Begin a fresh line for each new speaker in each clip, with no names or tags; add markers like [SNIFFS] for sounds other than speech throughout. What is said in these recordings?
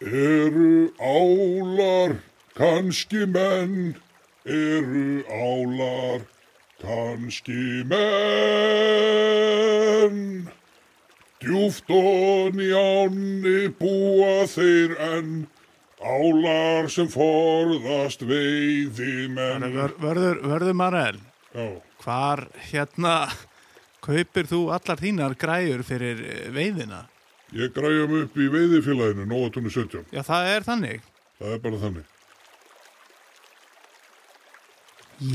Eru álar kannski menn? Eru álar kannski menn? Djúft og í ánni búa þeir enn Álar sem forðast veiði menn
Þannig vör, vörður, vörður Marel,
Já,
hvar hérna kaupir þú allar þínar græjur fyrir eh, veiðina?
ég græjum upp í veiðifélaginu, Nóatunni 17
Já, það er þannig.
Það er bara þannig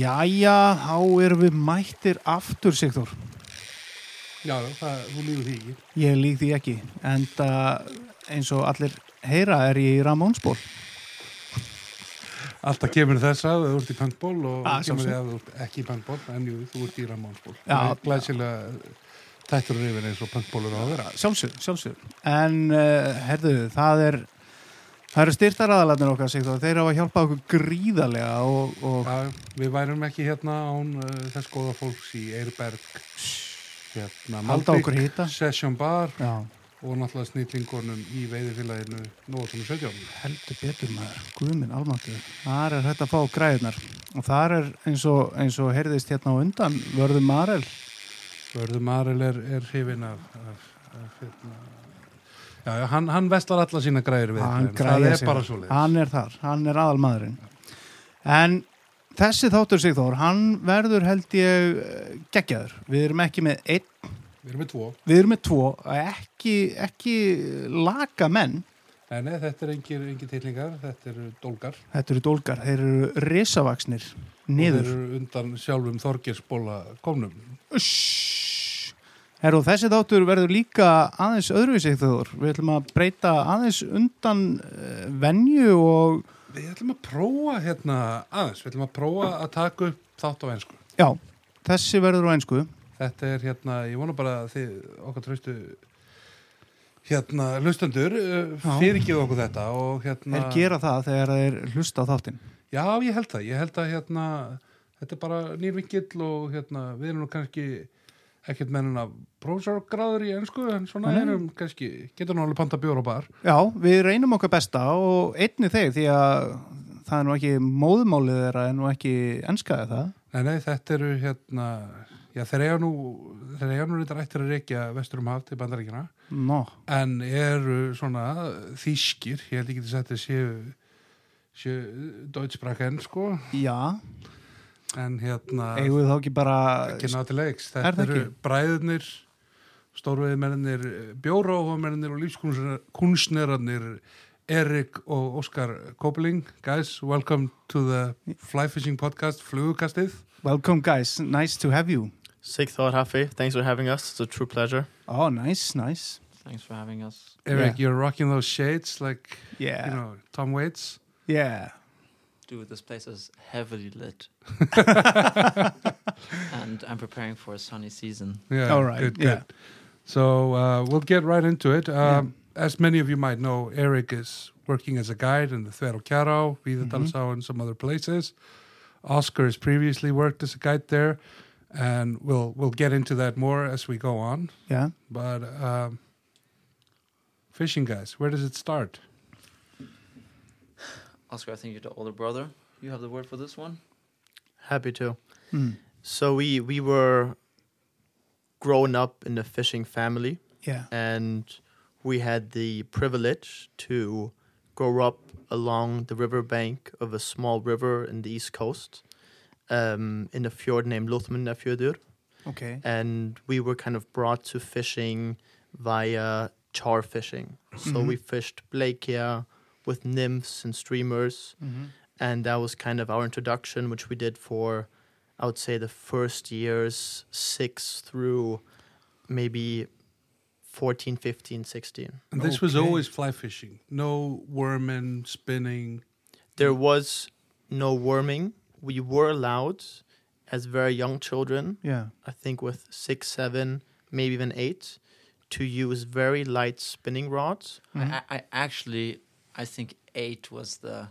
Jæja, þá erum við mættir aftur, Sigþór.
Já, já, það, þú lífur því ekki.
Ég lík því ekki, en eins og allir heyra er ég í Ramónsból.
Alltaf kemur þess að þú ert í pantból og
Ah,
kemur
sjálfsagt.
þið að þú ert ekki í pantból, en jú, þú ert í ramónsból.
Já.
það er glæsilega tættur og reyfin eins og pantbólur á að vera.
Sjálfsög, sjálfsög. En uh, herðu, það er það eru styrtaraðalarnir okkar, Sigþór. Þeir hafa hjálpað okkur gríðarlega og, og
Já, við værum ekki hérna án uh, þess góða fólks í Eirberg, hérna,
Halda okkur hita.
Session Bar
já,
og náttúrulega snillingunum í veiðifélaginu Nóatunum 17.
heldur betur maður, guðminn, almáttur. Þar er hægt að fá græðunar. Og þar er eins og, eins og heyrðist hérna á undan, vörðum Marel.
Vörður Marel er, er hrifin af, af, af hérna, já, já, hann, hann vestlar alla sína græður við.
Hann
þetta, en
græðir
Það er bara svo
Hann er þar, hann er aðal maðurinn. En þessi þáttur, Sigþór, hann verður held ég eh, geggjaður. Við erum ekki með einn
Við erum með tvo.
Við erum með tvo, ekki, ekki laga menn,
Nei, nei, þetta er engir, engir tilningar, þetta eru dólgar.
þetta eru dólgar, þeir eru risavaksnir,
Þeir
niður.
eru undan sjálfum Þorgeirsbóla komnum.
Uss. Herru, þessi þáttur verður líka aðeins öðruvísið þjóður. Við ætlum að breyta aðeins undan uh, venju og,
Við ætlum að prófa hérna aðeins, við ætlum að prófa að taka upp þátt á ensku.
já, þessi verður á einsku.
Þetta er hérna, ég vona bara að þið okkar tröstu hérna hlustendur,
Já.
fyrirgið okkur þetta og hérna...
Þeir gera það þegar þeir hlusta á þáttin.
Já, ég held það, ég held að hérna, þetta er bara nýr vingill og hérna, við erum nú kannski ekkert með hennar prófsorgráður í ensku, en svona
Nei.
erum kannski, getur nú alveg panta bjór og bar.
Já, við reynum okkar besta og einni þeir því að það er nú ekki móðmálið þeirra en nú ekki enskaði það.
Nei, nei, þetta eru hérna, já þeir eiga nú, þeir eiga nú reyndar ættir að reykja vestur um haf til bandaríkina,
Nó,
en eru svona þýskir, ég held ekki þess að þetta séu, séu deutschbraken, sko,
já,
en hérna,
eigum við þá ekki bara...
ekki nátilegs,
Er það
þetta eru
ekki?
bræðunir, stórveiðmennir, bjóróhómennir og lífskunstnerarnir, Erik og Óskar Kópeling, guys, welcome to the Fly Fishing Podcast, flugukastið.
Welcome guys, nice to have you.
Sixth Hour Happy, thanks for having us. It's a true pleasure.
Oh, nice, nice.
Thanks for having us.
Eric,
Yeah.
you're rocking those shades like
Yeah,
you know Tom Waits.
yeah.
Dude, this place is heavily [LAUGHS] lit. and I'm preparing for a sunny season.
Yeah,
All right,
good,
yeah.
good. So uh, we'll get right into it. Um, As many of you might know, Eric is working as a guide in the Cerro Caro, Vidatalasau, and some other places. Oscar has previously worked as a guide there, and we'll we'll get into that more as we go on.
Yeah.
But um, fishing, guys, where does it start?
Oscar, I think you're the older brother. You have the word for this one?
Happy to.
Mm.
So we we were grown up in a fishing family,
Yeah.
and we had the privilege to grow up along the riverbank of a small river in the east coast, um, in a fjord named Lothmundafjordur,
Okay.
and we were kind of brought to fishing via char fishing. So
Mhm.
we fished Blakia with nymphs and streamers.
Mhm.
and that was kind of our introduction, which we did for, I would say, the first years, six through maybe 14, 15, 16.
And this was
Okay.
always fly fishing, no worming, spinning.
There was no worming. We were allowed as very young children,
Yeah.
I think with six, seven, maybe even eight, to use very light spinning rods.
Mhm.
I, I actually, I think eight was the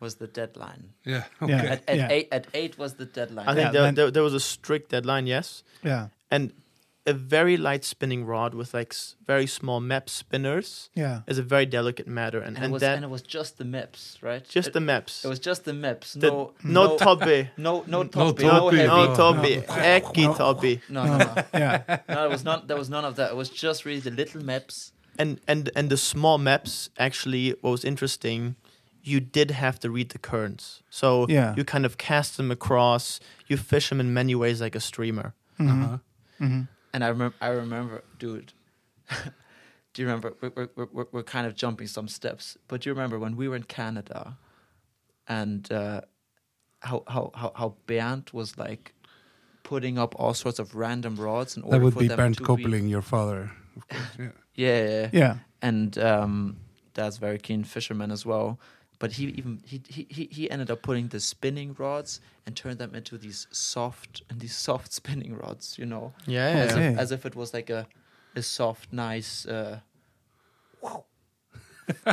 was the deadline.
Yeah,
Yeah.
[LAUGHS] okay.
At, at,
Yeah.
eight, at eight was the deadline.
I think
Yeah,
there,
then-
there, there was a strict deadline, yes.
Yeah.
And a very light spinning rod with like s- very small map spinners
[LAUGHS]
Yeah.
is a very delicate matter, and
And,
and,
it was,
that
and it was just the MIPS, right?
just
it,
the maps.
It was just the MIPS.
The-
no,
no,
no, [LAUGHS]
toby,
no, no,
No
topi, no,
topi,
heavy.
no
[LAUGHS]
no.
toby,
No.
ekki
No.
toby,
No, no, no.
yeah.
no, it was not. There was none of that. It was just really the little maps.
and and and the small maps actually. What was interesting, you did have to read the currents, so
Yeah.
you kind of cast them across. You fish them in many ways like a streamer.
Mhm.
Uh-huh.
Mhm.
And I remember, I remember, dude. [LAUGHS] do you remember? We're, we're, we're, we're kind of jumping some steps, but do you remember when we were in Canada, and uh, how how how how Bernd was like putting up all sorts of random rods in order
That would
for
be
them
Bernd
to
Copeling, your father. Of course, yeah.
Be, yeah, yeah, yeah.
Yeah.
and um, Dad's very keen fisherman as well. But he even he, he he- he ended up putting the spinning rods and turned them into these soft and these soft [LAUGHS] spinning rods, you know,
Yeah,
as,
Okay.
if, as if it was like a a soft, nice, uh,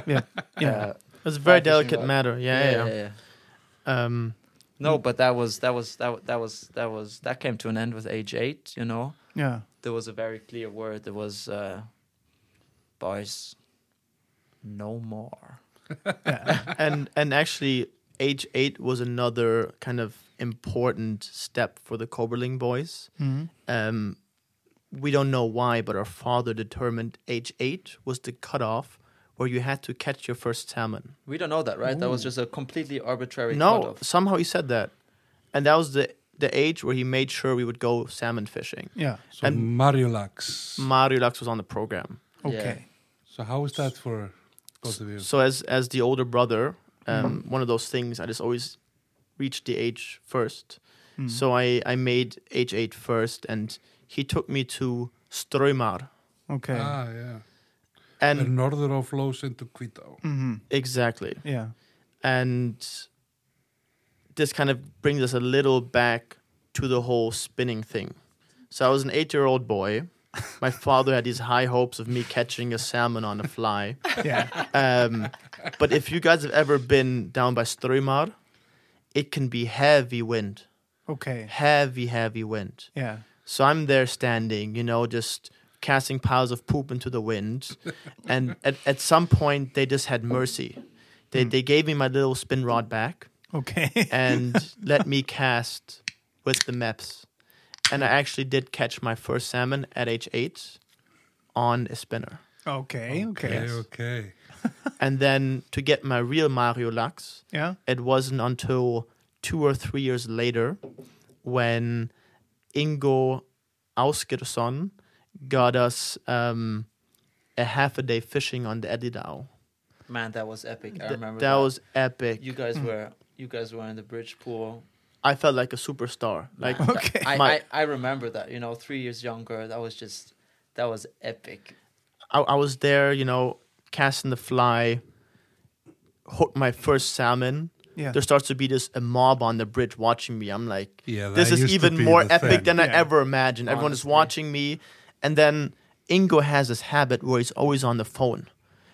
Yeah. Yeah.
uh,
it's a very
fishing
delicate
rod.
matter. Yeah, yeah. yeah.
[LAUGHS]
Um,
No, but that was that was that wa- that was that was that came to an end with age eight. You know,
Yeah.
there was a very clear word. There was, uh, boys, no more.
and and actually age eight was another kind of important step for the Koberling boys.
Mhm.
Um, we don't know why, but our father determined age eight was the cutoff where you had to catch your first salmon.
We don't know that, right? That was just a completely arbitrary.
No,
cutoff.
somehow he said that, and that was the the age where he made sure we would go salmon fishing.
Yeah.
So
And- Mm.
Mario Lux.
Mario Lux was on the program.
Okay.
so how is that for both of you?
So as as the older brother, um, one of those things I just always reached the age first. So I I made age eight first, and he took me to Strömar,
Okay.
Uh.
Ah, yeah.
and
And Nordero flows into Quito.
hmm
exactly,
Yeah.
and this kind of brings us a little back to the whole spinning thing. So I was an eight-year-old boy. My father had these high hopes of me catching a salmon on a fly.
[LAUGHS]
Yeah.
Um, but if you guys have ever been down by Strömar, it can be heavy wind,
Okay.
heavy, heavy wind.
Yeah.
So I'm there standing, you know, just casting piles of poop into the wind. and at, at some point, they just had mercy. They, they gave me my little spin rod back
Okay.
[LAUGHS]
and let me cast with the MEPS. And I actually did catch my first salmon at age eight on a
[LAUGHS]
spinner.
[LAUGHS]
Oh,
okay. Okay.
Okay, okay.
And then to get my real Mario Lux,
Yeah.
it wasn't until two or three years later when Ingo Ausgersson got us um, a half a day fishing on the Eddidau.
Man, that was epic. I
Th-
remember
that was epic.
you guys were you guys were in the bridge pool.
I felt like a superstar. Like [LAUGHS]
Man,
Okay.
th- I,
My-
I, I remember that, you know, three years younger. That was just that was epic.
I, I was there, you know, casting the fly, hooked my first salmon.
Yeah.
There starts to be this a mob on the bridge watching me. I'm like,
Yeah, that
this is
used to
even
be
more
the
epic
thing.
than I
Yeah.
ever imagined. Everyone is
Honestly.
watching me, and then Ingo has this habit where he's always on the phone.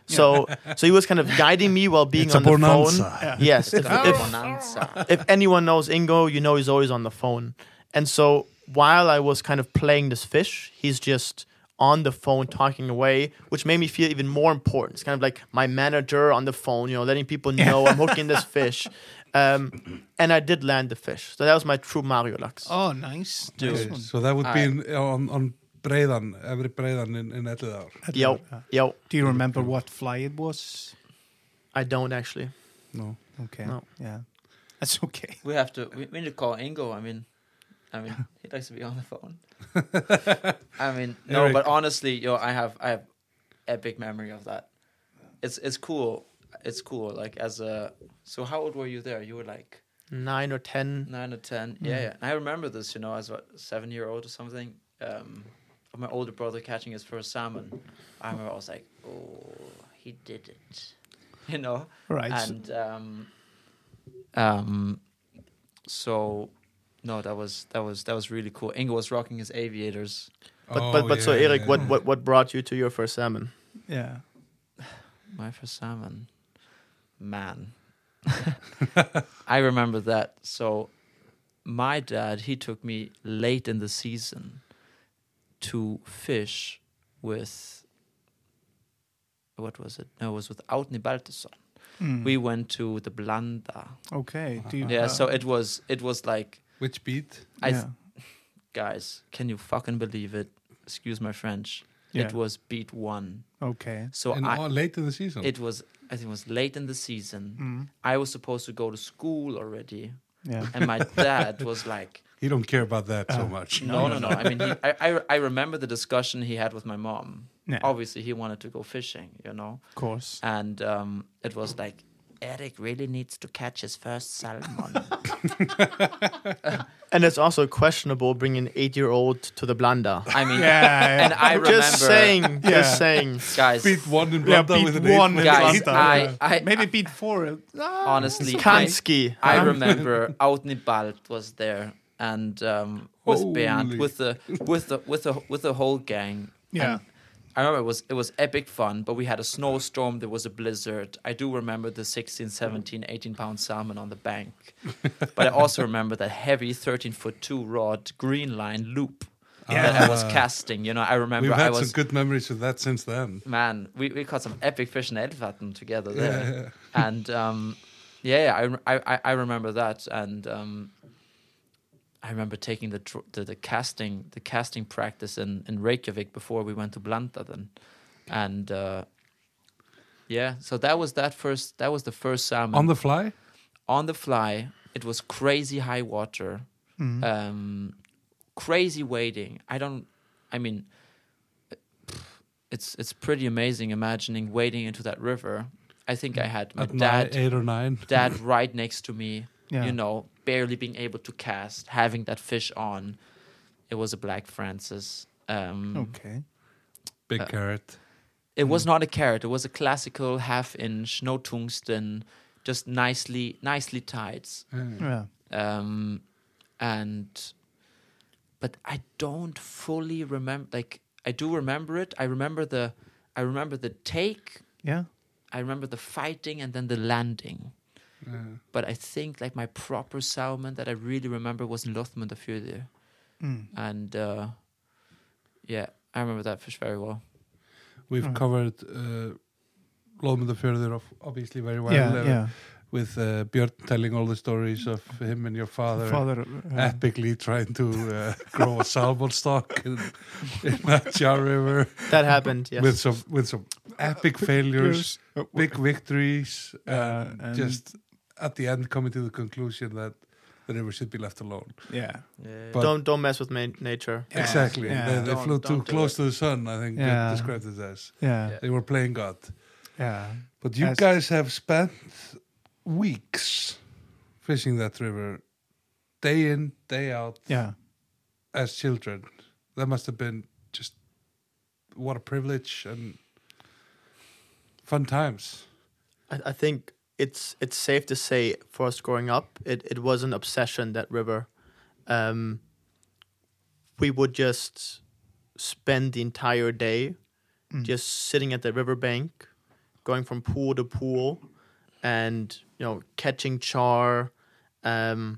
So, so he was kind of guiding me while being
It's a
on the
bonanza.
phone. Yes, if,
That
if-
bonanza.
if anyone knows Ingo, you know he's always on the phone. And so while I was kind of playing this fish, he's just on the phone talking away, which made me feel even more important. It's kind of like my manager on the phone, you know, letting people know I'm hooking
[LAUGHS]
this fish. Um, and I did land the fish. So that was my true Mario Lux.
Oh, nice.
Dude.
Nice one.
So that would be
I-
in, on, on Breiðan, every Breiðan in, in Etlidar.
Yo, yo,
uh, Do you remember what fly it was?
I don't actually.
No.
Okay.
No.
Yeah. That's okay. [LAUGHS]
We have to we, we need to call Ingo. I mean I mean [LAUGHS] he likes to be on the phone. I mean no,
Eric.
but honestly, yo, I have I have epic memory of that. It's it's cool. It's cool. Like as a so how old were you there? You were like
Nine or ten.
nine or ten. Yeah, yeah. And I remember this, you know, as a seven year old or something. Um, of my older brother catching his first salmon. I remember I was like, oh, he did it, [LAUGHS] you know.
Right.
And um, um, so no, that was that was that was really cool. Ingo was rocking his aviators.
But
Oh,
but but so
yeah,
Eric,
yeah,
what,
yeah.
what what brought you to your first salmon?
yeah.
My first salmon, man. [LAUGHS] I remember that. So, my dad he took me late in the season to fish with what was it? No, it was with Outni Baltusson.
Mm.
We went to the Blanda.
okay. Do you, uh,
Yeah, so it was it was like
Which beat?
I
yeah.
guys, can you fucking believe it? Excuse my French.
Yeah.
It was beat one.
okay.
So
and
I,
all- late in the season.
it was I think it was late in the season.
Mm.
I was supposed to go to school already,
Yeah.
and my dad was like,
he don't care about that so much.
"No, no, no." I mean, he, I, I I remember the discussion he had with my mom.
Yeah.
Obviously, he wanted to go fishing, you know,
Of
[LAUGHS]
course.
and um, it was like. Eric really needs to catch his first salmon.
And it's also questionable bringing an eight-year-old to the Blanda.
I mean,
Yeah,
and I remember,
just saying,
Yeah.
just saying.
guys,
[LAUGHS] Beat one in
Yeah,
Blanda with an
beat
eight
one
minute
guys,
lead.
I, I,
Maybe beat four. Ah.
honestly, [LAUGHS] I,
Kanski.
I
[LAUGHS]
remember Outnibald was there and um, with
Holy.
Bernd, with
[LAUGHS]
the with the with the with the whole gang.
Yeah.
And I remember it was it was epic fun, but we had a snowstorm, there was a blizzard. I do remember the 16, 17, 18 pound salmon on the
[LAUGHS]
bank. but I also remember that heavy 13 foot 2 rod green line loop that I was casting. You know, I remember
Ah. We've
I
had
was
some good memories of that since then.
man, we, we caught some epic fish in Edvatten together there. And um, yeah, yeah, I, I, I remember that. And um, I remember taking the, tr- the the casting the casting practice in, in Reykjavik before we went to Blanta then. And uh, yeah, so that was that first that was the first salmon
[LAUGHS] On the fly?
on the fly. It was crazy high water,
Mm-hmm.
um, crazy wading. I don't. I mean, it's it's pretty amazing imagining wading into that river. I think I had my
At nine,
dad
eight or nine.
dad right next to me.
Mm-hmm. Yeah.
You know, barely being able to cast, having that fish on. It was a black Francis. Um,
Okay. Mm-hmm.
Big carrot.
it was not a carrot. It was a classical half inch, no tungsten, just nicely nicely tied.
Yeah.
um, and but I don't fully remember. Like I do remember it. I remember the I remember the take.
Yeah.
I remember the fighting and then the landing. But I think like my proper salmon that I really remember was Lothmundafjordur,
Mm.
and uh, yeah, I remember that fish very well.
We've
Hmm.
covered uh, Lom the Further off, obviously very well.
yeah.
uh,
yeah. Hmm.
With uh, Björn telling all the stories of him and your father.
Father. uh,
Epically trying to
[LAUGHS]
uh, grow a salmon stock in, in Atjar River
That happened, yes.
with some with some epic failures.
uh,
big victories
Yeah,
and,
and-
just at the end coming to the conclusion that the river should be left alone.
Yeah.
Yeah.
But-
don't don't mess with ma- nature.
Yeah.
Exactly.
Yeah.
They, they
Don't-
flew too
don't do
close
it.
to the sun, I think
Yeah.
Björn described it as.
Yeah.
They were playing God.
Yeah.
But you
As-
guys have spent weeks fishing that river day in, day out
Yeah.
as children. That must have been just what a privilege and fun times.
I, I think it's it's safe to say for us growing up, it, it was an obsession that river. Um, we would just spend the entire day just sitting at the riverbank, going from pool to pool, and you know catching char, um,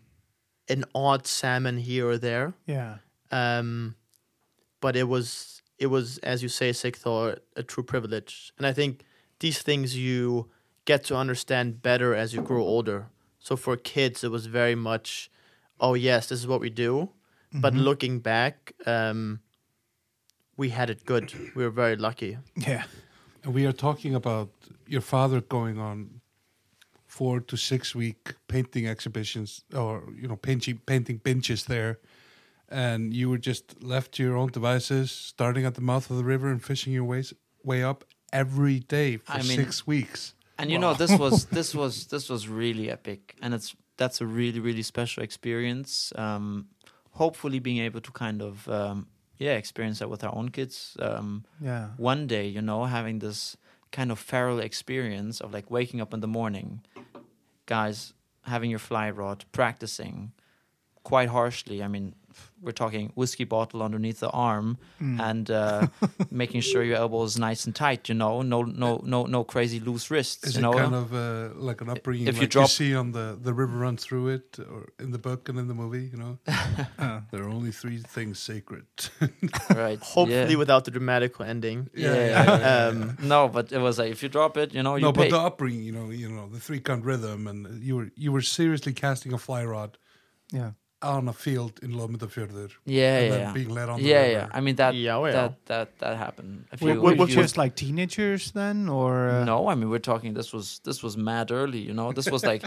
an odd salmon here or there.
Yeah.
um, but it was it was as you say Sigthor a true privilege and I think these things you get to understand better as you grow older so for kids it was very much oh yes this is what we do but
Mm-hmm.
looking back um, we had it good we were very lucky
Yeah.
And we are talking about your father going on four to six week painting exhibitions or you know painting painting benches there and you were just left to your own devices starting at the mouth of the river and fishing your ways way up every day for
I mean-
six weeks
And you know, this was this was this was really epic, and it's that's a really really special experience. Um, hopefully, being able to kind of um, yeah experience that with our own kids um,
Yeah.
one day, you know, having this kind of feral experience of like waking up in the morning, guys having your fly rod, practicing quite harshly. I mean, we're talking whiskey bottle underneath the arm
Mm.
and
[LAUGHS]
uh, making sure your elbow is nice and tight. You know, no, no, no, no crazy loose wrists.
Is
you
it
know,
kind of uh, like an upbringing
if you
like you,
drop-
see on the, the river runs through it or in the book and in the movie, you know?
Uh,
there are only three things sacred.
[LAUGHS] right?
Hopefully
yeah.
without the dramatical ending.
Yeah,
Um,
no, but it was like if you drop it, you know, you
no,
pay.
but the upbringing, you know, you know, the three count rhythm, and you were you were seriously casting a fly rod
yeah.
on a field in Lomita Fjordur.
yeah,
and
yeah,
then
yeah.
being led on the
yeah,
river.
yeah. I mean that,
Yeah, well.
that, that, that happened. If
Were,
you-
were
if
you
you-
just like teenagers then, or uh,
no, I mean we're talking. This was this was mad early. You know, this was
[LAUGHS]
like,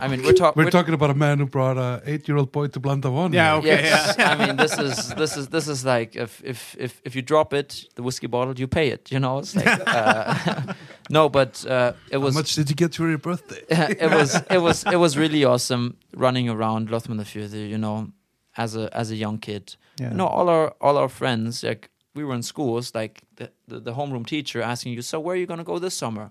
I mean we're, talk,
We're, talking about a man who brought a eight-year-old boy to Blantavan.
Yeah,
here.
okay.
Yes, I mean this is this is this is like if if if if you drop it, the whiskey bottle, you pay it. You know, it's like uh, [LAUGHS] no, but uh, it
How
was
much did you get for your birthday?
[LAUGHS] it was it was it was really awesome running around Lothman the Fjordur, you know, as a as a young kid.
yeah.
You know, all our all our friends like we were in schools, like the the, the homeroom teacher asking you, so where are you going to go this summer?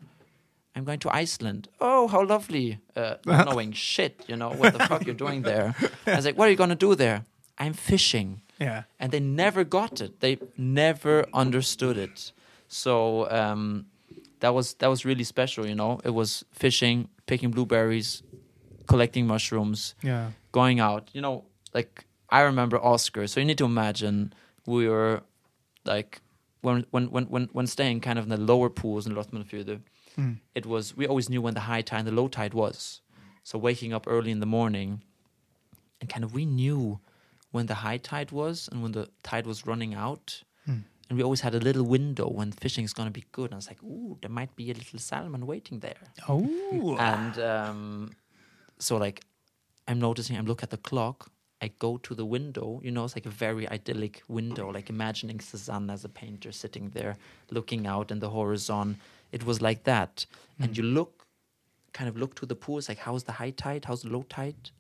I'm going to Iceland. Oh, how lovely! Uh, not knowing shit, you know what the fuck you're doing there. I was like, what are you going to do there? I'm fishing
yeah,
and they never got it. They never understood it. So um, that was that was really special. You know, it was fishing, picking blueberries, collecting mushrooms,
yeah,
going out. You know, like I remember Oscar. So you need to imagine we were like when when when when, when staying kind of in the lower pools in Lothmanfjordur.
Mm.
It was we always knew when the high tide and the low tide was. So waking up early in the morning, and kind of we knew when the high tide was and when the tide was running out.
Mm.
And we always had a little window when fishing is going to be good. And I was like, ooh, there might be a little salmon waiting there
Oh,
and um, so like i'm noticing i look at the clock i go to the window you know it's like a very idyllic window like imagining cezanne as a painter sitting there looking out in the horizon it was like that and you look kind of look to the pool it's like how's the high tide how's the low tide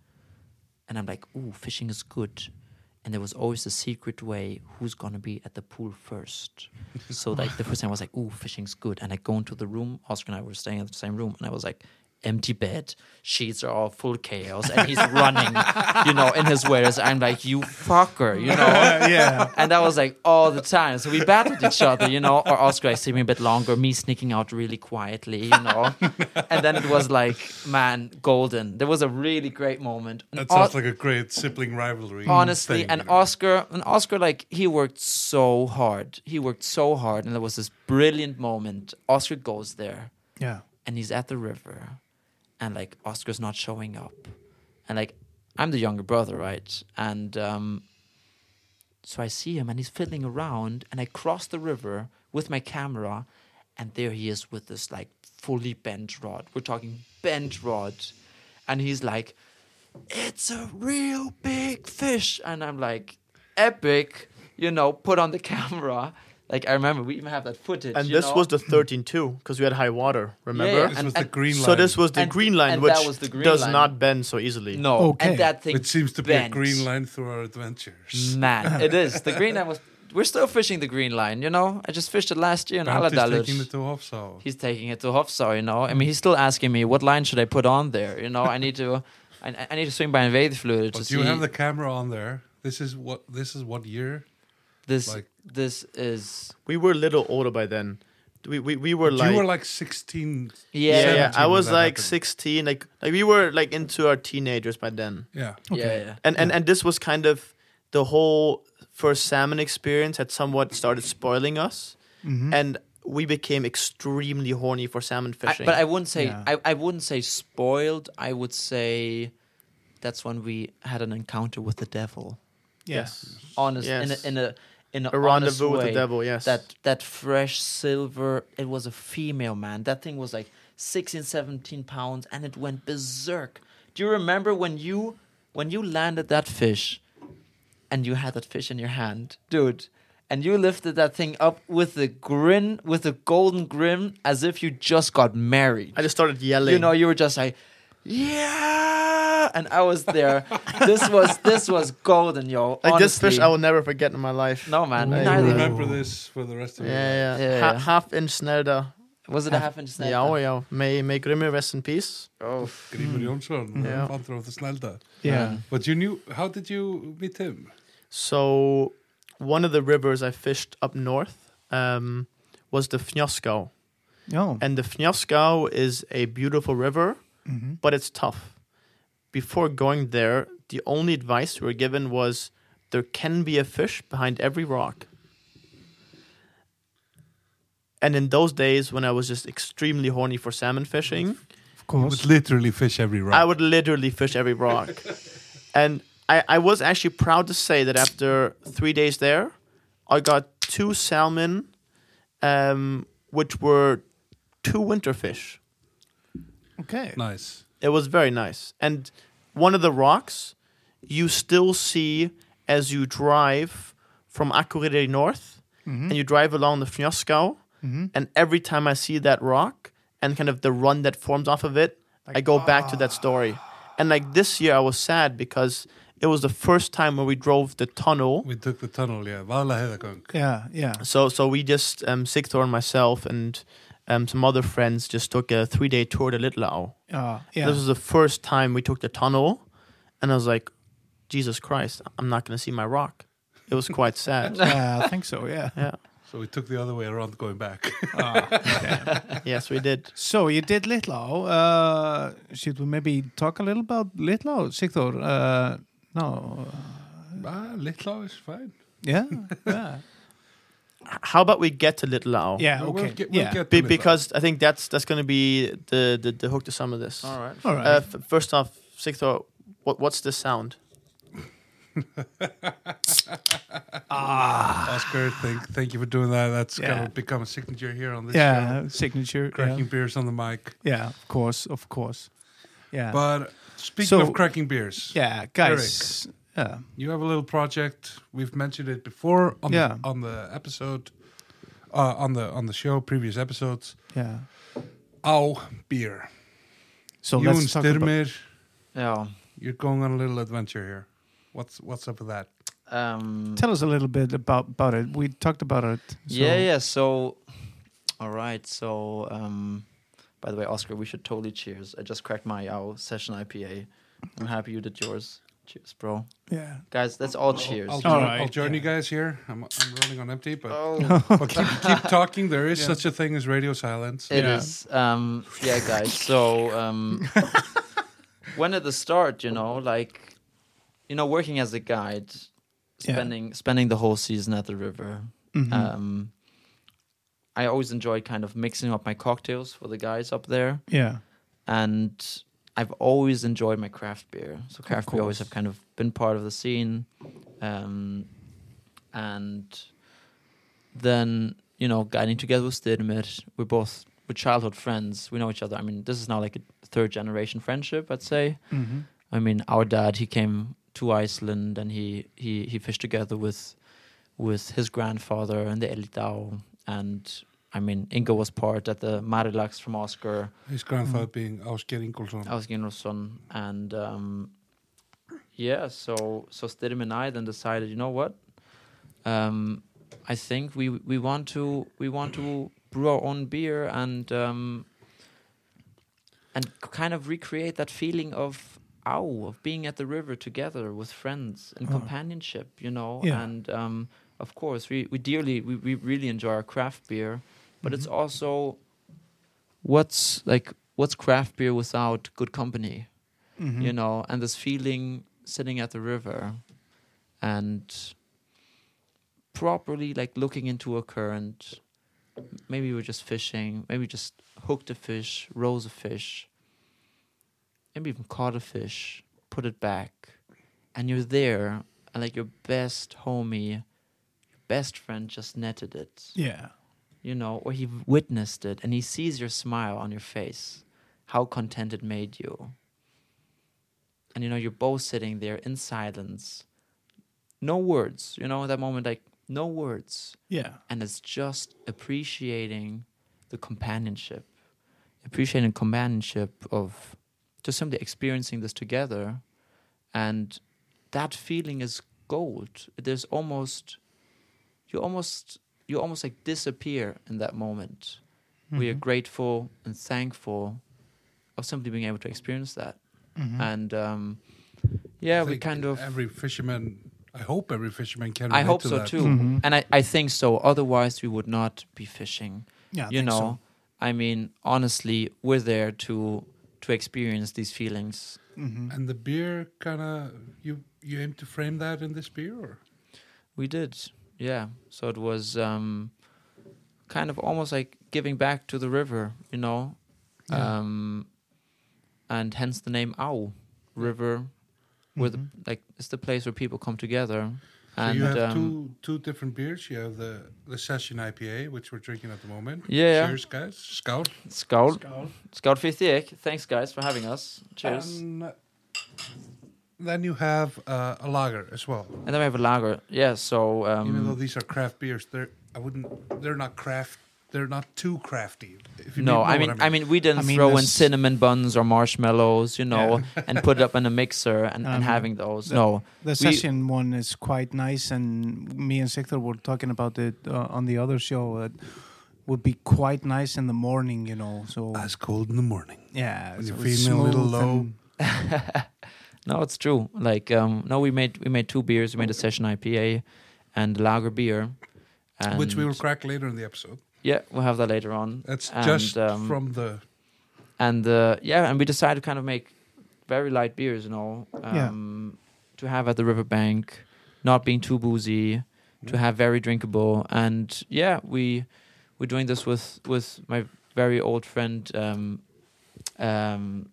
and i'm like ooh fishing is good and there was always a secret way who's gonna be at the pool first. So like the first time I was like, "Ooh, fishing's good," and I go into the room. Oscar and I were staying in the same room, and I was like, "Empty bed, sheets are all full chaos," and he's running, you know, in his wares. I'm like, "You fucker," you
[LAUGHS]
know.
yeah,
And that was like all the time. So we battled each other, you know, or Oscar I see me a bit longer, me sneaking out really quietly, you know.
[LAUGHS]
And then it was like, man, golden. There was a really great moment. And
That
all-
sounds like a great sibling rivalry.
honestly
thing,
and
you know.
oscar and oscar like he worked so hard he worked so hard and there was this brilliant moment oscar goes there
yeah,
and he's at the river and like oscar's not showing up and like i'm the younger brother right and um so i see him and he's fiddling around and i cross the river with my camera and there he is with this like fully bent rod we're talking bent rod and he's like it's a real big fish and i'm like epic you know put on the [LAUGHS] camera like i remember we even have that footage
and
you
this
know?
was the 13 too, because we had high water, remember?
yeah,
this
and-
was the
and-
green line.
So this was the
And-
green line,
and
which
that was the green
does
line.
not bend so easily.
No,
Okay.
and that thing
It seems to be a
bent.
green line through our adventures.
Man, it is the green line was. We're still fishing the green line, you know. I just fished it last year in
Bernd is taking the
Aladalus.
two off, so
He's taking it to Hofsau, you know. I mean, he's still asking me what line should I put on there, you know. I need to, [LAUGHS] I, I need to swing by and wade fluid to
But
see
you have the camera on there. This is what this is what year?
this.
like-
this is
We were a little older by then. We, we, we were like.
you were like sixteen.
yeah,
yeah, yeah.
17
I
when
was
that
like
happened.
16. Like, like we were like into our teenagers by then.
Yeah.
yeah, yeah.
And, and and this was kind of the whole first salmon experience had somewhat started spoiling us, and we became extremely horny for salmon
Mm-hmm. I-
fishing.
but I wouldn't say
Yeah.
I, I wouldn't say spoiled. I would say that's when we had an encounter with the devil.
yes,
Honest
Yes.
in a in a in a,
a
honest
rendezvous with the
way.
devil. Yes,
that that fresh silver it was a female man that thing was like 16 17 pounds and it went berserk do you remember when you when you landed that fish and you had that fish in your hand dude and you lifted that thing up with a grin with a golden grin as if you just got married
I just started yelling.
you know you were just like yeah and i was
[LAUGHS]
there this was this was golden yo
like this
honestly.
fish I will never forget in my life.
no man
Ooh.
I
neither.
remember this for the rest of
Yeah,
your life.
yeah.
Yeah,
Ha-
yeah.
Half inch snedda.
was it a half inch snap?
Yeah, oh yeah. May may Grimmy rest in peace.
Oh,
Mm.
Grímur Jónsson,
Yeah.
father of the Snælda.
yeah.
Man.
But you knew. How did you meet him?
So one of the rivers I fished up north um, was the Fnjoskau.
Já,
Um,
And the Fnjoskau is a beautiful river,
Mhm.
but it's tough. Before going there, the only advice we were given was there can be a fish behind every rock. And in those days, when I was just extremely horny for salmon fishing,
of
You
course
would literally fish every rock.
I would literally fish every rock. and I, I was actually proud to say that after three days there, I got two salmon, um, which were two winter fish.
okay.
nice.
It was very nice. And one of the rocks you still see as you drive from Akureyri north and you drive along the Fnjoskau. And every time I see that rock and kind of the run that forms off of it, I go back to that story. And like this year, I was sad because it was the first time when we drove the tunnel.
We took the tunnel, yeah. Valahedagunk.
Já, já,
So, so we just, um, Sigthor and myself and um, some other friends just took a three day tour to Litlau.
já, já
This was the first time we took the tunnel, and I was like, Jesus Christ, I'm not going to see my rock. It was quite sad.
Yeah, I think so,
[LAUGHS]
yeah Uh,
yeah.
So we took the other way around going
[LAUGHS]
back. [LAUGHS]
Yes, we did.
So you did Litlau. Uh, should we maybe talk a little about Litlau, Sigþór? Uh, no.
ah, Little is fine.
Yeah.
[LAUGHS]
Yeah.
How about we get to Litlau?
yeah.
No,
Okay.
We'll get, we'll
yeah.
get to
Be-
Little.
because I think that's that's going to be the, the the hook to some of this.
All right.
All right.
Uh, f- first off, Sigthor, what what's the sound?
Ah,
Oscar, thank, thank you for doing that. That's
Yeah.
going to become a signature here on this
yeah.
show.
Signature.
Cracking
Yeah.
beers on the mic.
yeah. Of course. Of course. Yeah.
But speaking
So-
of cracking beers,
yeah, guys. Yeah.
you have a little project. We've mentioned it before on,
Yeah.
the, on the episode, uh, on the on the show, previous episodes.
Yeah.
Au Oh, beer.
So
you and
let's talk about.
Styrmir,
Yeah.
you're going on a little adventure here. What's what's up with that?
Um,
Tell us a little bit about about it. We talked about it. So,
yeah, yeah. So, all right. So, um, by the way, Oscar, we should totally cheers. I just cracked my owl session IPA. I'm happy you did yours. Cheers, bro.
Yeah.
Guys, that's all cheers.
I'll,
All
join-
right,
I'll join
yeah.
you guys here. I'm, I'm running on empty, but [LAUGHS]
Oh,
but keep,
[LAUGHS]
keep talking. There is such a thing as radio silence.
it
Yeah.
is. Um, yeah, guys. So, um, when at the start, you know, like, you know, working as a guide,
Yeah.
spending spending the whole season at the river.
Mm-hmm.
Um, I always enjoyed kind of mixing up my cocktails for the guys up there.
Yeah.
and I've always enjoyed my craft beer. So craft beer always
course.
have kind of been part of the scene, um, and then you know, guiding together with Stidmit, we're both we're childhood friends. We know each other. I mean, this is now like a third generation friendship, I'd say.
Mm-hmm.
I mean, our dad he came to Iceland and he he he fished together with with his grandfather and the Elitao and. I mean, Ingo was part at the Marilax from Oscar.
His grandfather being Oscar Ingolson.
Ausgehen's son, and um, yeah, so so Stidham and I then decided, you know what? Um, I think we we want to we want to brew our own beer and um, and kind of recreate that feeling of ow of being at the river together with friends and
Oh.
companionship, you know.
Yeah.
And um, of course, we we dearly we, we really enjoy our craft beer, but
Mm-hmm.
it's also what's like what's craft beer without good company
Mm-hmm.
you know and this feeling sitting at the river and properly like looking into a current maybe we're just fishing maybe just hooked a fish rose a fish maybe even caught a fish put it back and you're there and like your best homie your best friend just netted it
Yeah.
you know, or he witnessed it and he sees your smile on your face, how content it made you. And you know, you're both sitting there in silence, no words, you know, at that moment, like no words.
Yeah.
And it's just appreciating the companionship, appreciating companionship of just simply experiencing this together. And that feeling is gold. There's almost, you almost, you almost like disappear in that moment. We are
Mm-hmm.
grateful and thankful of simply being able to experience that. And um,
Mm-hmm.
yeah,
I
we
think
kind of
every fisherman I hope every fisherman can.
I
relate
hope
to
so
that.
too,
Mhm.
and I, I think so. Otherwise, we would not be fishing.
Yeah, I
you
think
know,
so.
I mean, honestly, we're there to to experience these feelings.
Mm-hmm.
And the beer, kind of, you you aim to frame that in this beer, or
We did, yeah. So it was um, kind of almost like giving back to the river, you know,
Yeah.
um, and hence the name Au River,
Mm-hmm.
where the, like it's the place where people come together.
Mm-hmm. so
and
you have
um,
two two different beers. You have the the session IPA, which we're drinking at the moment.
Yeah.
cheers, guys. Scout.
Scout, Scout 58. Thanks, guys, for having us. Cheers.
And then you have uh, a lager as well.
and then we have a lager. Yeah. So um,
Even though these are craft beers, they're I wouldn't. They're not craft. They're not too crafty. If you
no,
know
I
what
mean, I mean, we didn't
I mean,
throw in
there's-
cinnamon buns or marshmallows, you know, [LAUGHS] and put it up in a mixer and, and
Um,
having those.
the-
no,
The session one is quite nice, and me and Sector were talking about it uh, on the other show. It would be quite nice in the morning, you know. So
as cold in the morning.
yeah,
when
so
you're
it's
feeling a little
smooth
low.
and-
no, it's true. Like, um, no, we made we made two beers. We made a session IPA and lager beer, and
which we will crack later in the episode.
yeah, we'll have that later on.
That's
And,
just
um,
from the
and uh, yeah, and we decided to kind of make very light beers, you know,
Yeah.
um, to have at the riverbank, not being too boozy, to have very drinkable, and yeah, we we're doing this with with my very old friend um, um,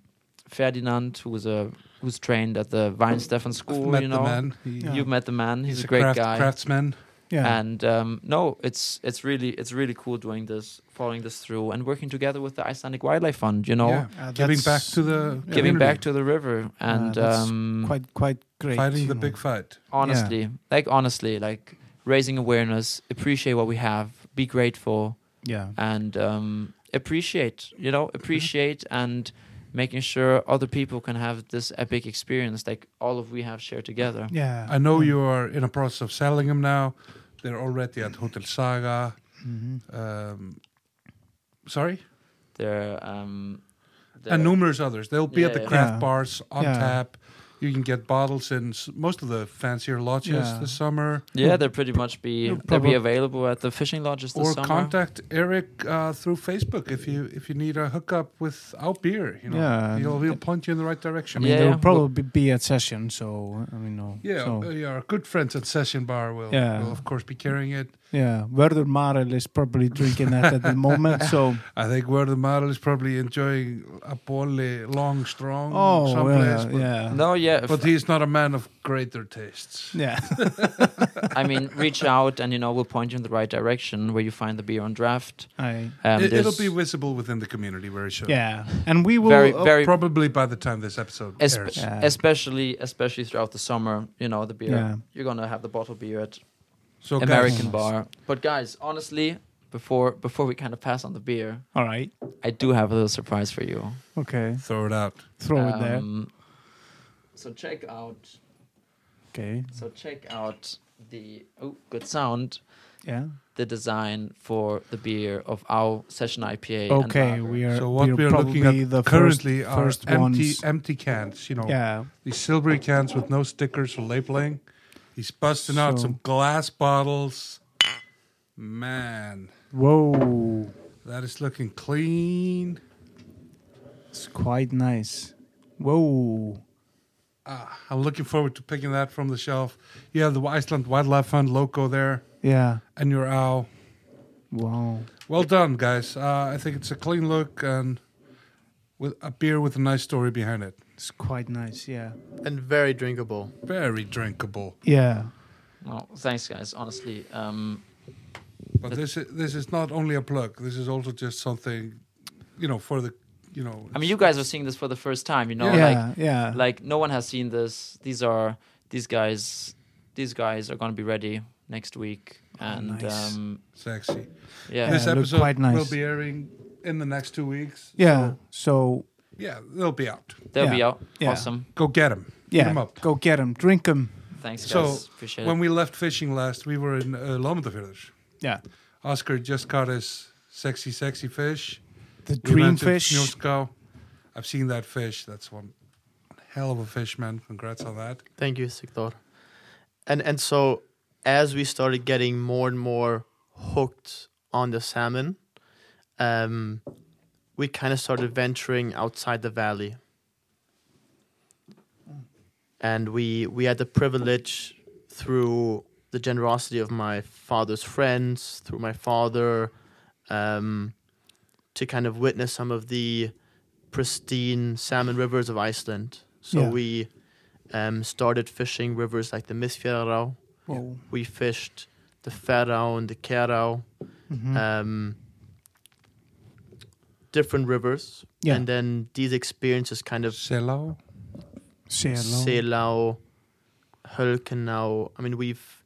Ferdinand, who's a who's trained at the Weinstefan School,
met
oh, you
the
know.
man. He,
Yeah.
You've met the man. He's,
he's
a great
craft-
guy.
craftsman.
yeah,
And um, no, it's it's really it's really cool doing this, following this through, and working together with the Icelandic Wildlife Fund. You know,
yeah.
Uh,
giving
that's-
back to the
yeah.
giving
community, Mm.
back to the river and
that's
um,
quite quite great.
fighting
you
the
know.
big fight.
honestly like honestly like raising awareness appreciate what we have be grateful
yeah.
and um, appreciate you know appreciate and making sure other people can have this epic experience like all of we have shared together
Yeah,
I know you are in a process of selling them now. They're already at Hotel Saga.
Mm-hmm.
Um, sorry,
there um there-
and numerous others. They'll be at the
Yeah.
craft
Yeah.
bars on
Yeah.
tap. You can get bottles in s- most of the fancier lodges
Yeah.
this summer,
yeah they'll pretty much be
You'll
they'll be
probab-
available at the fishing lodges this
or
summer
contact Eric uh, through Facebook if you if you need a hookup with out beer. You know,
Yeah.
he'll, he'll point you in the right
I
direction.
mean,
Yeah,
there
yeah.
will probably be a session, so I mean, no.
Yeah,
so,
uh, yeah, our good friends at Session Bar will,
Yeah.
will of course be carrying it.
yeah. Werder Marel is probably drinking that at the moment,
[LAUGHS]
so
I think where the model is probably enjoying a poorly long strong
oh
someplace.
yeah,
but,
yeah,
no yeah if-
but he's not a man of greater tastes.
yeah. [LAUGHS]
i mean reach out and you know we'll point you in the right direction where you find the beer on draft
I,
it,
um,
will
there's-
be visible within the community very soon.
yeah, and we will
very
uh,
very
Probably by the time this episode
Espe-
airs.
Yeah.
especially especially throughout the summer you know the beer
Yeah.
you're gonna have the bottle beer at
So guys,
american
Nice.
bar but guys honestly before before we kind of pass on the beer
All right.
i do have a little surprise for you
Okay.
throw it out.
Throw it there.
Um, so check out
Okay.
so check out the oh good sound
Yeah.
the design for the beer of our session ipa and
Okay.
lager.
We are.
So what
we are
we are looking
probably
at
the
currently are
first, first
empty
ones.
empty cans. You know,
Yeah.
these silvery cans with no stickers or labeling. He's busting out
So-
some glass bottles. Man,
Whoa.
that is looking clean.
It's quite nice. Whoa.
Ah, I'm looking forward to picking that from the shelf. You have the Iceland Wildlife Fund logo there
Yeah.
and your owl.
Wow.
Well done, guys. Uh, I think it's a clean look and with a beer with a nice story behind it.
It's quite nice. Yeah.
and very drinkable.
Very drinkable.
Yeah.
no, thanks guys honestly um
But this is, this is not only a plug. This is also just something, you know, for the, you know.
i mean you guys are seeing this for the first time you know
Yeah.
like
yeah. yeah.
like no one has seen this these are these guys these guys are going to be ready next week and
nice.
um
sexy.
Yeah,
this
yeah
it looks
episode
quite nice.
will be airing in the next two weeks.
yeah. So
Yeah, they'll be out.
they'll be
yeah,
out
yeah.
awesome
Go get them.
yeah.
Get them up.
Go get them. Drink them.
thanks
So,
guys appreciate
When
it
we left fishing last, we were in uh, Lommendafjörður.
Yeah.
Oscar just caught his sexy, sexy fish.
The
We went
dream
to
fish.
Fnjóská. I've seen that fish. That's one hell of a fish, man. Congrats on that.
Thank you, Sikdor. and and so as we started getting more and more hooked on the salmon, um, we kind of started venturing outside the valley, and we we had the privilege through the generosity of my father's friends, through my father, um, to kind of witness some of the pristine salmon rivers of Iceland. So
Yeah.
we um, started fishing rivers like the Misfjärrá.
Whoa.
We fished the Ferrau and the Kerau,
Mhm.
Uh,
um, different rivers.
Yeah.
And then these experiences kind of
Selao.
Say hello.
Selau, Hölkenau. I mean, we've.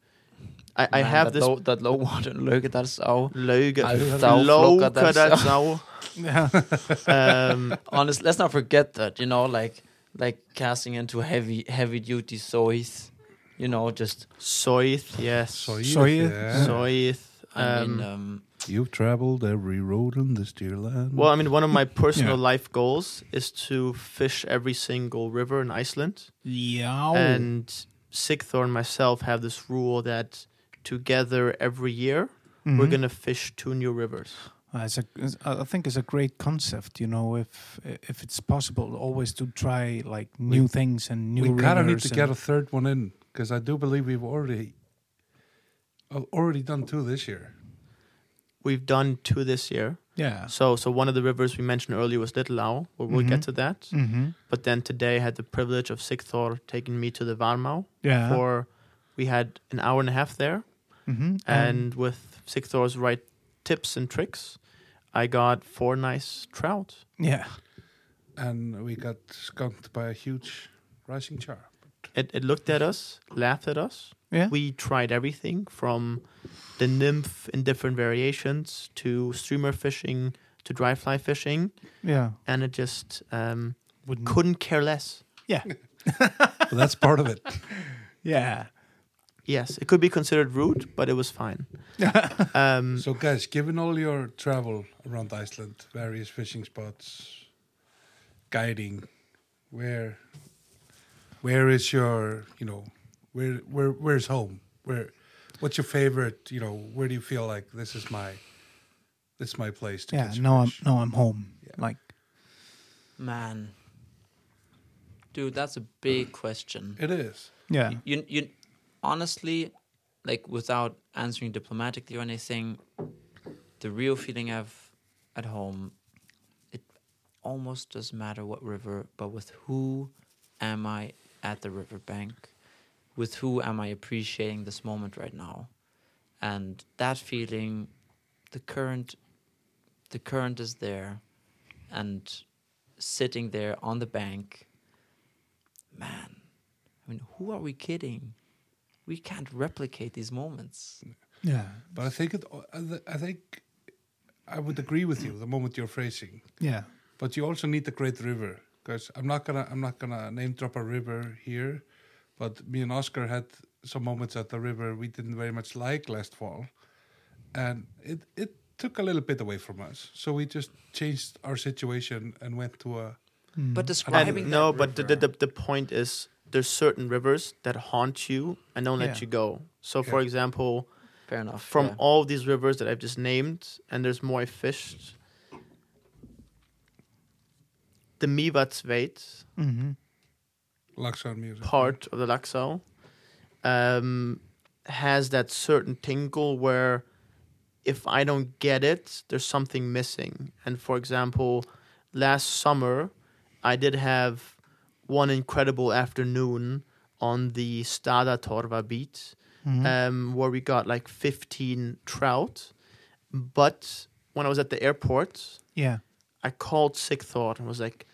I, I
Man,
have
that
this.
low, that low water look at that sow.
Lauge,
I have [LAUGHS]
Laugadarsau.
Yeah.
um,
Honest, let's not forget that. You know, like like casting into heavy heavy duty soys. You know, just
Soith, yes.
Soyuz,
Soyuz.
yeah.
Soith.
I mean,
Um,
um,
You've traveled every road in this dear land.
well, I mean, one of my personal
Yeah.
life goals is to fish every single river in Iceland.
Yeah.
And Sigthor and myself have this rule that together every year we're
Mhm.
going to fish two new rivers.
Uh, It's a, it's- I I think it's a great concept. You know, if if it's possible, always to try like new things and new.
we kind of need
rivers
to
and-
get a third one in because I do believe we've already uh, already done two this year.
We've done two this year.
yeah.
So, so one of the rivers we mentioned earlier was Little Au, where we'll get
Mhm.
to that.
Mm-hmm.
But then today I had the privilege of Sigthor taking me to the Varmau
Yeah.
for we had an hour and a half there.
Mhm.
and with Sigthor's right tips and tricks, I got four nice trout.
yeah.
And we got skunked by a huge rising char.
It, it looked at us, laughed at us.
Yeah.
We tried everything from the nymph in different variations to streamer fishing to dry fly fishing,
yeah.
and it just um,
Wouldn't.
couldn't care less.
yeah.
But that's part of it.
Yeah.
Yes, it could be considered rude, but it was fine. um,
So, guys, given all your travel around Iceland, various fishing spots, guiding, where, where is your, you know, where, where, where's home? Where, what's your favorite? You know, where do you feel like this is my, this is my place to
Yeah.
catch
No, I'm
fish?
no, I'm home.
Yeah.
Like.
man, dude, that's a big question.
It is.
Yeah.
you you honestly like without answering diplomatically or anything the real feeling i've at home it almost doesn't matter what river but with who am i at the riverbank with who am i appreciating this moment right now and that feeling the current the current is there and sitting there on the bank man I mean, who are we kidding? We can't replicate these moments.
Yeah.
But I think it. I think I would agree with you the moment you're phrasing.
Yeah.
But you also need the great river because I'm not gonna I'm not gonna name drop a river here, but me and Oscar had some moments at the river we didn't very much like last fall, and it it took a little bit away from us. So we just changed our situation and went to a
But
and
describing
no,
that
but the,
river-
the the the point is there's certain rivers that haunt you and don't
Yeah.
let you go. So, for
Yeah.
example,
fair enough.
from
yeah.
all these rivers that I've just named, and there's more I fished. The Mivatsveit
Mm-hmm.
Laxon music
part of the Laxau um, has that certain tingle where if I don't get it, there's something missing. And for example, last summer, I did have one incredible afternoon on the Torva beach
Mm-hmm.
um, where we got like 15 trout. But when I was at the airport,
Yeah.
I called Sigthor and was like,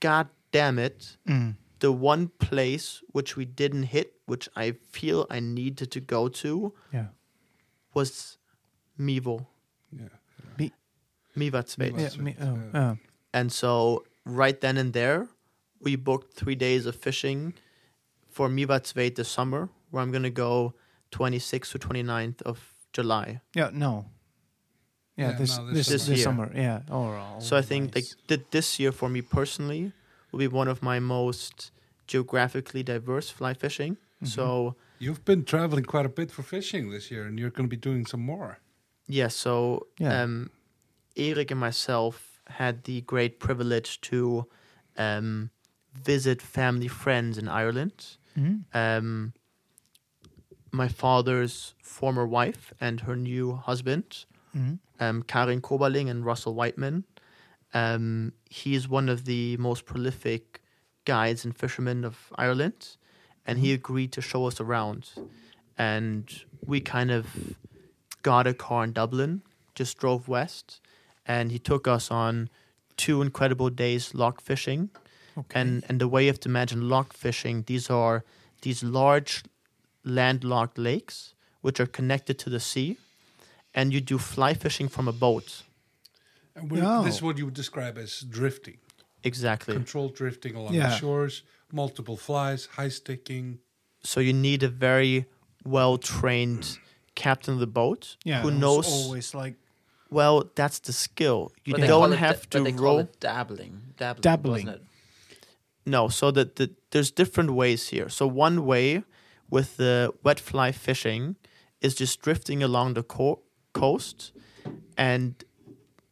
God damn it.
Mm.
The one place which we didn't hit, which I feel I needed to go to,
Yeah.
was Mivo,
Yeah.
Mivatsveit.
Yeah.
That's
Me,
right,
oh,
yeah.
uh,
And so right then and there, we booked three days of fishing for Mivatsveit this summer, where I'm going to go 26th to 29th of July.
yeah. No. Yeah.
Yeah,
this
no,
this
this
this,
summer. This
summer. Yeah. Overall.
So I think
Oh, nice.
like th- this year for me
Mm-hmm.
personally will be one of my most geographically diverse fly fishing. So
You've been traveling quite a bit for fishing this year, and you're going to be doing some more.
Yeah, so
Yeah.
um Eric and myself had the great privilege to um visit family friends in Ireland.
Mhm.
Um my father's former wife and her new husband,
Mhm.
um, Karin Kobaling and Russell Whiteman. Um, he is one of the most prolific guides and fishermen of Ireland, and he agreed to show us around. And we kind of got a car in Dublin, just drove west, and he took us on two incredible days lock fishing. And and the way you have to imagine lock fishing, these are these large landlocked lakes which are connected to the sea, and you do fly fishing from a boat.
And we're,
No.
this is what you would describe as drifting,
Exactly.
controlled drifting along the
Yeah.
shores, multiple flies, high sticking.
So you need a very well trained captain of the boat
Yeah,
who
it was
knows.
always like
Well, that's the skill. You
But they call
don't
it da-
have
but
to
they call
row.
it dabbling. Dabbling.
Dabbling.
wasn't it?
No, so that the, there's different ways here. So one way with the wet fly fishing is just drifting along the co- coast and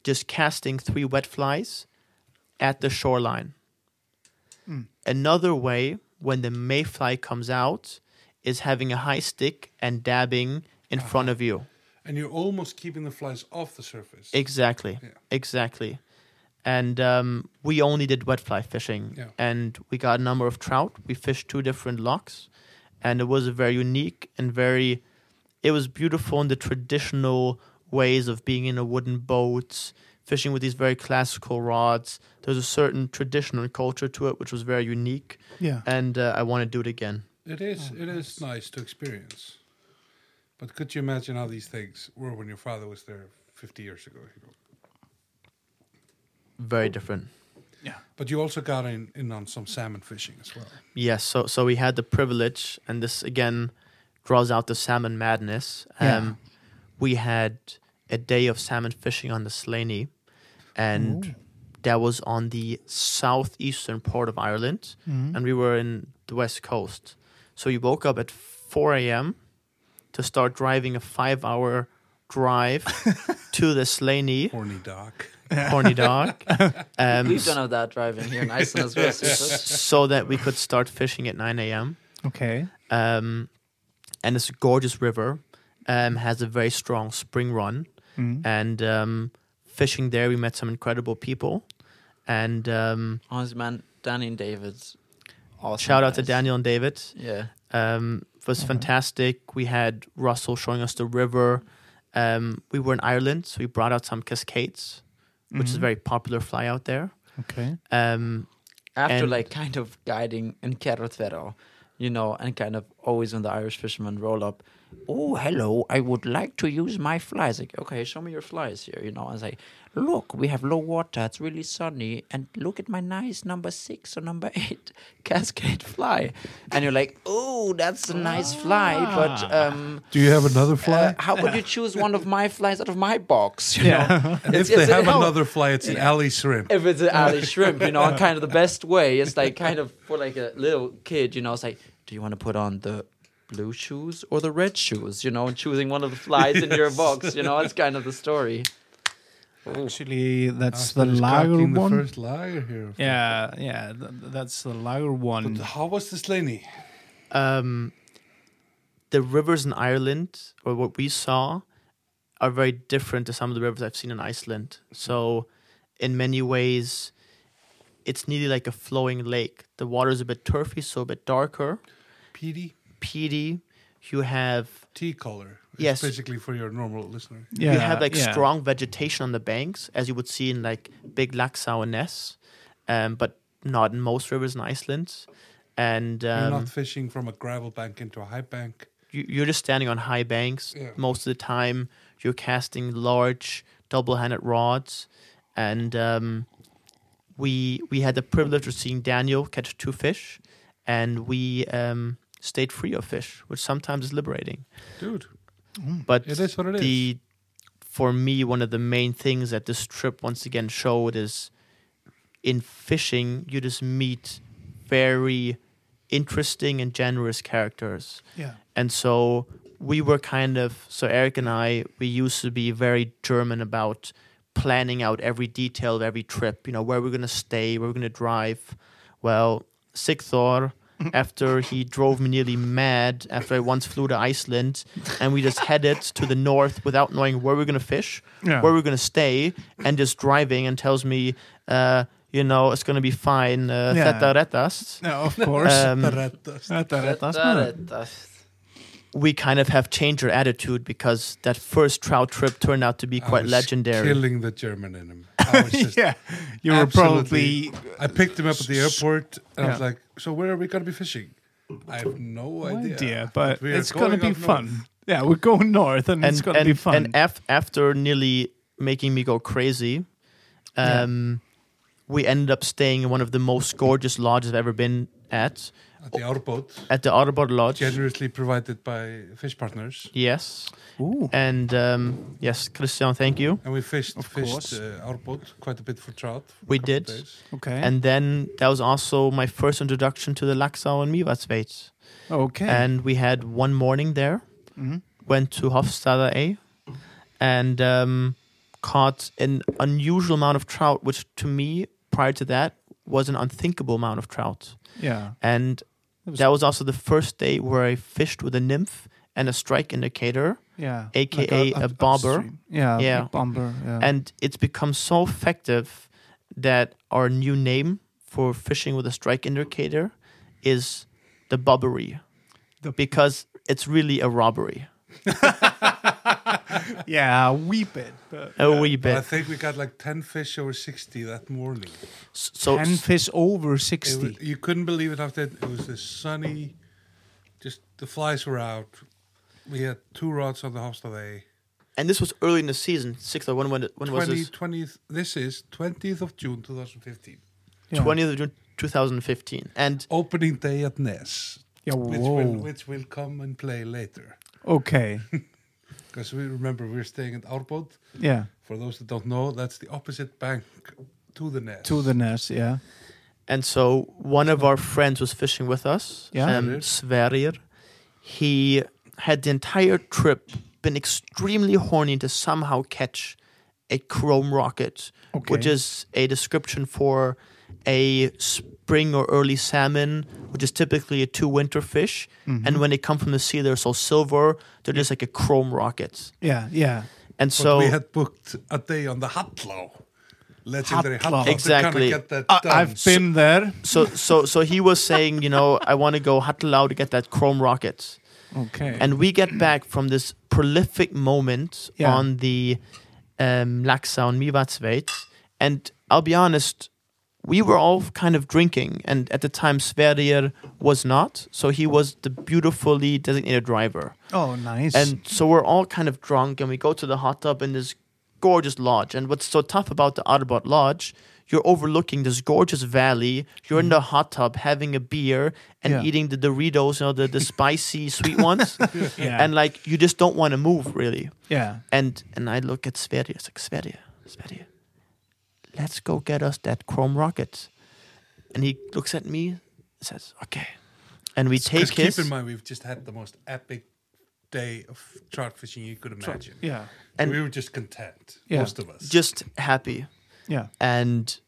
just casting three wet flies at the shoreline. Another way, when the mayfly comes out, is having a high stick and dabbing in front of you.
And you're almost keeping the flies off the surface.
Exactly.
Yeah.
Exactly. And um, we only did wet fly fishing,
Yeah.
and we got a number of trout. We fished two different locks, and it was a very unique and very. It was beautiful in the traditional ways of being in a wooden boat, fishing with these very classical rods. There's a certain traditional culture to it, which was very unique,
yeah.
and uh, I want to do it again.
It is. it is nice to experience. But could you imagine how these things were when your father was there 50 years ago?
Very different.
But you also got in, in on some salmon fishing as well.
Yes, so so we had the privilege, and this again draws out the salmon madness. Um,
Yeah.
We had a day of salmon fishing on the Slaney, and that was on the southeastern part of Ireland,
Mm-hmm.
and we were in the west coast. So you woke up at 4 a.m. to start driving a five-hour drive to the Slaney,
Horny dock.
horny dog. Um,
We've done all that driving
[LAUGHS]
here in Iceland as well. Susan.
so that we could start fishing at 9 a.m.
Okay.
um, and it's a gorgeous river. Um, has a very strong spring run,
Mm-hmm.
and um, fishing there, we met some incredible people. And um,
Honestly, man, Danny and David's awesome.
shout out to
guys. Mm-hmm.
Daniel and David.
Yeah.
Um, it was fantastic. We had Russell showing us the river. Um, we were in Ireland, so we brought out some cascades, which
Mm-hmm.
is a very popular fly out there.
Okay.
Um,
After
And-
like kind of guiding in Kerrotvero, you know, and kind of always when the Irish fishermen roll up, oh hello, I would like to use my flies. Like, okay, show me your flies here, you know. And it's like, look, we have low water, it's really sunny, and look at my nice number six or number eight [LAUGHS] cascade fly. And you're like, oh, that's a nice fly, but um
Do you have another fly?
uh, how would you choose one of my flies out of my box? [LAUGHS]
[LAUGHS]
You know?
and if
It's-
they
it's-
have
no
another fly, it's an alley shrimp.
if it's an alley shrimp, you know, and kind of
[LAUGHS]
the best way is like kind of for like a little kid, you know, it's like, do you want to put on the blue shoes or the red shoes, you know, and choosing one of the flies in your box, you know, it's kind of the story.
[LAUGHS] Actually, that's
I
the
was
lager
cracking
one.
The first lager here.
Yeah, yeah, th- that's the lager one.
Mm.
But how was this Lenny?
um, the rivers in Ireland, or what we saw, are very different to some of the rivers I've seen in Iceland. So, in many ways, it's nearly like a flowing lake. The water is a bit turfy, so a bit darker,
Peaty
peaty. You have
tea color. It's
Yes.
Basically for your normal listener.
yeah,
you have like
yeah.
strong vegetation on the banks, as you would see in like big Laxá and Ness, um, but not in most rivers in Iceland. And
You're
um,
not fishing from a gravel bank into a high bank.
you- you're just standing on high banks
Yeah.
most of the time. You're casting large double-handed rods, and um, we we had the privilege of seeing Daniel catch two fish, and we um, stayed free of fish, which sometimes is liberating.
Dude,
But
it is Hmm. what it is.
the for me one of the main things that this trip once again showed is in fishing you just meet very interesting and generous characters.
Yeah.
And so we were kind of, so Eric and I, we used to be very German about planning out every detail of every trip, you know, where we're going to stay, where we're going to drive. Well,
[LAUGHS]
Sigthor, after he drove me nearly mad, after I once flew to Iceland, and we just headed to the north without knowing where we're going to fish,
Yeah.
where we're going to stay, and just driving and tells me, uh, you know, it's going to be fine. Uh,
Yeah.
Theta retas.
No,
[LAUGHS]
of course.
Um,
Þetta er þetta maður.
[LAUGHS] we kind of have changed our attitude because that first trout trip turned out to be
I
quite
was
legendary.
Killing the German in him.
[LAUGHS]
I was just
Yeah, you were
absolutely-
probably
I picked him up at the airport and I was
Yeah.
like, so where are we going to be fishing? I have no idea.
idea, but
We are
it's gonna
going
be
up north.
fun. Yeah, we're going north, and, it's
And
gonna
and,
be fun.
and af- after nearly making me go crazy, um, we ended up staying in one of the most gorgeous lodges I've ever been at,
At the outboat,
at the Otterbot Lodge.
generously provided by Fish Partners.
Yes,
Ooh,
and um, yes, Christian, thank you.
And we fished, fished
course.
uh, outboat quite a bit for trout. for a
We
couple of
did.
days.
okay,
And then that was also my first introduction to the Laxau and Mivatsveit.
okay,
And we had one morning there.
Mhm.
went to Hofstadter A and um, caught an unusual amount of trout, which to me, prior to that, was an unthinkable amount of trout.
yeah,
And
That was-
that was also the first day where I fished with a nymph and a strike indicator.
yeah,
AKA
up-
a bobber.
upstream. Yeah,
Yeah.
a bomber. Yeah.
And it's become so effective that our new name for fishing with a strike indicator is the bobbery.
The-
because it's really a robbery.
yeah, weep it. But
A wee
But I
bit.
think we got like 10 fish over 60 that morning.
S- So
Ten fish over
It
sixty.
was, you couldn't believe it after it was this sunny, just the flies were out. We had two rods on the Hofstadter.
And this was early in the season, sixth or when when when was
20,
this?
20th, this is 20th of June 2015.
Yeah.
Twentieth of June, two thousand fifteen. And
Opening day at Ness,
Yeah,
which
whoa.
will, which will come and play later.
okay. [LAUGHS]
Because we remember we're staying at Outboat.
Yeah.
For those that don't know, that's the opposite bank to the E Ness.
To the
E
nest. Yeah.
and so one of our friends was fishing with us,
Yeah.
um, Sverrir. He had the entire trip been extremely horny to somehow catch a chrome rocket, which
Okay.
is a description for a spring or early salmon, which is typically a two winter fish. And when they come from the sea, they're so silver, they're just like a chrome rocket.
Yeah. Yeah.
And
But
so
we had booked a day on the Hatlo. Legendary
Hatlo.
Hatlo. to
Exactly.
kinda get that
I,
done.
I've been there.
so so so he was saying, you know, I want to go Hattelau to get that chrome rocket.
Okay.
And we get back from this prolific moment
Yeah.
on the um, Laxau and Mivatsveit. And I'll be honest, we were all kind of drinking. And at the time, Sverrir was not. So he was the beautifully designated driver.
oh, nice.
And so we're all kind of drunk, and we go to the hot tub in this gorgeous lodge. And what's so tough about the Autobot Lodge, you're overlooking this gorgeous valley.
Mm-hmm.
You're in the hot tub having a beer and
Yeah.
eating the Doritos, you know,
[LAUGHS]
the, the spicy sweet ones.
Yeah.
And like, you just don't want to move, really.
yeah.
And and I look at Sverige, it's like, Sverige, Sverige, let's go get us that chrome rocket. And he looks at me, says, okay. And we take
'Cause
his.
Keep in mind, we've just had the most epic day of trout fishing you could imagine.
Yeah.
And-
we were just content,
Yeah.
most of us.
just happy.
Yeah.
And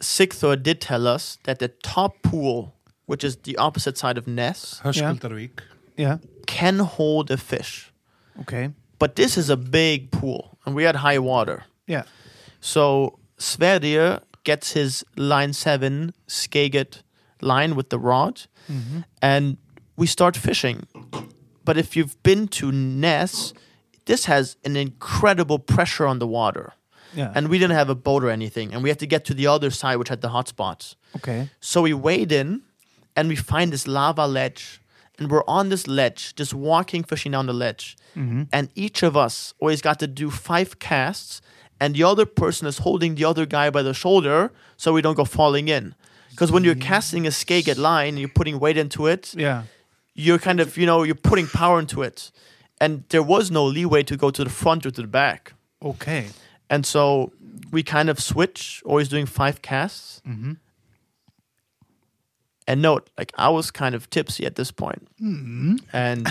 Sigthor did tell us that the top pool, which is the opposite side of Ness,
Höskuldarvik.
Yeah.
can hold a fish.
Okay.
But this is a big pool, and we had high water.
Yeah.
So Sverrir gets his line seven Skagit line with the rod, and we start fishing. But if you've been to Ness, this has an incredible pressure on the water.
Yeah.
And we didn't have a boat or anything, and we had to get to the other side, which had the hot spots.
okay.
So we wade in and we find this lava ledge. And we're on this ledge, just walking, fishing down the ledge. And each of us always got to do five casts. And the other person is holding the other guy by the shoulder so we don't go falling in. Because when you're casting a skagit line and you're putting weight into it,
Yeah.
you're kind of, you know, you're putting power into it. And there was no leeway to go to the front or to the back.
Okay.
And so
Mm-hmm.
we kind of switch, always doing five casts. And note, like I was kind of tipsy at this point,
Mm-hmm. [LAUGHS]
and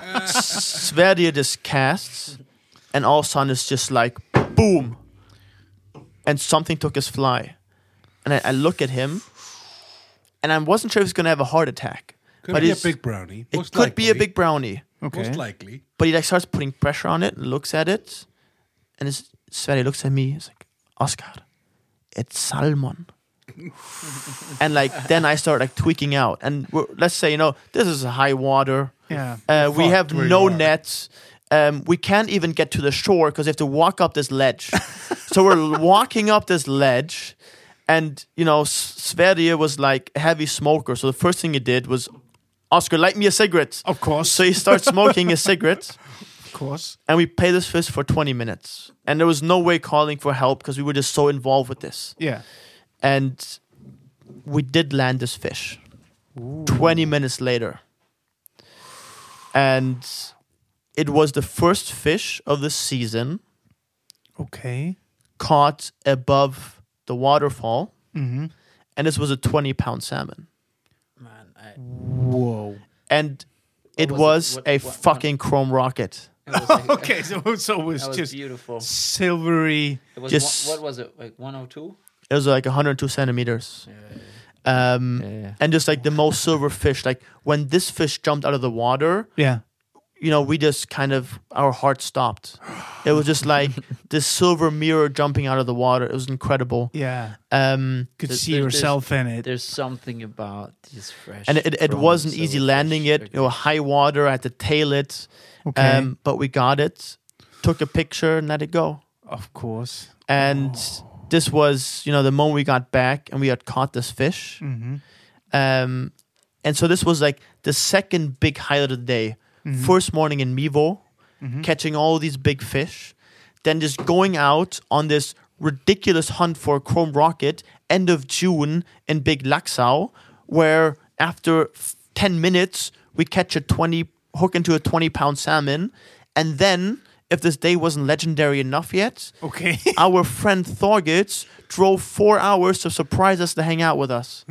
Sverdia just casts, and all of a sudden it's just like boom, and something took his fly, and I, I look at him, and I wasn't sure if he was gonna have a heart attack,
Could
but
be a
it's-
big brownie.
it
most
could be a
likely.
big brownie
Okay.
Most likely.
but he like starts putting pressure on it and looks at it, and his Sverre looks at me. He's like, Oscar, it's salmon. [LAUGHS] and like then I start like tweaking out, and we're, let's say you know this is high water.
Yeah.
Uh, we
Fucked
have
where
no
you are.
nets. Um, we can't even get to the shore because we have to walk up this ledge. so we're walking up this ledge, and you know S- Sverre was like a heavy smoker. So the first thing he did was, Oscar, light me a cigarette.
Of course.
So he starts smoking a cigarette,
of course.
and we played this fish for 20 minutes. And there was no way calling for help because we were just so involved with this.
Yeah.
And we did land this fish 20 minutes later. And it was the first fish of the season
Okay.
caught above the waterfall.
Mhm.
And this was a 20 pound salmon.
Man, I,
Whoa.
And it
was
was,
it? What-
a
what- what-
fucking chrome rocket.
it was, like,
[LAUGHS] Okay, so so it was
that was
just
beautiful.
silvery.
It was
just-
one, oh what was it? Like 102?
It was like 102 centimeters. Um,
Yeah.
and just like the most silver fish. Like when this fish jumped out of the water,
Yeah.
you know, we just kind of our heart stopped. It was just like this silver mirror jumping out of the water. It was incredible.
Yeah.
Um,
Could
There's-
see
there's-
yourself in it.
There's something about these fresh.
and it, it wasn't easy landing it. You know, high water. I had to tail it.
Okay.
Um, but we got it. Took a picture and let it go.
of course.
And this was, you know, the moment we got back and we had caught this fish.
hmm
Um, and so this was like the second big highlight of the day. First morning in Mevo, catching all these big fish, then just going out on this ridiculous hunt for a chrome rocket end of June in Big Laxau, where after f- 10 minutes, we catch a 20 hook into a 20 pound salmon. And then, if this day wasn't legendary enough yet,
Okay. [LAUGHS]
our friend Thorgitz drove four hours to surprise us to hang out with us.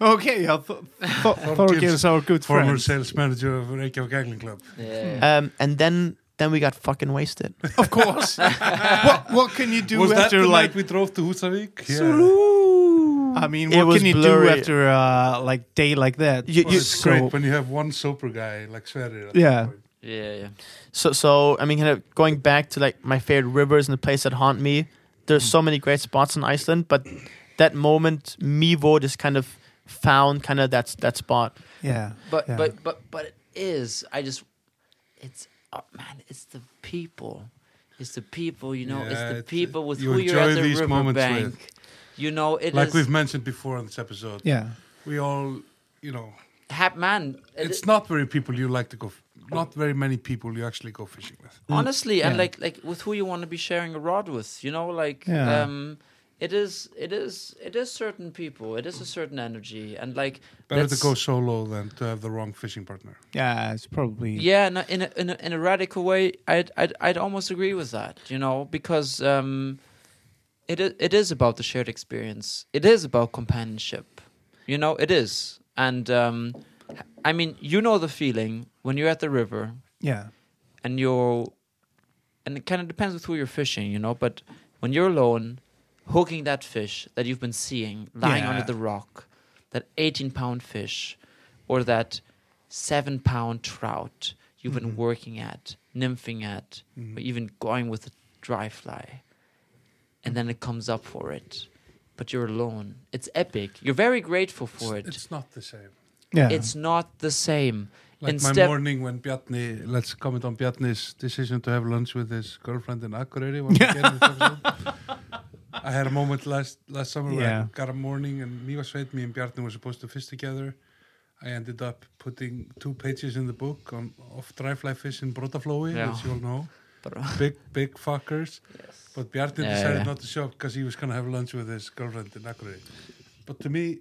okay. Yeah. Th- th- Thorgeir is our good
Former
friend.
sales manager of Reykjavik Angling Club.
Yeah.
Um, and then then we got fucking wasted.
Of course. what what can you do
was that
after
the
like?
night we drove to Husavik?
I mean,
It
what
was
can you
blurry.
do after uh, like day like that?
You-
Well,
you-
it's
so-
great when you have one sober guy like Sverre. at
Yeah.
that point.
Yeah, yeah.
So so I mean, kind of going back to like my favorite rivers and the place that haunt me. There's so many great spots in Iceland, but that moment Mivo just kind of found kind of that's that spot.
yeah.
But
Yeah.
but but but it is. I just it's oh, man. It's the people. It's the people. You know. it's
Yeah,
the
it's-
people with
you
who you're at
enjoy
the
these moments
riverbank.
with.
You know, it
Like
is-
we've mentioned before on this episode,
yeah.
we all, you know,
hap man. it
it's
is-
not very people you like to go, f- not very many people you actually go fishing with.
honestly and
yeah.
like like with who you want to be sharing a rod with. You know, like
Yeah.
um, it is it is it is certain people. It is a certain energy and like
Better to
that's-
go solo than to have the wrong fishing partner.
Yeah. It's probably.
Yeah, no, in a, in a, in a radical way, I'd, I'd I'd almost agree with that. You know, because um, it i- it is about the shared experience. It is about companionship. You know, it is. And um, I mean, you know the feeling when you're at the river
Yeah.
and you're, and it kind of depends with who you're fishing. You know, but when you're alone, hooking that fish that you've been seeing lying
Yeah.
under the rock, that 18 pound fish or that seven pound trout you've been
Mm-hmm.
working at, nymphing at, or even going with a dry fly. And then it comes up for it. But you're alone. It's epic. You're very grateful for it. It's,
It's not the same.
Yeah.
not the same.
Like my
Instead-
morning when Bjarni, let's comment on Bjarni's decision to have lunch with his girlfriend in Akureyri.
[LAUGHS]
When we get in this episode. I had a moment last last summer where
Yeah.
I got a morning and me was me and Bjarni were supposed to fish together. I ended up putting two pages in the book on of dry fly fish in Brotaflói,
Yeah.
which you all know.
But-
Big, big fuckers. But Bjarni
Yeah,
decided
yeah.
not to show up because he was going to have lunch with his girlfriend in Akureyri. But to me,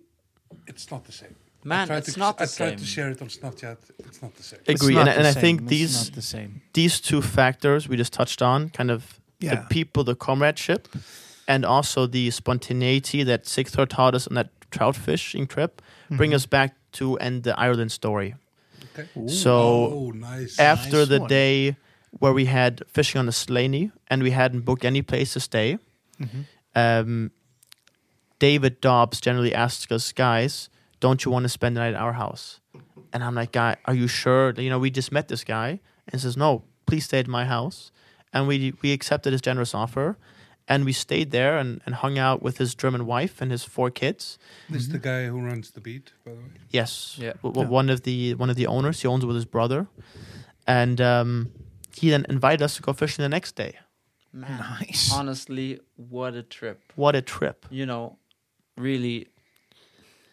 it's not the same. I
Man,
tried
it's
to,
not the
I tried to
same.
share it on Snapchat. It's not the same.
It's
Agree,
not
and, I-
the
and I
same.
think
It's
these
not the
[LAUGHS]
same.
these two factors we just touched on, kind of
Yeah.
the people, the comradeship, and also the spontaneity that Sigthor taught us on that trout fishing trip
Mm-hmm.
bring us back to end the Ireland story.
Okay.
So
oh, nice.
after
Nice
the
one.
day where we had fishing on the Slaney and we hadn't booked any place to stay,
Mm-hmm.
um, David Dobbs generally asks us, guys, don't you want to spend the night at our house? And I'm like, guy, are you sure? You know, we just met this guy and he says, no, please stay at my house. And we we accepted his generous offer. And we stayed there and, and hung out with his German wife and his four kids.
This is the guy who runs the beat, by the way.
Yes.
Yeah.
W- w-
Yeah.
One of the one of the owners. He owns it with his brother, and um, he then invited us to go fishing the next day.
Man,
Nice.
honestly, what a trip.
What a trip!
You know, really,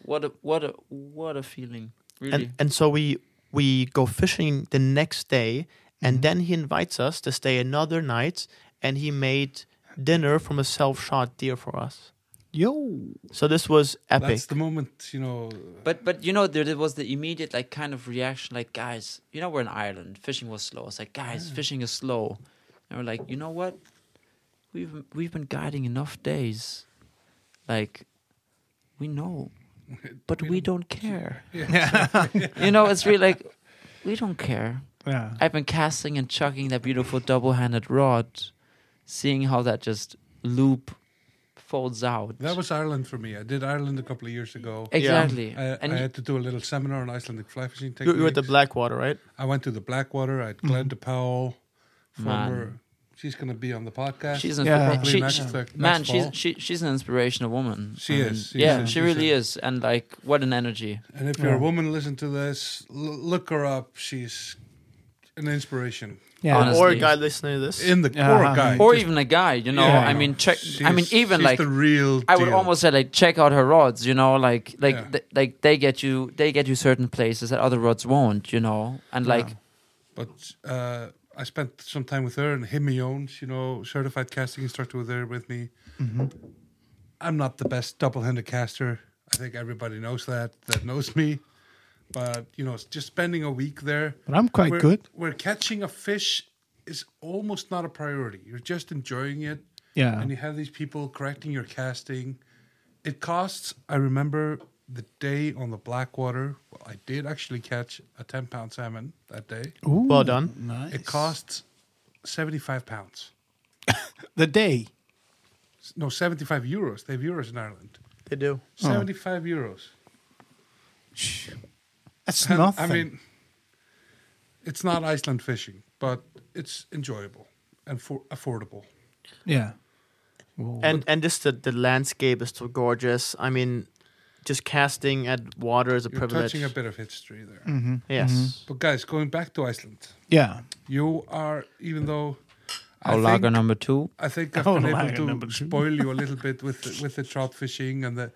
what a what a what a feeling. Really,
And and so we we go fishing the next day, and then he invites us to stay another night, and he made dinner from a self-shot deer for us.
Yo.
So this was epic.
That's the moment, you know.
But but you know there, there was the immediate like kind of reaction like guys you know we're in Ireland fishing was slow it's like guys fishing is slow and we're like you know what we've we've been guiding enough days like we [LAUGHS] know but we, [LAUGHS] don't care you know it's really like we don't care
[LAUGHS] Yeah.
I've been casting and chucking that beautiful double-handed rod seeing how that just loop folds out
That was Ireland for me. I did Ireland a couple of years ago.
exactly
I,
and
I
y-
had to do a little seminar on Icelandic fly fishing
you,
techniques.
you were at the Blackwater, right?
I went to the Blackwater. I had Glenda Powell,
Mm-hmm. Man.
former. She's going to be on the podcast.
She's an
Yeah.
inspira-
Hopefully
she-
next-
she-
next
man. She's
fall.
she, she's an inspirational woman.
She
I mean,
is, she
yeah,
is,
she
she
really is. And like, what an energy!
and if you're a woman, listen to this. L- look her up. She's an inspiration.
Yeah.
Honestly.
Or a guy listening to this.
In the
Yeah,
core
I
guy.
mean-
Or
Just-
even a guy, you know.
Yeah,
I mean, check. I mean,
she's-
even
she's
like,
the real.
I would
deal.
almost say like, check out her rods. You know, like like
Yeah.
th- like they get you they get you certain places that other rods won't. You know, and like
But uh, I spent some time with her and Himmy Jones, you know, certified casting instructor with her with me.
Mm-hmm.
I'm not the best double-handed caster. I think everybody knows that that knows me. But you know, just spending a week there,
But I'm quite
where-
good.
Where catching a fish is almost not a priority. You're just enjoying it,
Yeah.
and you have these people correcting your casting. It costs. I remember the day on the Blackwater. Well, I did actually catch a ten-pound salmon that day.
Ooh,
Well done.
Nice.
It costs 75 pounds.
the day.
S- No, 75 euros. They have euros in Ireland.
They do.
75 euros.
Shh. That's
And,
nothing.
I mean, it's not Iceland fishing, but it's enjoyable and for affordable.
yeah.
and and just the, the landscape is so gorgeous. I mean, just casting at water is a
You're
privilege.
touching a bit of history there.
Mm.
Yes.
But guys, going back to Iceland,
Yeah.
you are, even though I
oh, lager
think,
number two.
I think I've
Oh,
been
lager number
able to
two.
spoil you a [LAUGHS] little bit with the, with the trout fishing and the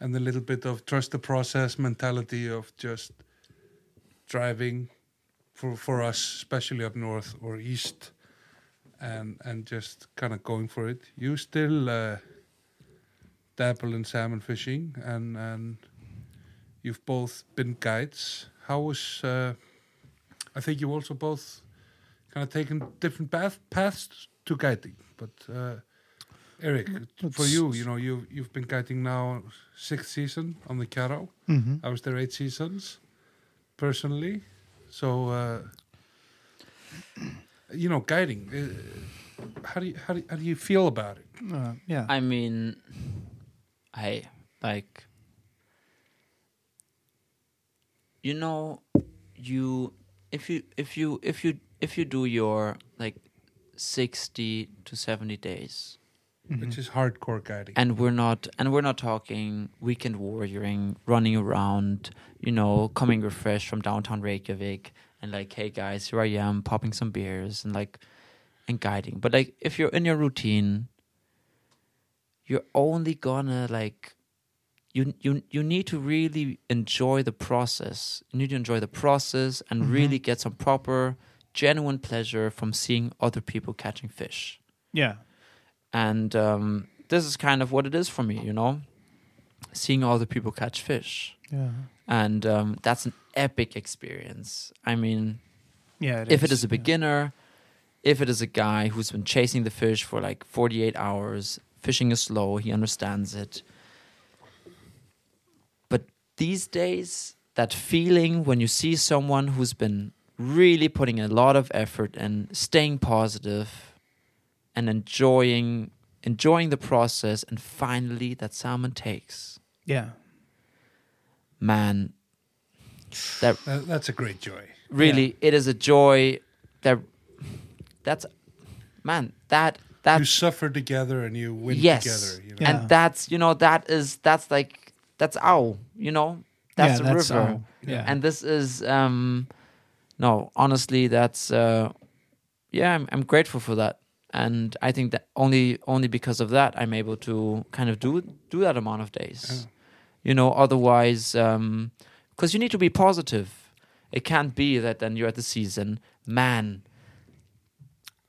and the little bit of trust the process mentality of just driving for for us, especially up north or east, and and just kind of going for it. You still uh, dabble in salmon fishing, and and you've both been guides. How was? Uh, I think you also both kind of taken different path, paths to guiding, but. Uh, Eric, for you, you know, you you've been guiding now sixth season on the Caro.
Mhm.
I was there eight seasons, personally. So, uh, you know, guiding. Uh, how do you how do, how do you feel about it?
Uh, yeah.
I mean, I like you know you if you if you if you if you do your like 60 to 70 days
Which is hardcore guiding.
Mm-hmm. and we're not and we're not talking weekend warrioring running around you know coming refreshed from downtown reykjavik and like hey guys here i am popping some beers and like and guiding but like if you're in your routine you're only gonna like you you you need to really enjoy the process you need to enjoy the process and really get some proper genuine pleasure from seeing other people catching fish
yeah.
and um, this is kind of what it is for me, you know, seeing all the people catch fish,
Yeah.
and um, that's an epic experience. I mean,
Yeah.
if it is a
yeah.
beginner, if it is a guy who's been chasing the fish for like 48 hours, fishing is slow, he understands it. these days, that feeling when you see someone who's been really putting a lot of effort and staying positive and enjoying enjoying the process and finally that salmon takes
Yeah.
man that
That, that's a great joy.
really it is a joy that that's man that
you
that's
suffer together and you win
yes
together. You know?
Yeah.
and that's you know that is that's like that's ow you know that's
yeah,
a
that's,
river
um, yeah.
and this is um no honestly that's uh yeah I'm, I'm grateful for that and i think that only only because of that i'm able to kind of do do that amount of days you know otherwise um because you need to be positive it can't be that then you're at the season man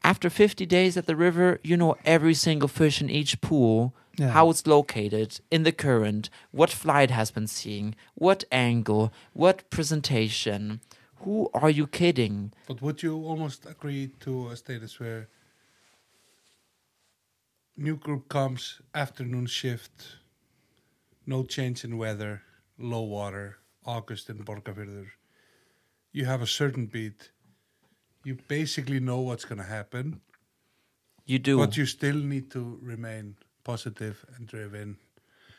after 50 days at the river you know every single fish in each pool
Yeah.
how it's located in the current, what flight has been seeing, what angle, what presentation. Who are you kidding?
But would you almost agree to a status where new group comes, afternoon shift, no change in weather, low water, August in Borgarfjörður, you have a certain beat, you basically know what's going to happen,
You do
but you still need to remain positive and driven.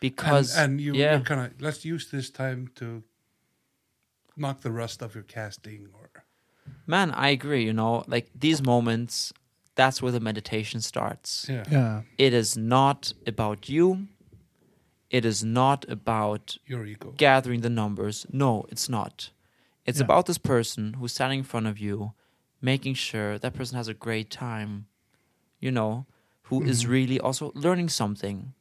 because
and, and you,
yeah,
you're kind of let's use this time to knock the rust off your casting or
man, I agree. You know, like these moments, that's where the meditation starts.
yeah.
yeah.
It is not about you. It is not about
your ego.
gathering the numbers. No, it's not. It's
Yeah.
about this person who's standing in front of you, making sure that person has a great time, you know, who is
Mm-hmm.
really also learning something.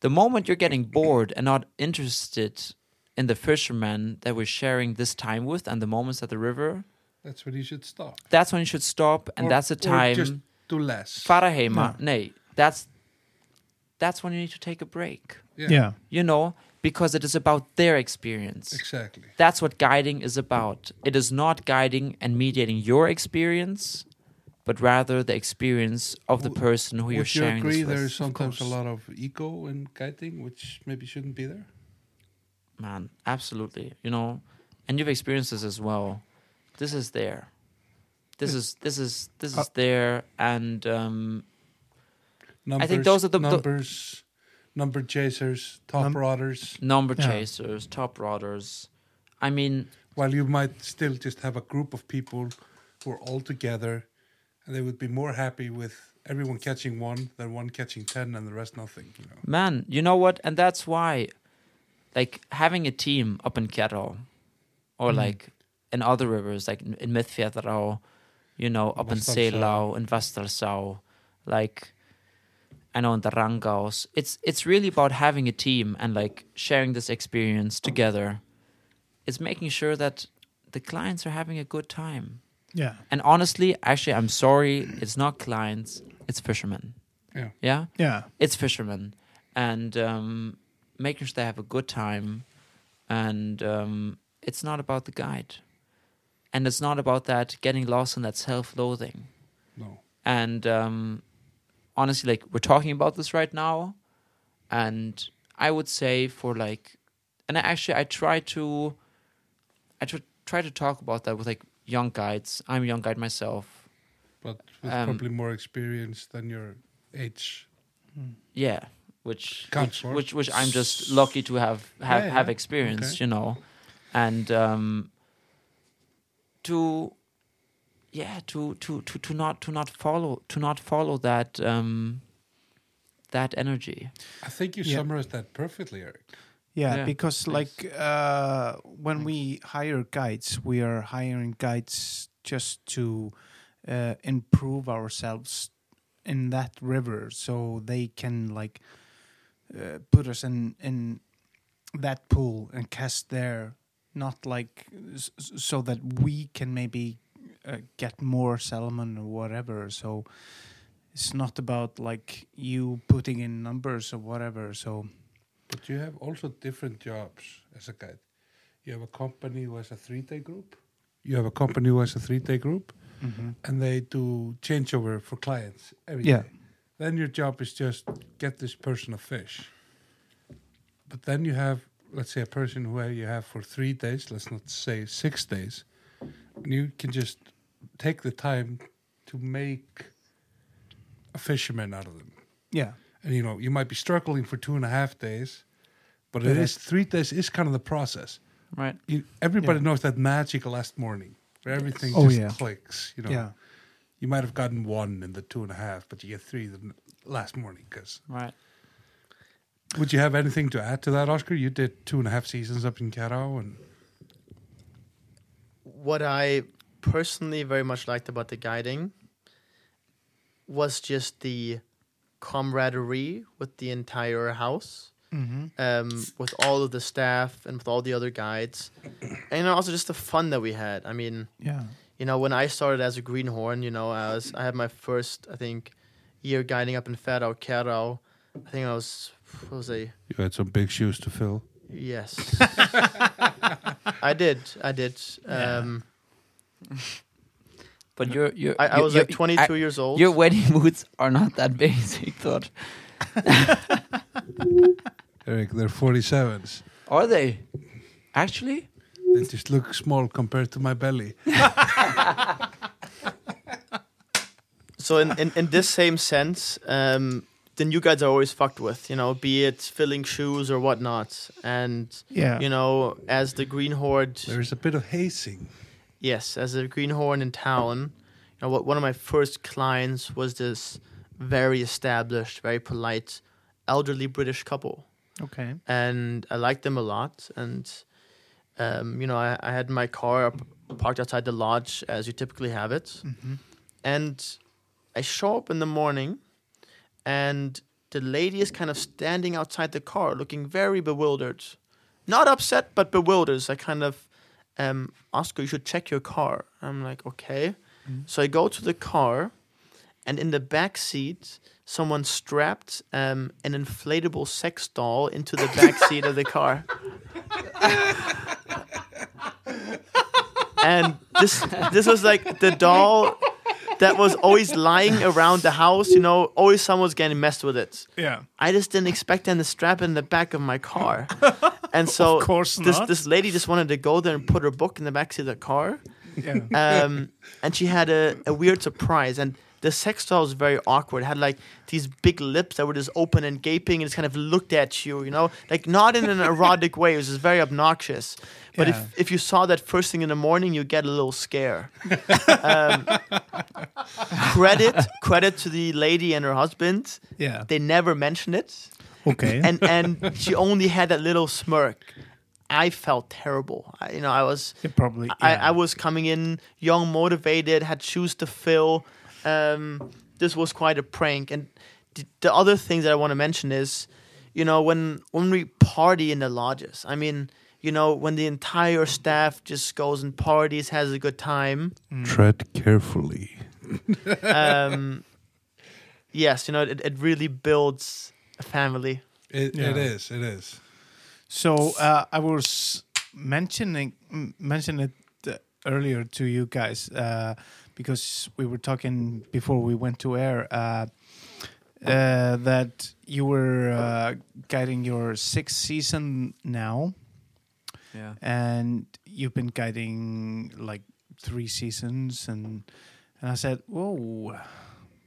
The moment you're getting bored and not interested in the fishermen that we're sharing this time with and the moments at the river,
That's when you should stop.
that's when you should stop and
Or-
that's the
Or just
time.
do less.
Farahema, nay, that's that's when you need to take a break.
yeah,
Yeah.
You know, because it is about their experience.
Exactly.
That's what guiding is about. It is not guiding and mediating your experience, but rather the experience of the
Would-
person who you're
Would you
sharing
agree
this with.
there's sometimes a
Of
lot
course.
of ego in guiding, which maybe shouldn't be there?
Man, absolutely. You know, and you've experienced this as well. This is there. This is this is this
Uh,
is there, and um,
Numbers,
think those are the- the-
numbers, number chasers, top
Num-
rodders.
number
Yeah.
chasers, top rodders. I mean,
While you might still just have a group of people who are all together, and they would be more happy with everyone catching one than one catching ten and the rest nothing. You know.
man, you know what? And that's why, like, having a team up in Kero or like in other rivers, like in, in Miðfjörður, you know, up in
Vatnsdalsá.
Seilau, in Vastarsau, like, I know in the Rangaus. It's, it's really about having a team and like sharing this experience together. It's making sure that the clients are having a good time.
Yeah.
And honestly, actually, I'm sorry, it's not clients, it's fishermen.
Yeah.
Yeah?
Yeah.
it's fishermen and um, making sure they have a good time and um, it's not about the guide and it's not about that getting lost in that self-loathing
No.
and um, honestly like we're talking about this right now and i would say for like and I actually i try to i tr- try to talk about that with like young guides i'm a young guide myself
But with
Um,
probably more experience than your age.
yeah which
Counts
which,
for.
which which i'm just lucky to have have
Yeah, yeah.
have experienced
Okay.
you know and um to yeah to to to to not to not follow to not follow that um that energy
I think you
Yeah.
summarized that perfectly, Eric.
Yeah,
Yeah,
because like uh, when we hire guides, we are hiring guides just to uh, improve ourselves in that river, so they can like uh, put us in in that pool and cast there, not like s- s- so that we can maybe uh, get more salmon or whatever. So it's not about like you putting in numbers or whatever. So
But you have also different jobs as a guide. You have a company who has a three day group. You have a company who has a three day group, and they do changeover for clients every day.
Yeah.
Then your job is just get this person a fish. But then you have let's say a person who you have for three days, let's not say six days, and you can just take the time to make a fisherman out of them.
Yeah.
And you know, you might be struggling for two and a half days, but
But
it is three days is kind of the process.
right?
You, everybody
Yeah.
knows that magic last morning where everything
Oh,
just
yeah.
clicks. You know,
Yeah.
you might have gotten one in the two and a half, but you get three the n- last morning. Because
Right.
would you have anything to add to that, Oscar? You did two and a half seasons up in Carao, and
what I personally very much liked about the guiding was just the camaraderie with the entire house,
Mm-hmm.
um, with all of the staff and with all the other guides, and also just the fun that we had. I mean,
Yeah.
you know, when I started as a greenhorn, you know, I was I had my first, I think, year guiding up in Faro Carao. I think I was what was I
you had some big shoes to fill.
Yes. I did. I did. Um,
But you're you're
I, I
you're-
was
you're-
like 22 years
I-
old.
your wedding [LAUGHS] boots are not that basic, thought.
Eric, they're forty sevens.
Are they? Actually,
They just look small compared to my belly.
So in, in, in this same sense, um, then you guys are always fucked with, you know, be it filling shoes or whatnot. And,
Yeah.
you know, as the Green Horde,
There is a bit of hazing.
yes, as a Greenhorn in town, you know, what, one of my first clients was this very established, very polite, elderly British couple.
Okay.
and I liked them a lot. And um, you know, I, I had my car up, parked outside the lodge as you typically have it.
Mhm.
And I show up in the morning, and the lady is kind of standing outside the car, looking very bewildered, not upset but bewildered. So I kind of, um, Oscar, you should check your car. I'm like, okay. So I go to the car, and in the back seat, someone strapped um, an inflatable sex doll into the back seat of the car. and this this was like the doll that was
[LAUGHS]
always lying around the house, you know, always someone's getting messed with it.
Yeah.
I just didn't expect them to strap it in the back of
[LAUGHS]
my car. And so
Of course
this
not.
this lady just wanted to go there and put her book in the backseat of the car
Yeah.
um, and she had a, a weird surprise. And the sex doll was very awkward. It had like these big lips that were just open and gaping, and just kind of looked at you, you know, like not in an erotic way. It was just very obnoxious. But
Yeah.
if if you saw that first thing in the morning, you get a little scare. um, credit credit to the lady and her husband.
Yeah.
They never mentioned it,
Okay.
and and she only had that little smirk. I felt terrible. I, you know, I was.
Yeah, probably.
I,
yeah.
I was coming in young, motivated, had shoes to fill. Um, this was quite a prank. And the, the other thing that I want to mention is, you know, when when we party in the lodges, I mean, you know, when the entire staff just goes and parties, has a good time.
Mm.
Tread carefully.
[LAUGHS]
Um, yes, you know, it, it really builds a family.
It,
Yeah.
it is. It is.
So uh, I was mentioning m- mentioned it uh, earlier to you guys uh, because we were talking before we went to air uh, uh, that you were uh, guiding your sixth season now,
yeah.
and you've been guiding like three seasons, and and I said, "Whoa,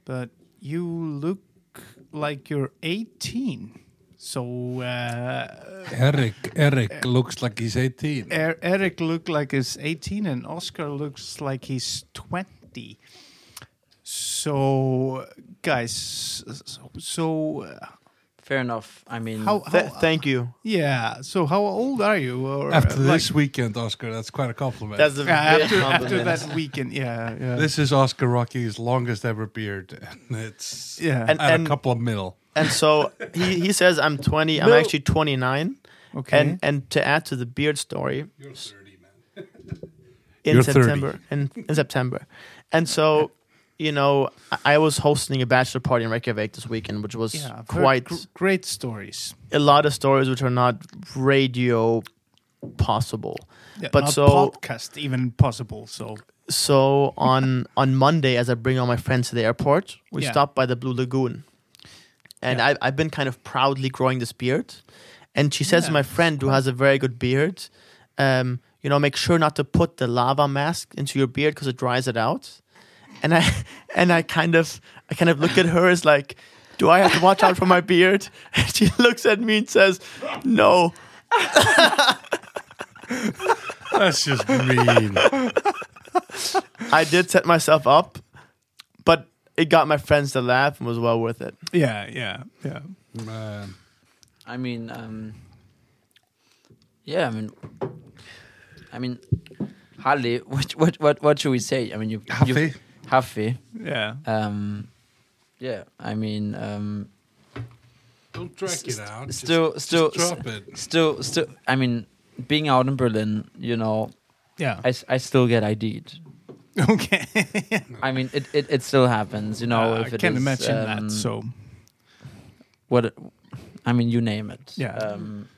but you look like you're 18." So. Uh,
Eric, Eric looks like he's 18.
Eh,
Er- Eric looked like he's 18 and Oscar looks like he's 20. So, guys, so, so uh,
Fair enough. I mean,
how, Oh, how
Th- thank you.
yeah, so how old are you? Or,
eh,
uh,
After
like-
this weekend, Oscar, that's quite a compliment.
That's a
Yeah,
[LAUGHS]
after,
big
after
compliment.
that weekend, yeah, yeah,
this is Oscar Rocky's longest ever beard, and it's
yeah,
and-
at a couple of mil.
And so he, he says, I'm 20. I'm
No.
actually 29.
okay,
And and to add to the beard story,
You're 30, man.
in
You're 30.
September. In, in September. And so, you know, I, I was hosting a bachelor party in Reykjavik this weekend, which was
yeah, I've heard
quite
gr- great stories,
a lot of stories which are not radio possible.
Yeah,
But
not
so-
podcast even possible, so
So on on Monday, as I bring all my friends to the airport, we
Yeah.
stopped by the Blue Lagoon, and
Yeah.
I, I've been kind of proudly growing this beard, And she says to
Yeah.
my friend who has a very good beard, um, you know, make sure not to put the lava mask into your beard because it dries it out. And I [LAUGHS] and I kind of I kind of look at her as like, do I have to watch out for my beard? [LAUGHS] And she looks at me and says, no.
That's just mean.
I did set myself up, but it got my friends to laugh and was well worth it.
Yeah, yeah, yeah.
Man.
I mean, um, yeah, I mean, I mean, Harley, [LAUGHS] what, what, what, what should we say? I mean, you, you,
Happy.
Hafi,
Yeah.
um, yeah, I mean, um,
Don't drag it
s-
out. Just-
still,
just
still,
drop it.
still, still, I mean, being out in Berlin, you know,
Yeah.
I, s- I still get ID'd.
[LAUGHS] okay.
I mean, it, it, it still happens, you know.
Uh, [LAUGHS]
if
I
it
can't
is,
imagine
um,
that. So
what I mean, you name it.
Yeah.
Um,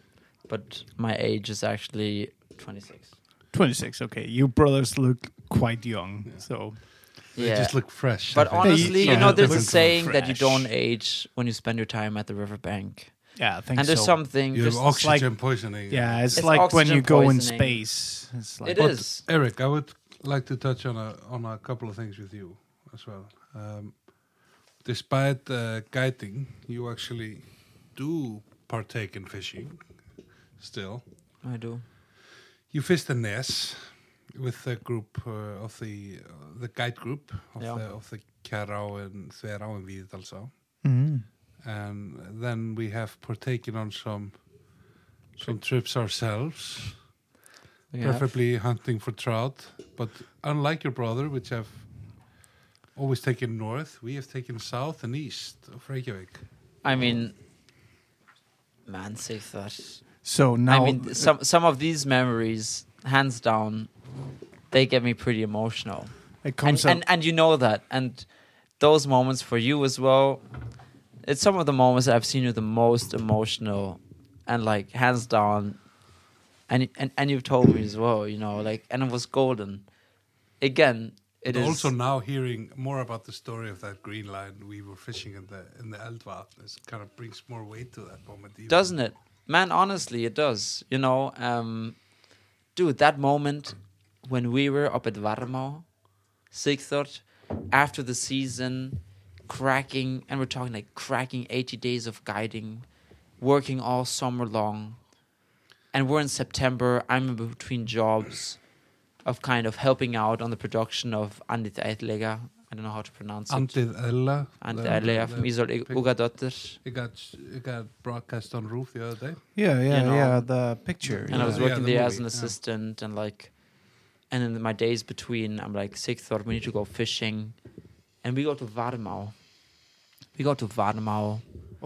but my age is actually 26.
26. Okay, you brothers look quite young. So
They just look fresh.
but
I think.
honestly,
Yeah,
you know,
they
there's a
look
saying that you
fresh.
don't age when you spend your time at the riverbank.
yeah, I think
And there's
so.
something.
you have
Just,
like-
oxygen poisoning.
Yeah, it's,
It's
like when
oxygen
you go in
poisoning.
space. It's like
it is.
Eric, I would like to touch on a on a couple of things with you as well. Um, despite uh, guiding, you actually do partake in fishing. Still,
I do.
you fished the Ness with the group uh, of the uh, the guide group of
Yeah.
the of the Kjarau and Þverá and Víðdalsá.
Mhm.
and then we have partaken on some some trips ourselves.
Yeah.
preferably hunting for trout. But unlike your brother, which have always taken north, we have taken south and east of Reykjavik.
I mean, man, say that.
So now,
I mean, some some of these memories, hands down, they get me pretty emotional.
it
and,
comes
and
up.
and you know that and those moments for you as well it's some of the moments that i've seen you the most emotional and like hands down and and, and you've told me as well you know like and it was golden again it
But
is
also now hearing more about the story of that green line we were fishing in the in the Eldvatn, it kind of brings more weight to that moment. even.
doesn't it man honestly it does you know um dude that moment when we were up at varmo sigthor after the season cracking and we're talking like cracking 80 days of guiding working all summer long and we're in september i'm in between jobs of kind of helping out on the production of andit eitlega i don't know how to pronounce it
Antið Ella.
andit
the-
eitlega
the
from Isol
pig-
Ugadottir.
It got it got broadcast on roof the other day.
Yeah, yeah,
know.
yeah. The picture.
and I was
Yeah,
working
the
there as
movie,
an
yeah.
assistant and like and in my days between I'm like sixth thought we need to go fishing and we go to Varmau. We go to Varmau,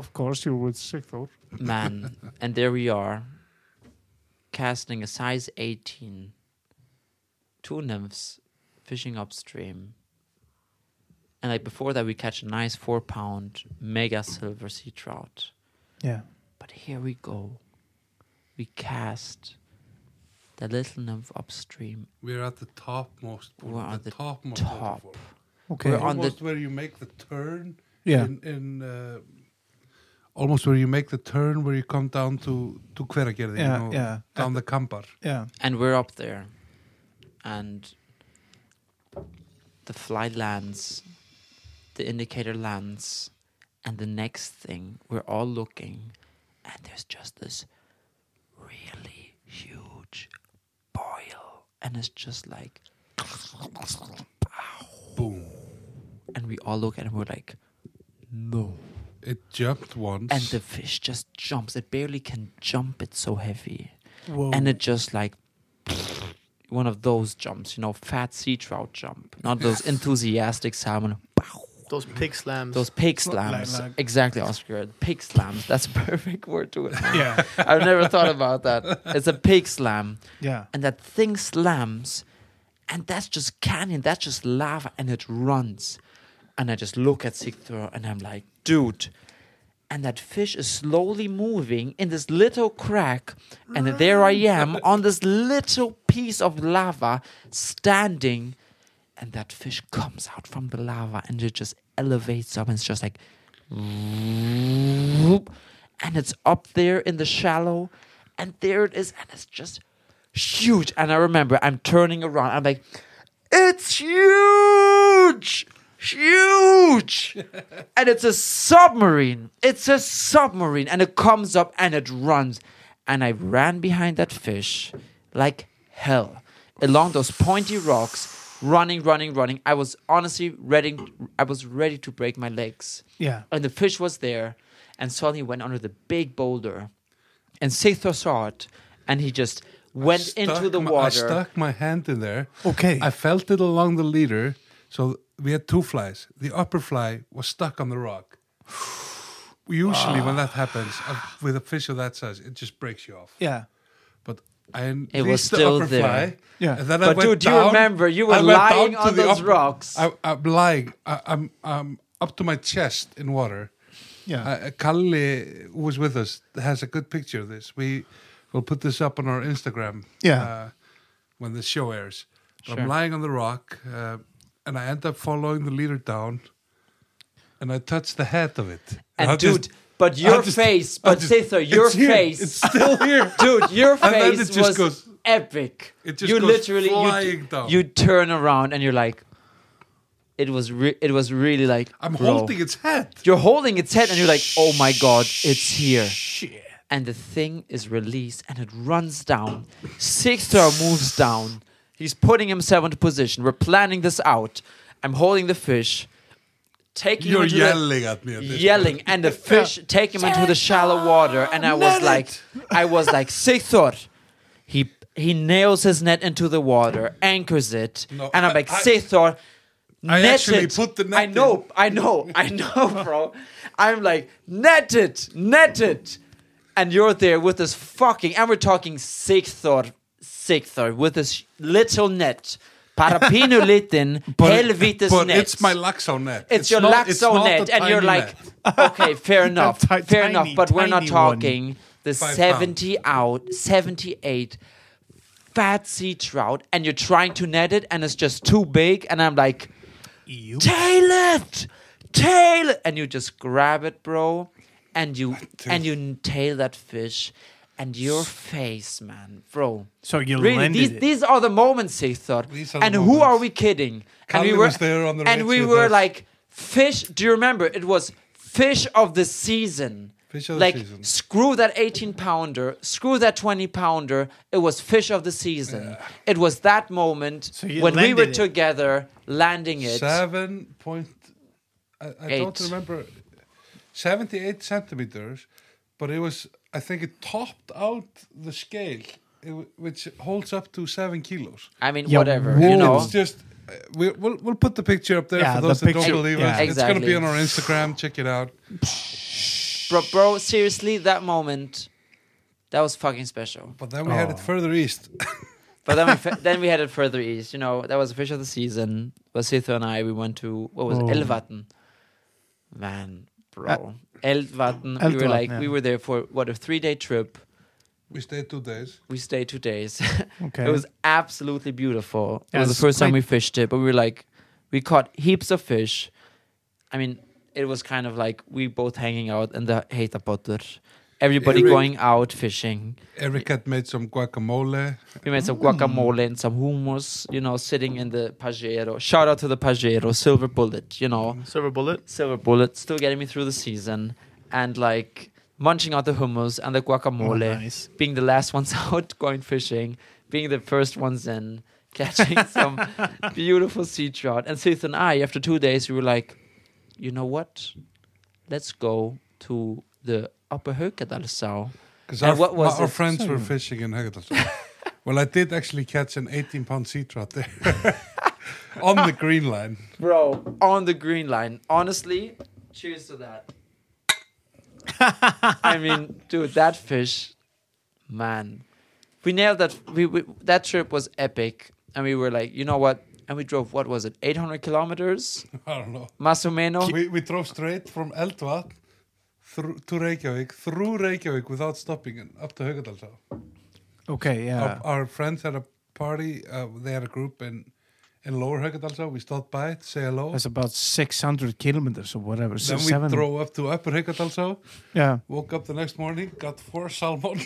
Of course, you would sick though.
[LAUGHS]
man, and there we are casting a size 18 two nymphs fishing upstream. And like before that we catch a nice 4 pound mega silver sea trout.
Yeah.
But here we go. We cast the little nymph upstream.
We're at the topmost. point,
We're at the
topmost
top.
waterfall.
Okay.
We're on the-
almost where you make the turn.
Yeah.
In, in uh, almost where you make the turn where you come down to to Hveragerði,
Yeah,
you know, Um,
yeah.
down the Kampar.
yeah.
And we're up there. And the fly lands, the indicator lands, and the next thing, we're all looking, and there's just this really huge boil. And it's just like,
Boom!
and we all look at it and we're like, no.
It jumped once.
and the fish just jumps. It barely can jump. It's so heavy,
Whoa.
and it just like [SNIFFS] one of those jumps, you know, fat sea trout jump, not those enthusiastic salmon. Pow.
Those pig slams.
Those pig
Like- like-
slams, exactly, Oscar. Pig slams. That's a [LAUGHS] perfect word to it.
yeah.
I've never thought about that. It's a pig slam,
Yeah.
and that thing slams, and that's just canyon. That's just lava, and it runs. And I just look at Sigthor, and I'm like, dude. And that fish is slowly moving in this little crack, and there I am on this little piece of lava, standing, and that fish comes out from the lava, and it just elevates up, and it's just like, whoop, and it's up there in the shallow, and there it is, and it's just huge. And I remember I'm turning around, I'm like, it's huge, huge, and it's a submarine. It's a submarine, and it comes up and it runs, and I ran behind that fish like hell along those pointy rocks, running, running, running. I was honestly ready. I was ready to break my legs
Yeah.
and uh, the fish was there, and suddenly went under the big boulder, and Sethor saw it, and he just went into
Stuck
the
my- I
water.
stuck my hand in there.
Okay.
I felt it along the leader. So we had two flies. The upper fly was stuck on the rock. [SIGHS] Usually, when that happens uh, with a fish of that size, it just breaks you off.
yeah.
But I released
was still
the upper
there.
fly.
Yeah.
and then I
But
went
dude, you
down.
remember, you were
I went down
lying
to
on
the
those
upper-
rocks.
I, I'm lying. I, I'm I'm up to my chest in water.
Yeah.
Uh, uh, Kalle, who was with us, has a good picture of this. We will put this up on our Instagram.
Yeah.
Uh, when the show airs, But
Sure.
I'm lying on the rock, uh, and I end up following the leader down, and I touch the head of it.
and
I
dude,
just-
but
I
your
just-
face,
I
but
just-
Sethor, your
it's here.
face,
It's still
[LAUGHS]
here.
dude, your
And then it
face
just
was
goes-
epic.
It just
you
goes
literally you,
flying down.
you turn around and you're like, it was re- it was really like
I'm
bro.
holding its head.
You're holding its head and you're like, oh my god, it's here. And the thing is released and it runs down. Sixthar moves down. He's putting himself into position. We're planning this out. I'm holding the fish, taking
You're
him into
yelling
the,
at me. At this
yelling, and the fish take him into the shallow water. And I was
Net
like,
it.
I was like, Sixthor. He he nails his net into the water, anchors it,
No,
and I'm
I-
like,
I-
Sixthor.
I
net
actually
it.
put the net
I know,
in.
I know, I
[LAUGHS]
know, bro. I'm like, net it, net it. And you're there with this fucking, and we're talking sixth or sixth or with this little
[LAUGHS]
net. Parapino litin,
it-
helvitis
but
net.
it's my Laxo net.
It's your
not- it's
Laxo
not
net.
a
And you're
tiny [LAUGHS]
like,
net.
okay,
[LAUGHS]
fair enough,
ti-
fair enough,
tiny,
but we're not
tiny one.
talking the
Five
70 out, 78 fat sea trout, and you're trying to net it, and it's just too big, and I'm like,
You.
tail it, tail it, and you just grab it, bro, and you and you tail that fish, and your face, man, bro.
So you
really,
landed
these
it.
these are the moments they thought,
These are the
and who
moments.
are we kidding? and we
Kalle
were
was there on the
and
ridge
we
with
were
us.
like fish. Do you remember? It was fish of the season.
Fish of the
like
season.
screw that 18 pounder, screw that 20 pounder. It was fish of the season. It was that moment
So you
when we were
landed it.
together landing it.
Seven point. I, I don't
Eight.
remember. Seventy-eight centimeters, but it was. I think it topped out the scale, it, w- which holds up to seven kilos.
I mean,
Yeah,
whatever,
whoa.
you know.
It's just. uh, We, we'll we'll put the picture up there
Yeah,
for
the
those that don't
picture-
believe
yeah.
us. It's going to
Exactly.
be on our Instagram. Check it out.
Bro, bro, seriously, that moment, that was fucking special.
But then we had it
Oh.
further east.
But then we, fe- [LAUGHS] then we headed further east. You know, that was the fish of the season. Vasitha and I, we went to, what was it,
Oh. Uh,
Elvatn. Man, bro. Elvatn, we were
Elvatn,
like, we
yeah.
were there for, what, a three-day trip.
we stayed two days.
We stayed two days.
Okay.
it was absolutely beautiful.
Yeah,
it was
it's
the first time
quite-
we fished it, but we were like, we caught heaps of fish. I mean, it was kind of like we both hanging out in the Heitapotter. Everybody
Eric-
going out fishing.
Eric had made some guacamole.
We made some guacamole and some hummus, you know, sitting in the Pajero. Shout out to the Pajero, Silver Bullet, you know.
Silver bullet.
Silver Bullet, still getting me through the season. And like munching out the hummus and the guacamole
Oh, nice.
being the last ones [LAUGHS] out going fishing, being the first ones in,
[LAUGHS]
catching some beautiful sea trout. And Seth and I, after two days, we were like, you know what? Let's go to the Upper Hökadalsau.
Because
And
our,
what was
my- our
it?
friends were fishing in Hegedalsson.
[LAUGHS]
well, I did actually catch an 18 pound sea trout there [LAUGHS] on the green line.
Bro, on the green line. Honestly, cheers to that. I mean, dude, that fish, man. We nailed that. We, we that trip was epic, and we were like, you know what? And we drove. What was it? Eight hundred kilometers.
I don't know.
Masumeno.
We, we drove straight from Eldvatn through to Reykjavik, through Reykjavik without stopping and up to Hegedalsson.
Okay. Yeah.
Oh. Our, our friends had a party, uh, they had a group in in Lower Hekadalsá. We stopped by to say hello.
That's about 600 kilometers or whatever. so
then we
seven,
drove up to Upper Hekadalsá.
Yeah.
Woke up the next morning, got four salmon,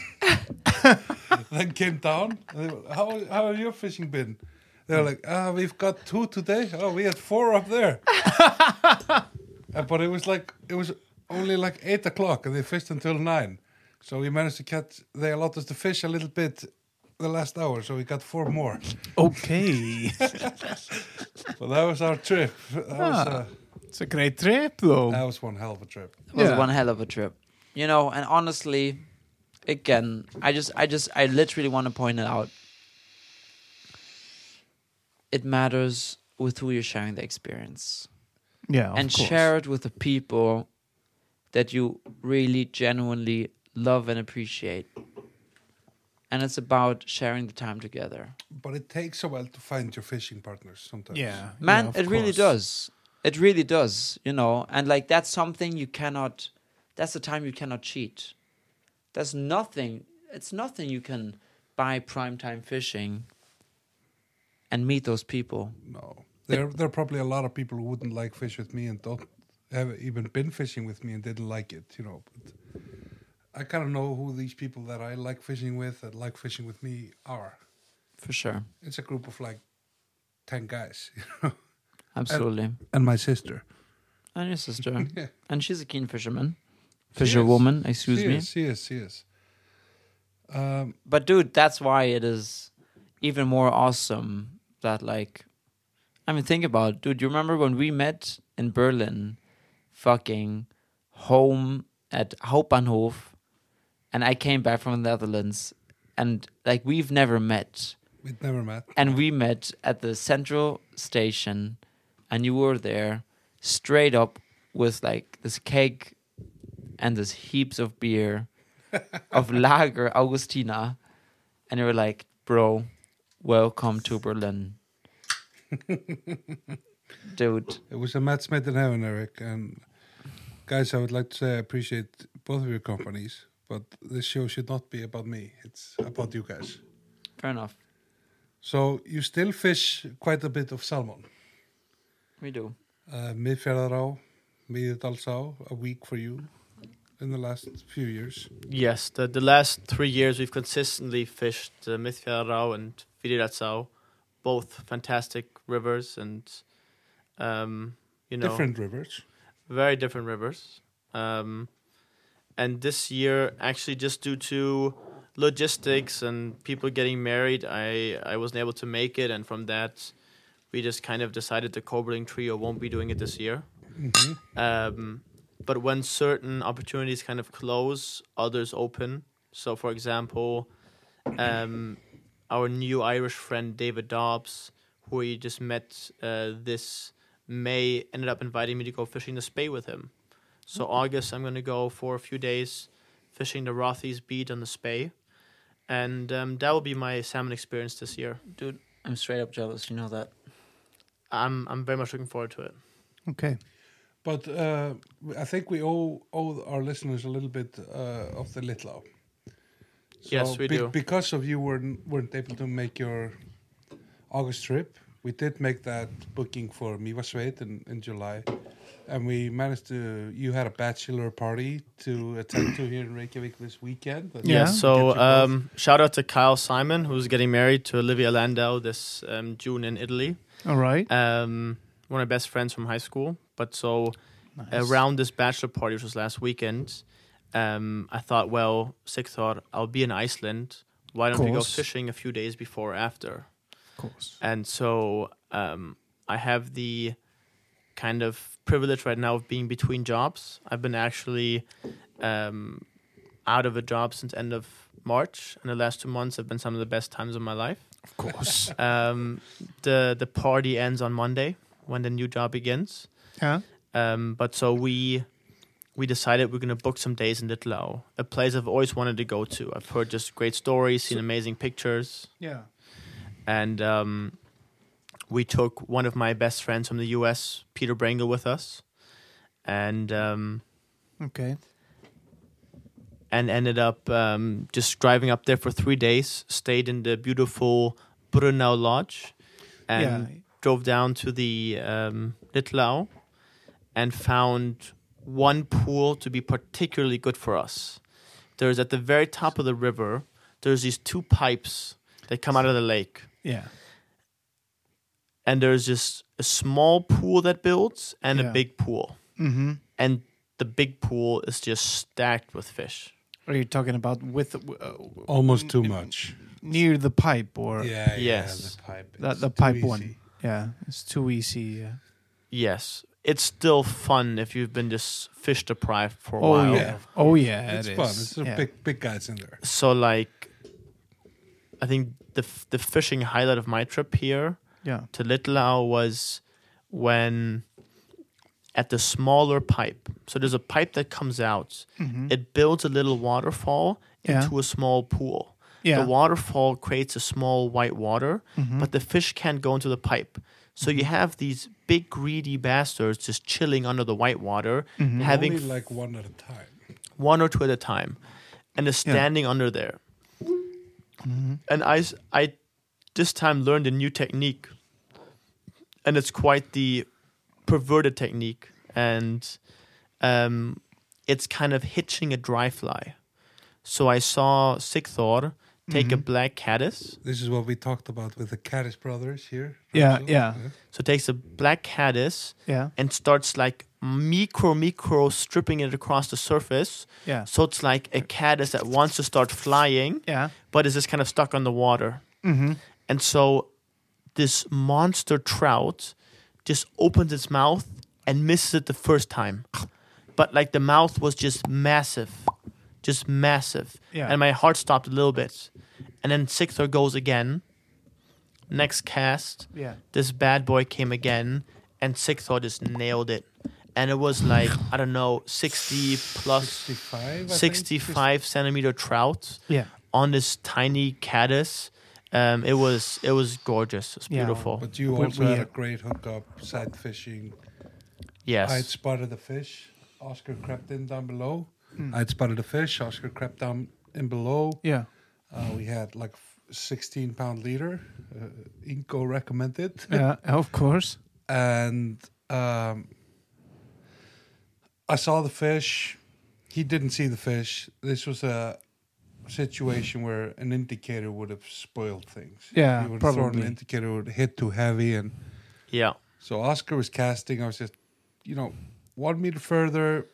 [LAUGHS] then came down. And they were, how how have your fishing been? They're like, ah, we've got two today. Oh, we had four up there. Uh, but it was like it was only like eight o'clock, and they fished until nine. So we managed to catch. They allowed us to fish a little bit the last hour, so we got four more.
Okay. [LAUGHS]
But that was our trip. That, was, uh,
it's a great trip, though.
that was one hell of a trip.
It was
Yeah.
one hell of a trip. You know, and honestly, again, I just I just I literally want to point it out. It matters with who you're sharing the experience.
yeah. of
and
course.
share it with the people that you really genuinely love and appreciate. And it's about sharing the time together.
But it takes a while to find your fishing partners sometimes.
Yeah.
Man,
yeah, of
it really
course.
does. It really does, you know. And like that's something you cannot that's the time you cannot cheat. That's nothing it's nothing you can buy primetime fishing and meet those people.
No, there there are probably a lot of people who wouldn't like fish with me and don't have even been fishing with me and didn't like it. You know, but I kind of know who these people that I like fishing with that like fishing with me are.
For sure.
It's a group of like ten guys, [LAUGHS] you know,
Absolutely.
and my sister.
and your sister.
Yeah,
and she's a keen fisherman.
She is.
Fisherwoman, excuse
she
me.
Is, she is. She is. Um,
But dude, that's why it is even more awesome that like I mean think about it. dude, you remember when we met in Berlin fucking home at Hauptbahnhof and I came back from the Netherlands and like we've never met
we'd never met.
and we met at the central station and you were there straight up with like this cake and this heaps of beer of lager augustina and you were like bro welcome to berlin dude
It was a match Smith in heaven, Eric. And guys, I would like to say I appreciate both of your companies, but this show should not be about me. It's about you guys.
fair enough
So you still fish quite a bit of salmon.
we do
Uh, Miðfjarðará, Miðdalsá, a week for you in the last few years.
Yes, the, the last three years we've consistently fished uh, Mithjarau and Vidiratsau, both fantastic rivers and, um, you know,
Different rivers.
very different rivers. Um, and this year, actually, just due to logistics and people getting married, I, I wasn't able to make it. And from that, we just kind of decided the Cobling Trio won't be doing it this year. Um, but when certain opportunities kind of close, others open. So, for example, um, our new Irish friend David Dobbs, who we just met uh, this May, ended up inviting me to go fishing the Spey with him. So August, I'm going to go for a few days fishing the Rothy's Bead on the Spey, and um, that will be my salmon experience this year.
dude i'm straight up jealous you know that
I'm I'm very much looking forward to it.
Okay.
But uh, I think we owe, owe our listeners a little bit uh, of the Litlau.
Yes, we do.
Because of you weren't, weren't able to make your August trip, we did make that booking for Mivasveit in, in July. And we managed to, you had a bachelor party to attend to here in Reykjavik this weekend. That's-
Yeah.
Yeah. So
Get your both.
um, shout out to Kyle Simon, who's getting married to Olivia Landau this um, June in Italy.
All right.
Um, one of my best friends from high school. But so
Nice.
around this bachelor party, which was last weekend, um, I thought, well, sick thought, I'll be in Iceland. Why don't we go
Course.
fishing a few days before or after?
Of course.
And so um, I have the kind of privilege right now of being between jobs. I've been actually um, out of a job since end of March, and the last two months have been some of the best times of my life.
Of [LAUGHS] course.
Um, the the party ends on Monday when the new job begins.
yeah.
Um, but so we we decided we're gonna book some days in Litlau, a place I've always wanted to go to. I've heard just great stories, seen amazing pictures
Yeah.
and um, we took one of my best friends from the U.S., Peter Brangle, with us, and um,
Okay.
and ended up um, just driving up there for three days. Stayed in the beautiful Brunau Lodge, and
yeah.
drove down to the um, Litlau and found one pool to be particularly good for us. There's at the very top of the river, there's these two pipes that come out of the lake.
Yeah.
And there's just a small pool that builds and
Yeah.
a big pool.
Mm-hmm.
And the big pool is just stacked with fish.
Are you talking about with uh,
Almost too much.
near the pipe or
Yeah,
Yes.
yeah. The pipe.
the,
It's
the
too
pipe
easy.
one? Yeah, it's too easy. Yeah.
Yes. It's still fun if you've been just fish deprived for a
Oh
while.
yeah. Oh yeah.
it's
it
fun.
is.
It's a
Yeah.
big big guys in there.
So like I think the f- the fishing highlight of my trip here
Yeah.
to Litlau was when at the smaller pipe. So there's a pipe that comes out.
Mhm.
It builds a little waterfall
Yeah.
into a small pool.
Yeah. Mm-hmm.
The waterfall creates a small white water, but the fish can't go into the pipe. So you have these big greedy bastards just chilling under the white water,
Mm-hmm.
having
Only like one at a time.
one or two at a time, and is
Yeah. Mm-hmm.
standing under there. And I, s- I this time learned a new technique, and it's quite the perverted technique, and um, it's kind of hitching a dry fly. So I saw Sigthor take
Mm-hmm.
a black caddis.
This is what we talked about with the Caddis brothers here.
Yeah,
Russell.
yeah.
So takes a black caddis
Yeah.
and starts like micro micro stripping it across the surface.
Yeah.
So it's like a caddis that wants to start flying,
Yeah.
but is just kind of stuck on the water.
Mm-hmm.
And so this monster trout just opens its mouth and misses it the first time. But like the mouth was just massive, just massive.
Yeah.
And my heart stopped a little bit. And then Sixer goes again. Next cast,
Yeah.
this bad boy came again, and Sixer just nailed it. And it was like, I don't know, 60 plus
65. I
65 centimeter trout
Yeah.
on this tiny caddis. Um, it was it was gorgeous. It's
Yeah.
beautiful.
Think. But you
We-
also
we-
had a great hookup, sight fishing. I'd
yes.
spotted the fish. Oscar crept in down below.
Hmm.
I'd spotted the fish. Oscar crept down in below.
Yeah.
Uh, we had like f- 16 pound leader. Uh, Inco recommended.
Yeah. Of course.
and um, I saw the fish. He didn't see the fish. This was a situation where an indicator would have spoiled things.
Yeah,
he would have thrown an
probably.
indicator would hit too heavy, and
Yeah.
so Oscar was casting. I was just, you know, one meter further,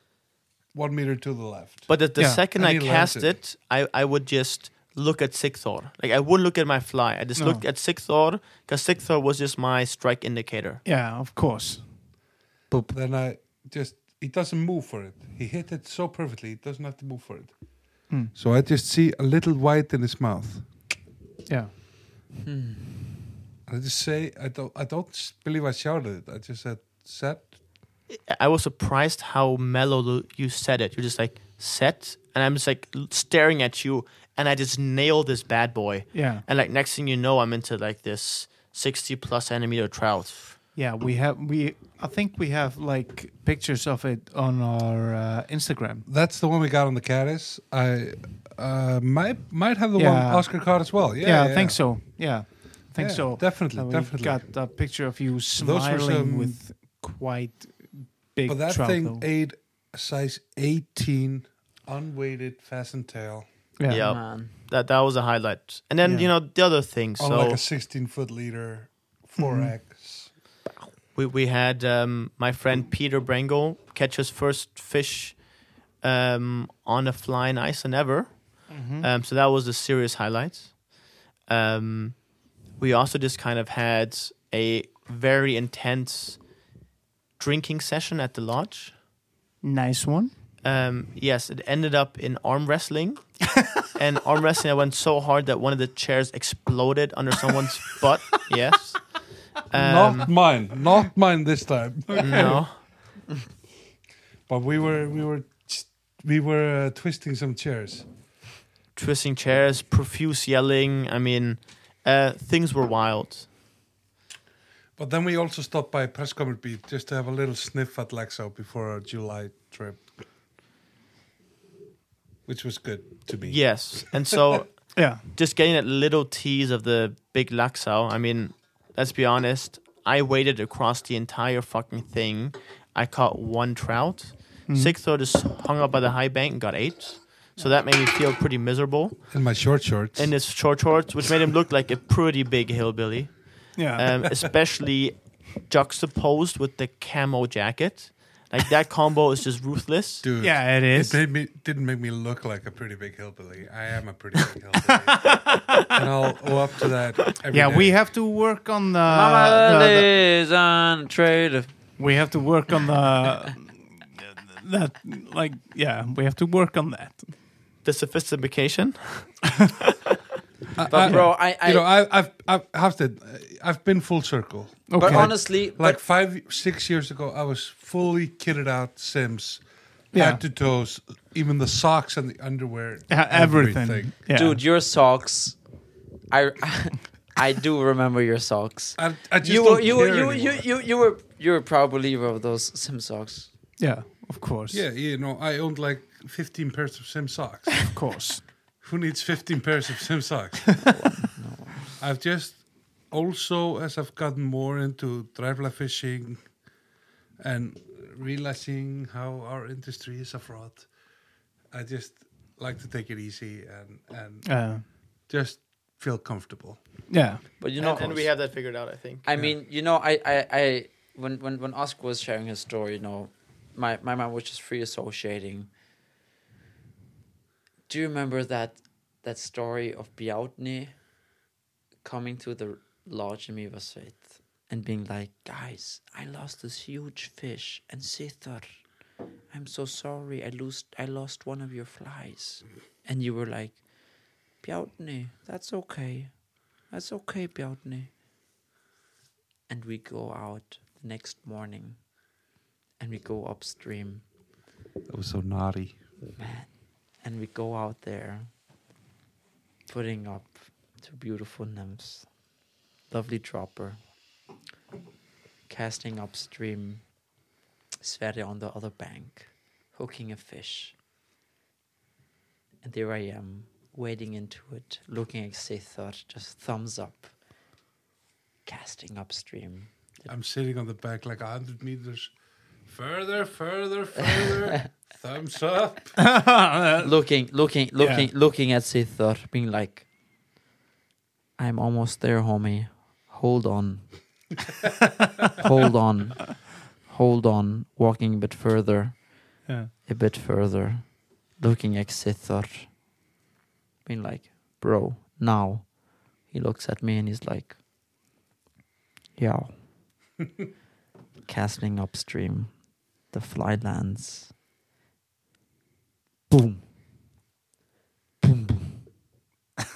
one meter to the left.
But the, the
Yeah.
second I
And he
cast
landed.
it, I, I would just look at Sigthor. Like I wouldn't look at my fly. I just
No.
looked at Sigthor because Sigthor was just my strike indicator.
Yeah. Of course.
then I just he doesn't move for it. He hit it so perfectly, he doesn't have to move for it.
Hmm.
So I just see a little white in his mouth.
Yeah.
I just say I don't I don't s- believe I shouted it. I just said set.
I- I was surprised how mellow lo- you said it. You're just like set, and I'm just like l- staring at you, and I just nailed this bad boy.
Yeah.
And like next thing you know, I'm into like this sixty plus centimeter trout.
Yeah. We have we. I think we have like pictures of it on our uh, Instagram.
That's the one we got on the caddis. I uh, might might have the
Yeah.
one Oscar caught as well. Yeah,
Yeah. I think so. Yeah. I think
Yeah,
so.
Definitely,
And we
definitely.
got a picture of you
were
smiling
some-
with quite big
but that
trout.
thing
though.
ate a size eighteen unweighted pheasant tail
yeah.
Yeah.
Man.
That that was a highlight. And then
Yeah.
you know the other thing.
on
So
Oh, like a sixteen foot leader, 4
Mm-hmm.
X.
we we had um, my friend Peter Brangle catch his first fish um, on a fly in Iceland ever.
Mm-hmm.
Um, so that was a serious highlight. Um, we also just kind of had a very intense drinking session at the lodge.
Nice one.
Um, yes, it ended up in arm wrestling. and arm wrestling, I went so hard that one of the chairs exploded under someone's butt. Yes. Um,
not mine, not mine this time.
no.
but we were we were ch- we were uh, twisting some chairs.
Twisting chairs, profuse yelling. I mean, uh, things were wild.
But then we also stopped by Prescomer Beat just to have a little sniff at Lexo before our July trip, which was good to me.
Yes. And so
Yeah.
just getting that little tease of the big Laxao. I mean, let's be honest. I waded across the entire fucking thing. I caught one trout. Sixth row just hung up by the high bank and got eight. So that made me feel pretty miserable.
in my short shorts.
In his short shorts, which made him look like a pretty big hillbilly,
Yeah.
um, especially juxtaposed with the camo jacket. Like that combo is just ruthless.
Dude,
yeah, it
It
is.
made me, didn't make me look like a pretty big hillbilly. I am a pretty big hillbilly. and I'll go up to that. every
Yeah,
day.
we have to work on the,
Uh,
the-
Mama
the-
is on trade.
we have to work on the that like yeah, we have to work on that.
The sophistication.
I,
But bro, I, I
uh, you know, uh, I, I've, I've, have to, I've been full circle.
but
Okay.
honestly,
Like
but,
five, six years ago, I was fully kitted out Sims,
Yeah.
head to toes, even the socks and the underwear,
Yeah, everything. Yeah.
dude, your socks. I I do remember your socks.
I, I just
You were
don't
you were
care
you, you
anymore.
you you were you were a proud believer of those sim socks.
Yeah, of course.
Yeah, you know, I owned like 15 pairs of Sim
[LAUGHS]
socks.
Of course.
Who needs 15 pairs of Sim socks? I've just also, as I've gotten more into trifle fishing and realizing how our industry is a fraud, I just like to take it easy and, and
Uh,
just feel comfortable.
[LAUGHS]
yeah.
But you know,
and, and we have that figured out, I think.
I mean, you know, I, I, I when, when, when Oscar was sharing his story, you know, my, my mind was just free associating. Do you remember that that story of Bjautni coming to the lodge in Mivasveit and being like, guys, I lost this huge fish and Sithar, I'm so sorry, I lost I lost one of your flies. And you were like, Bjautni, that's okay. That's okay, Bjautni and we go out the next morning and we go upstream
That was so naughty.
and we go out there putting up two beautiful nymphs lovely dropper casting upstream Sverre on the other bank hooking a fish and there I am wading into it looking at Sithar just thumbs up casting upstream
I'm sitting on the back like 100 meters further, further,
[LAUGHS]
further. Thumbs up.
Uh,
looking, looking, looking, looking at Sithor, being like, "I'm almost there, homie. Hold on, hold on, hold on." Walking a bit further,
Yeah.
a bit further, looking at Sithor, being like, "Bro, now." He looks at me and he's like, "Yeah." Casting upstream, the fly lands boom, boom, boom, boom, boom.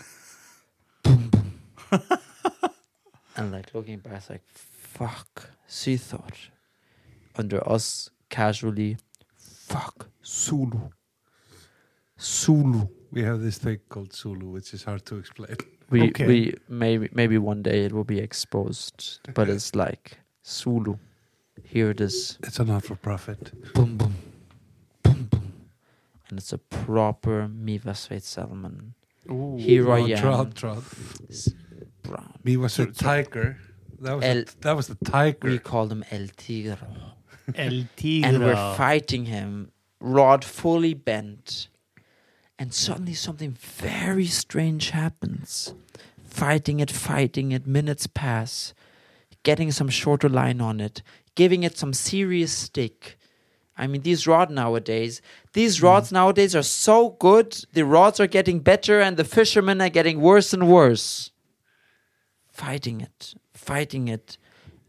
and like looking back, it's like, fuck, she thought. Under us, casually, fuck, Sulu. Sulu.
We have this thing called Zulu, which is hard to explain. [LAUGHS]
We
Okay.
we maybe maybe one day it will be exposed, but it's like Sulu. Here it is.
It's a not for profit.
boom, boom, boom, boom. And it's a proper Miva Sveit Salmon.
Ooh.
Here I am.
Trout, trout.
s- brown.
Me was a tiger. That was,
El-
a, that was the
We
tiger.
call him El Tigre.
El
And
Tigre.
we're fighting him, rod fully bent. And suddenly something very strange happens. Fighting it, fighting it, minutes pass, getting some shorter line on it, giving it some serious stick. I mean, these rods nowadays, these rods nowadays are so good, the rods are getting better, and the fishermen are getting worse and worse. fighting it, fighting it,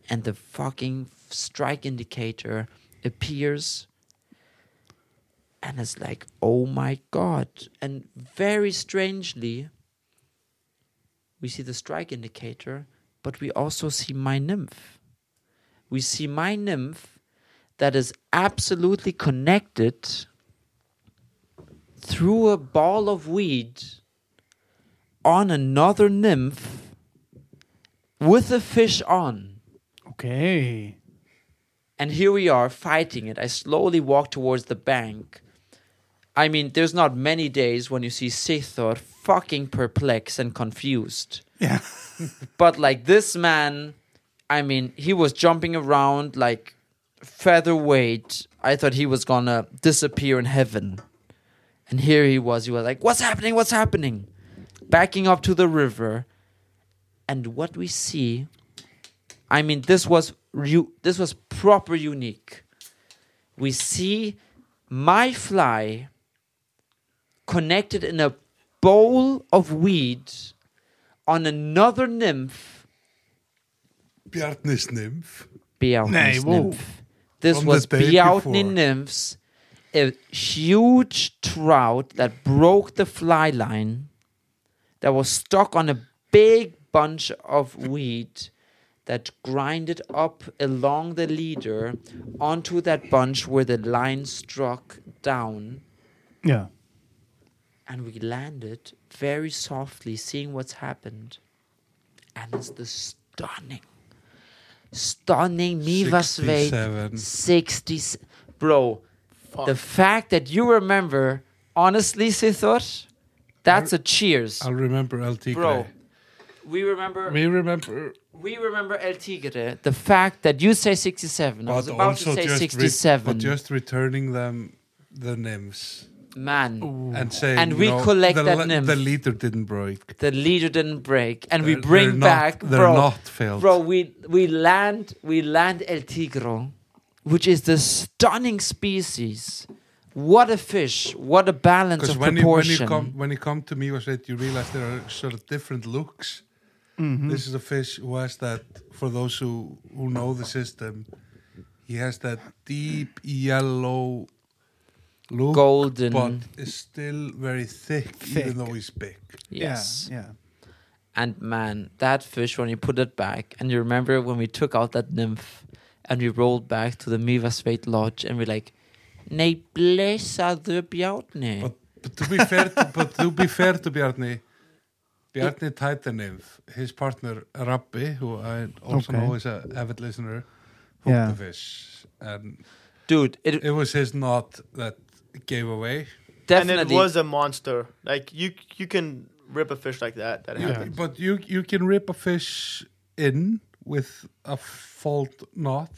and the fucking strike indicator appears. And it's like, oh my god. And very strangely, we see the strike indicator, but we also see my nymph. We see my nymph that is absolutely connected through a ball of weed on another nymph with a fish on.
okay.
And here we are fighting it. I slowly walk towards the bank. I mean, there's not many days when you see Sithor fucking perplexed and confused.
Yeah.
But like this man I mean, he was jumping around like featherweight. I thought he was gonna disappear in heaven. And here he was. He was like, What's happening? What's happening? Backing up to the river. And what we see, I mean, this was u- this was proper unique. We see my fly connected in a bowl of weed on another nymph
Bjarnis nymph.
Nej,
Bjarni's
wow.
nymph. This
From
was
the day
Bjarni
before.
nymphs, a huge trout that broke the fly line, that was stuck on a big bunch of weed, that grinded up along the leader onto that bunch where the line struck down,
Yeah.
and we landed very softly, seeing what's happened, and it's the stunning. Stunning Miva Sveit
67.
60 bro the fact that you remember honestly Sithor that's a cheers
I'll remember El Tigre.
bro we remember
We remember.
we remember El Tigre the fact that you say 67 I was
But
about to
also
say
just, re-
67
but just returning them the nymphs
man
and saying
And we
no,
collect
the,
that
le-
nymph.
the leader didn't break.
the leader didn't break and we
They're-
bring
they're not-
back
they're
bro
not failed.
bro we we land we land el tigro which is the stunning species what a fish what a balance
Because
of
when you, when
proportion
you come when you come to me was it you realize there are sort of different looks. This is a fish who has that for those who who know the system, he has that deep yellow look,
Golden.
but is still very thick,
Thick.
even though he's big.
yes
Yeah.
and man that fish when you put it back and you remember when we took out that nymph and we rolled back to the Miva Sveit lodge and we're like Nei blessa the bjarni.
But, but to be fair, to, but to be fair to Bjarni, Bjarni tied the nymph. His partner Rabbi, who I also
Okay.
know is an avid listener, hooked
Yeah.
the fish, and
Dude, it,
it was his knot that gave away.
definitely
And it was a monster. Like you, you can rip a fish like that. That
You-
happens.
But you you can rip a fish in with a fault knot,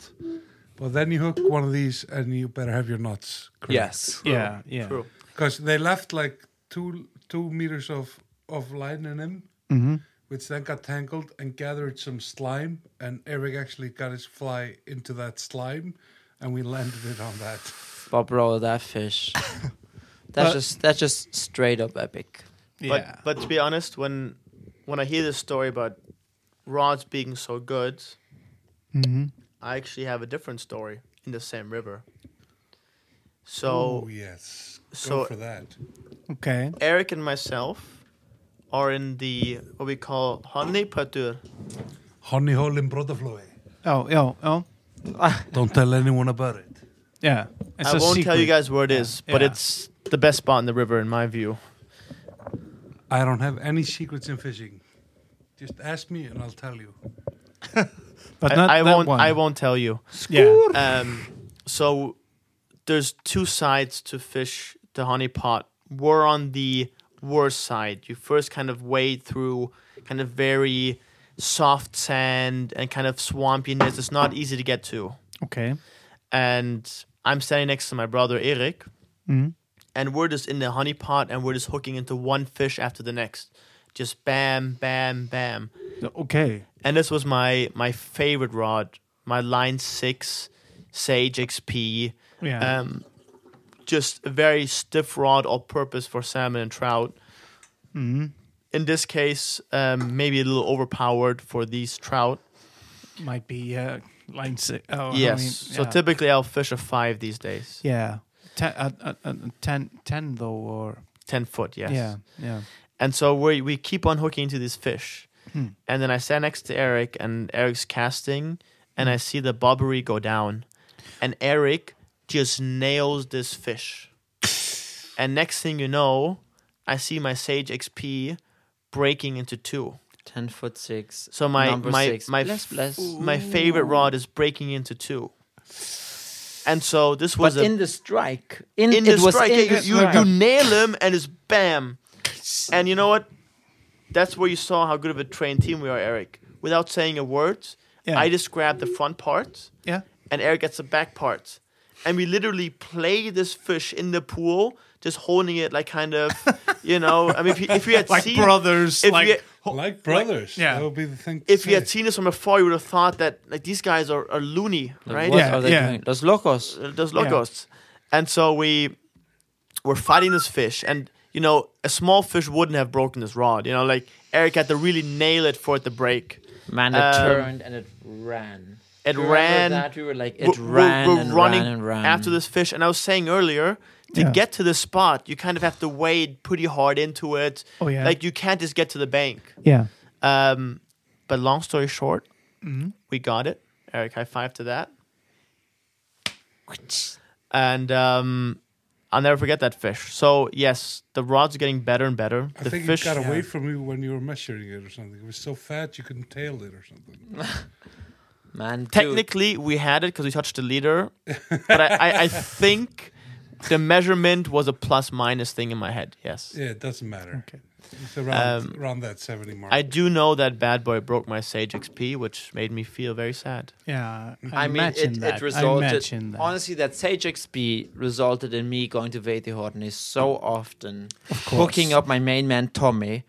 but then you hook one of these and you better have your knots. Correct. [LAUGHS]
yes.
Yeah. Yeah.
True.
because they left like two two meters of of line in him,
Mm-hmm.
which then got tangled and gathered some slime. And Eric actually got his fly into that slime, and we landed it on that.
But bro, that
[LAUGHS]
fish. That's just that's just straight up epic.
But
Yeah.
but to be honest, when when I hear this story about rods being so good,
Mhm.
I actually have a different story in the same river. So
oh yes, go
so-
for that.
Okay.
Eric and myself are in the what we call honey patur.
Honey hole in Brodaflói.
Oh. Oh. Oh.
Don't tell anyone about it.
Yeah. It's
I
a
won't tell you
secret.
guys where it is, but
Yeah.
it's the best spot in the river in my view.
I don't have any secrets in fishing. Just ask me and I'll tell you.
but
I,
not that
I won't
one.
I won't tell you.
Yeah.
Um, so there's two sides to fish the honey pot. We're on the worst side. You first kind of wade through kind of very soft sand and kind of swampiness. It's not easy to get to.
Okay.
And I'm standing next to my brother Eric,
Mhm.
and we're just in the honey pot and we're just hooking into one fish after the next. Just bam, bam, bam.
Okay.
And this was my my favorite rod, my line six Sage XP.
Yeah.
Um, just a very stiff rod, all purpose for salmon and trout.
Mm-hmm.
In this case, um, maybe a little overpowered for these trout.
Might be uh, line six. Oh, I
yes.
mean,
So
yeah.
typically I'll fish a five these days.
Yeah. Ten, uh, uh, uh, 10, 10 though, or
10 foot, yes.
yeah, yeah.
And so we we keep on hooking into these fish.
Hmm.
And then I stand next to Eric and Eric's casting and I see the bobbery go down. And Eric just nails this fish. and next thing you know, I see my Sage XP breaking into two.
Ten foot six.
So my
number
my
six.
my
bless
f-
bless.
my favorite rod is breaking into two. And so this was
But
a
in the strike, in,
in
it
the
was
strike,
in
yeah,
the
you, you,
strike.
you nail him and it's bam. And you know what? That's where you saw how good of a trained team we are, Eric. Without saying a word,
Yeah.
I just grab the front part,
yeah.
and Eric gets the back part. And we literally play this fish in the pool, just holding it like kind
[LAUGHS]
of, you know. I mean, if, you- if we had
Like
seen,
brothers,
if
like
we,
Like brothers.
yeah.
That would be the thing. to
if you had
say.
seen this from afar, you would have thought that like these guys are, are loony, right?
What
Yeah,
are they
yeah.
doing? Los locos.
uh, those locos. And so we were fighting this fish, and you know, a small fish wouldn't have broken this rod. You know, like Eric had to really nail it for it to break.
Man, it
Um,
turned and it ran.
it
Do you remember
ran-
That we were like,
We're-
it
we're-
ran
we're
and
running
ran and ran.
after this fish. And I was saying earlier, to
Yeah.
get to this spot, you kind of have to wade pretty hard into it.
Oh, yeah.
like you can't just get to the bank.
Yeah.
Um, but long story short,
Mm-hmm.
we got it. Eric, high five to that. And um, I'll never forget that fish. So yes, the rods are getting better and better.
I
the
think
fish,
it got away from you when you were measuring it or something. It was so fat you couldn't tail it or something.
Man, dude,
technically, we had it because we touched
[LAUGHS]
the leader. but I, I, I think the measurement was a plus minus thing in my head. Yes,
Yeah, it doesn't matter.
Okay.
It's around, around that 70 mark.
I do know that bad boy broke my Sage XP, which made me feel very sad.
Yeah. I,
I mean,
imagine
it,
that.
it resulted.
I imagine that.
Honestly, that Sage XP resulted in me going to Vetehorny so often,
of course.
hooking up my main man Tommy.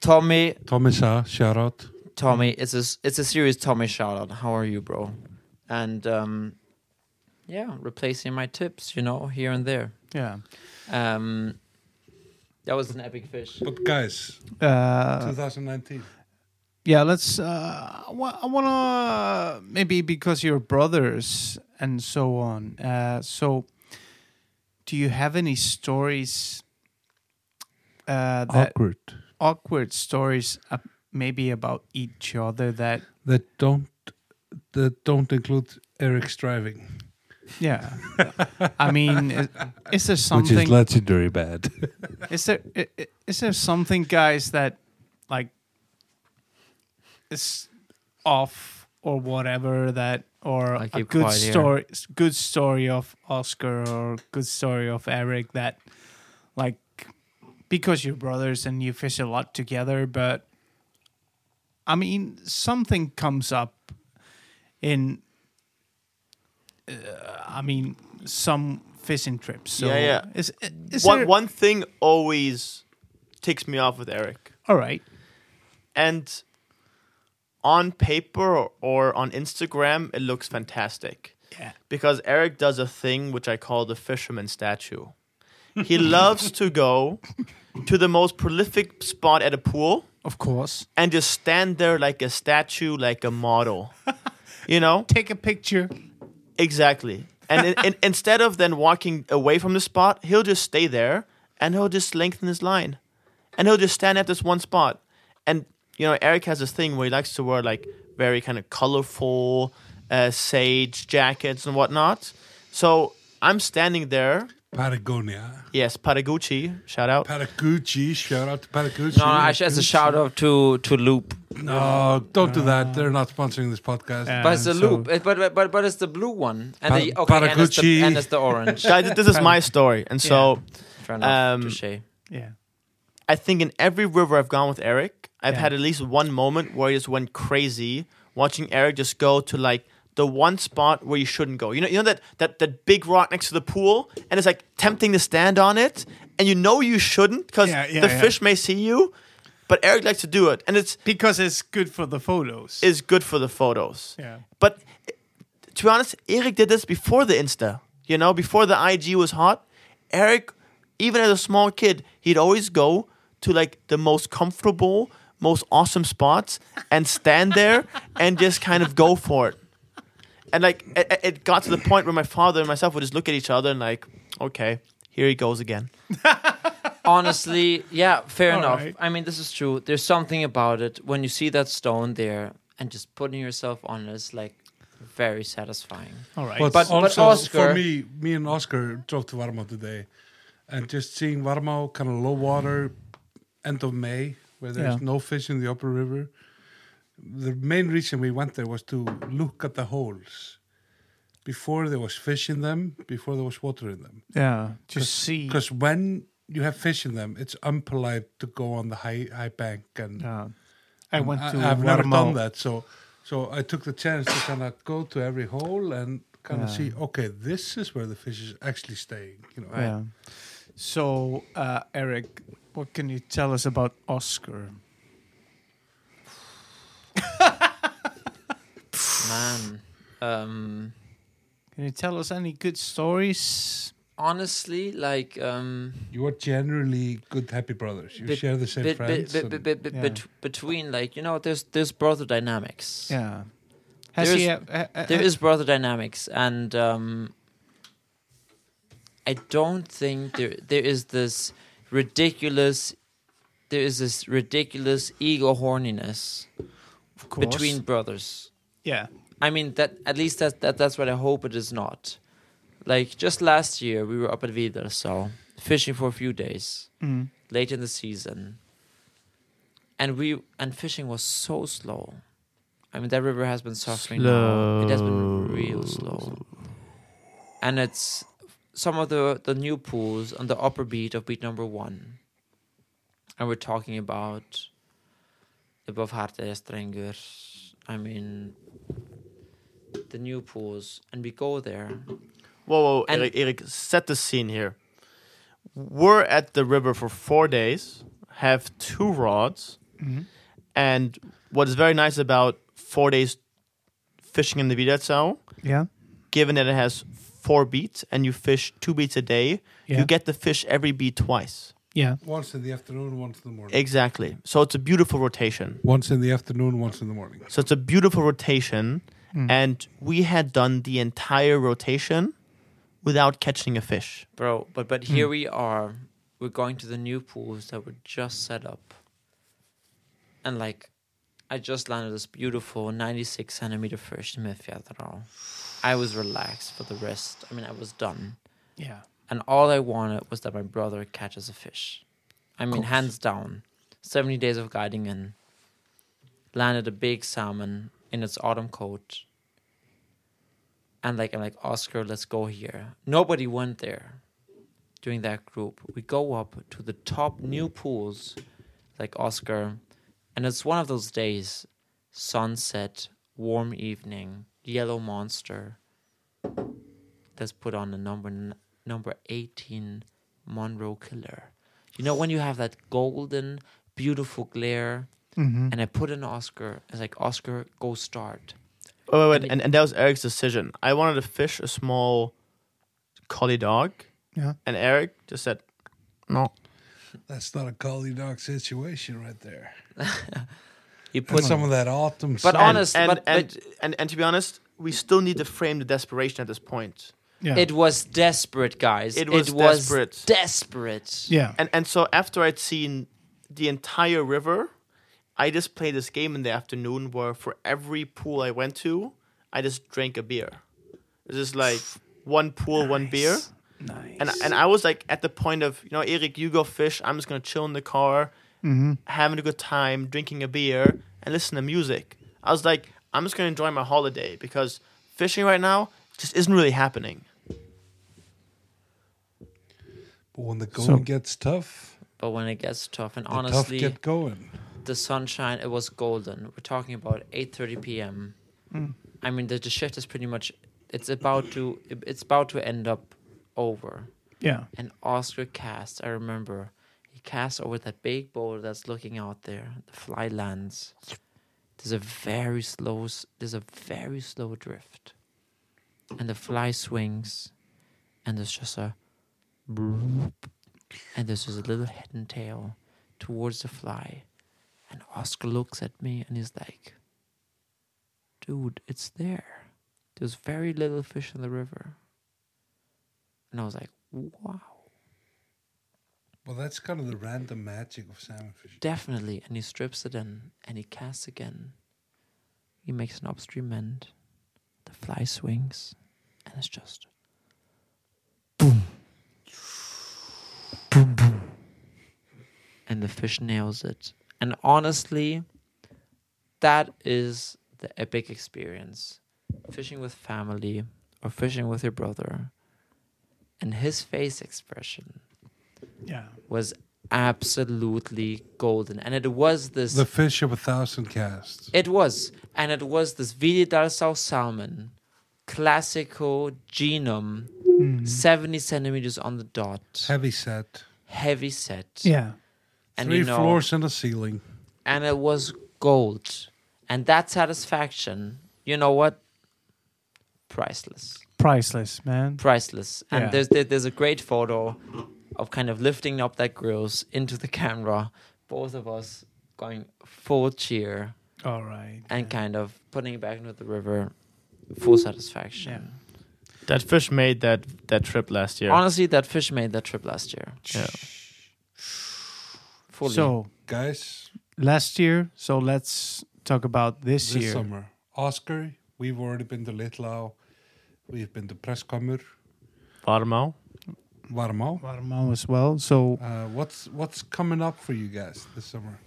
Tommy,
Tomisa, shout out.
Tommy, it's a s- it's a serious Tommy shout out. How are you, bro? And um, yeah, replacing my tips, you know, here and there.
Yeah.
Um, that was an epic fish.
But guys,
Uh,
2019.
yeah. Let's. Uh, I wa- I wanna maybe because you're brothers and so on. Uh, so, do you have any stories? Uh,
Oh.
that
Awkward.
awkward stories, uh, maybe about each other. That
That don't that don't include Eric's driving,
yeah. I mean, is, is there something?
legendary bad. [LAUGHS]
Is there i- i- is there something, guys, that like is off or whatever that or
I
a
keep
good
quiet here.
story, s- good story of Oscar or good story of Eric that like because you're brothers and you fish a lot together, but I mean something comes up in. Uh, I mean, some fishing trips. So
Yeah, yeah.
Is, is
one
there-
one thing always ticks me off with Eric,
all right.
and on paper or on Instagram, it looks fantastic
Yeah.
because Eric does a thing which I call the fisherman statue. He loves to go to the most prolific spot at a pool
Of course.
and just stand there like a statue, like a model. You know,
Take a picture.
Exactly. And in, in, instead of then walking away from the spot, he'll just stay there and he'll just lengthen his line. And he'll just stand at this one spot. And, you know, Eric has this thing where he likes to wear like very kind of colorful uh, sage jackets and whatnot. So I'm standing there.
Patagonia.
Yes, Patagucci, shout out.
Patagucci, shout out to Patagucci.
No, no, actually, as a shout out to to Loop,
No, don't do that. They're not sponsoring this podcast.
Yeah.
but it's the
And so-
Loop, it, but but but it's the blue one, and the
Pa-
okay, and it's the,
Paragucci.
and it's the
[LAUGHS]
orange.
Guys, this is my story. And so
Fair enough,
Um,
touche.
Yeah.
I think in every river I've gone with Eric, I've
Yeah.
had at least one moment where I just went crazy watching Eric just go to like the one spot where you shouldn't go. You know, you know that that that big rock next to the pool, and it's like tempting to stand on it, and you know you shouldn't because
Yeah, yeah,
the
yeah.
fish may see you, but Eric likes to do it, and it's
Because it's good for the photos.
is good for the photos.
yeah.
But to be honest, Eric did this before the Insta. You know, before the IG was hot, Eric, even as a small kid, he'd always go to like the most comfortable, most awesome spots and stand there and just kind of go for it. And like it, it- it got to the point where my father and myself would just look at each other and like, okay, here he goes again.
honestly, yeah, fair
All
enough.
right.
I mean, this is true. There's something about it when you see that stone there and just putting yourself on it is like very satisfying.
All right.
But,
But- but
also
Oscar-
for me, me and Oscar drove to Varmo today, and just seeing Varmo kind of low water, end of May, where there's
Yeah.
no fish in the upper river. The main reason we went there was to look at the holes. Before there was fish in them, before there was water in them.
yeah. Just see.
Because when you have fish in them, it's unpolite to go on the high high bank and
Yeah. uh, I went
I-
to
I've never
Varmo.
done that. So So I took the chance to kind of go to every hole and kind of
Yeah.
see, okay, this is where the fish is actually staying. You know,
Yeah. So, uh, Eric, what can you tell us about Oscar?
Man. Um,
Can you tell us any good stories?
honestly, like. Um,
you are generally good, happy brothers. You
Bit-
share the same
bit, bit,
friends.
bit,
and-
bit, bit, bit,
Yeah.
bet- between like you know there's there's brother dynamics
Yeah. Has
There
he?
is-
uh, uh, uh,
there is brother dynamics and um i don't think there there is this ridiculous there is this ridiculous ego horniness
of course.
between brothers
Yeah.
i mean that at least that, that that's what i hope it is not like just last year we were up at Vidar, so fishing for a few days
Mm.
late in the season. And we and fishing was so slow. I mean that river has been suffering now. It has been real slow. And it's some of the the new pools on the upper beat of beat number one. And we're talking about above Harte Stranger. I mean the new pools. And we go there.
Whoa, whoa,
And-
Eric, Eric, set the scene here. We're at the river for four days, have two rods,
Mhm.
and what is very nice about four days fishing in the Vidatsau,
Yeah.
given that it has four beats and you fish two beats a day,
Yeah.
you get to fish every beat twice.
Yeah.
once in the afternoon, once in the morning.
Exactly. So it's a beautiful rotation.
Once in the afternoon, once in the morning.
So it's a beautiful rotation, and we had done the entire rotation without catching a fish.
Bro, but but here we are. We're going to the new pools that were just set up. And like I just landed this beautiful 96 centimeter fish in Mifjadral. I was relaxed for the rest. I mean, I was done.
Yeah.
And all I wanted was that my brother catches a fish. I mean, hands down. 70 days of guiding and landed a big salmon in its autumn coat. And like I'm like, Oscar, let's go here. Nobody went there during that group. We go up to the top new pools, like Oscar, and it's one of those days, sunset, warm evening, yellow monster. Let's put on the number n- number eighteen Monroe Killer. You know when you have that golden, beautiful glare,
Mm-hmm.
and I put in Oscar. It's like Oscar, go start.
Oh, wait,
And it-
wait, and, and that was Eric's decision. I wanted to fish a small collie dog,
Yeah.
and Eric just said, no.
That's not a collie dog situation right there.
You
Put
put
some of that autumn.
But
sun.
on honest,
and,
but-
and,
but-
and, and to be honest, we still need to frame the desperation at this point.
Yeah.
It was desperate, guys.
It was
desperate.
desperate.
desperate.
yeah.
And, and so after I'd seen the entire river, I just played this game in the afternoon where for every pool I went to, I just drank a beer. It's just like one pool, one beer.
Nice.
And and I was like at the point of you know Eric, you go fish. I'm just gonna chill in the car,
Mm-hmm.
having a good time, drinking a beer, and listen to music. I was like, I'm just gonna enjoy my holiday because fishing right now just isn't really happening.
But when the going
So-
gets tough,
But when it gets tough, and
the
honestly,
tough get going.
the sunshine it was golden. We're talking about eight thirty p.m. I mean, the, the shift is pretty much it's about to it's about to end up over.
yeah.
And Oscar cast, I remember, he cast over that big boulder that's looking out there. The fly lands. There's a very slow, s- there's a very slow drift, and the fly swings, and there's just a, and there's just a little head and tail towards the fly, and Oscar looks at me and he's like, "Dude, it's there. There's very little fish in the river." And I was like, "Wow."
Well, that's kind of the random magic of salmon fishing.
Definitely. And he strips it in and he casts again. He makes an upstream end. The fly swings and it's just boom. Boom boom. And the fish nails it. And honestly, that is the epic experience. Fishing with family or fishing with your brother. And his face expression
Yeah.
was absolutely golden and it was this
The fish of a thousand casts.
it was and it was this Vidalsau salmon, classical genome, 70 centimeters on the dot,
Heavy set.
heavy set.
Yeah.
and
Three
you know,
floors and a ceiling.
and it was gold. And that satisfaction, you know what? Priceless.
Priceless, man.
Priceless. And
Yeah.
there's there, there's a great photo of kind of lifting up that grills into the camera, both of us going full cheer
All right.
and kind of putting it back into the river, full satisfaction.
That fish made that that trip last year.
Honestly, that fish made that trip last year.
Yeah.
Fully.
So
Guys,
last year, so let's talk about this,
this
year.
summer. Oscar, we've already been to Litlau. We've been to Preskomur,
Varmau.
Varmo.
Varmau as well. So
Uh, what's what's coming up for you guys this summer?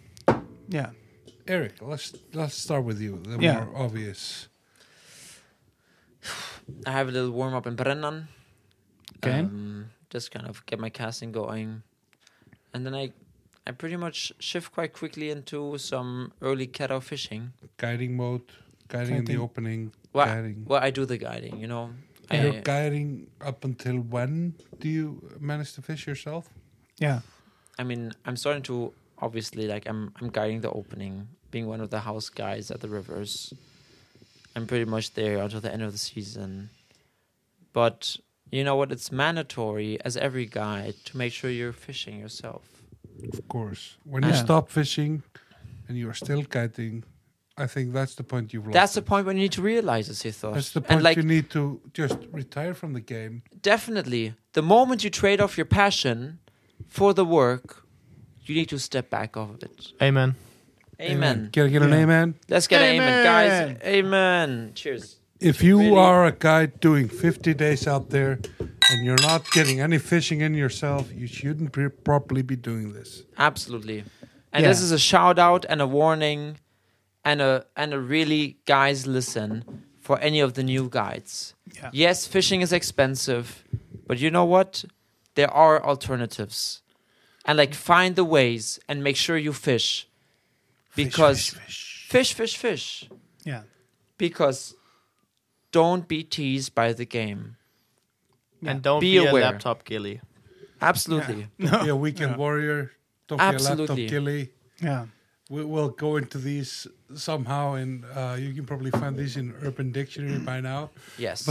yeah,
Eric, let's let's start with you. The
Yeah.
more obvious.
I have a little warm up in Brennan.
Okay.
Um, just kind of get my casting going, and then I, I pretty much shift quite quickly into some early kettle fishing.
Guiding mode, guiding in the
Guiding.
opening,
Well, I,
guiding.
well, I do the guiding, you know.
You're
I,
guiding up until when do you manage to fish yourself?
yeah,
I mean, I'm starting to obviously like I'm I'm guiding the opening, being one of the house guys at the rivers. I'm pretty much there until the end of the season, but you know what? It's mandatory as every guide to make sure you're fishing yourself.
Of course. When you
Yeah.
stop fishing and you are still guiding, I think that's the point you've lost.
That's the
it.
point when you need to realize this, Ithos.
That's the
and
point
like
you need to just retire from the game.
definitely, the moment you trade off your passion for the work, you need to step back off of it.
Amen.
Amen.
Can I get an
Yeah.
amen?
Let's get an amen, guys.
Amen.
Amen. Cheers.
If you
Really?
are a guy doing 50 days out there and you're not getting any fishing in yourself, you shouldn't pre- properly be
[LAUGHS]
doing this.
Absolutely. And
Yeah.
this is a shout out and a warning and a and a really guys listen for any of the new guides.
Yeah.
Yes, fishing is expensive, but you know what? There are alternatives. And like find the ways and make sure you fish. Because fish, fish, fish.
yeah,
Because don't be teased by the game.
And don't
Be
be,
aware.
a laptop gilly.
Absolutely.
Be a weekend warrior. Don't be a
Absolutely.
laptop killie.
yeah.
We will go into these somehow, and uh, you can probably find these in Urban Dictionary by now.
[LAUGHS]
Yes.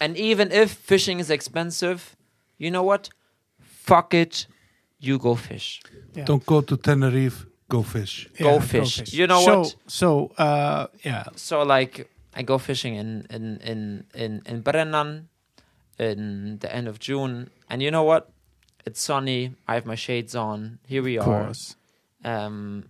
and even if fishing is expensive, you know what? Fuck it. You go fish.
Yeah.
Don't go to Tenerife, go fish.
Go fish. You know
so,
what?
So uh, yeah,
So like I go fishing in in in in, in Brennan in the end of June and you know what? It's sunny. I have my shades on. Here we
of
are.
course.
Um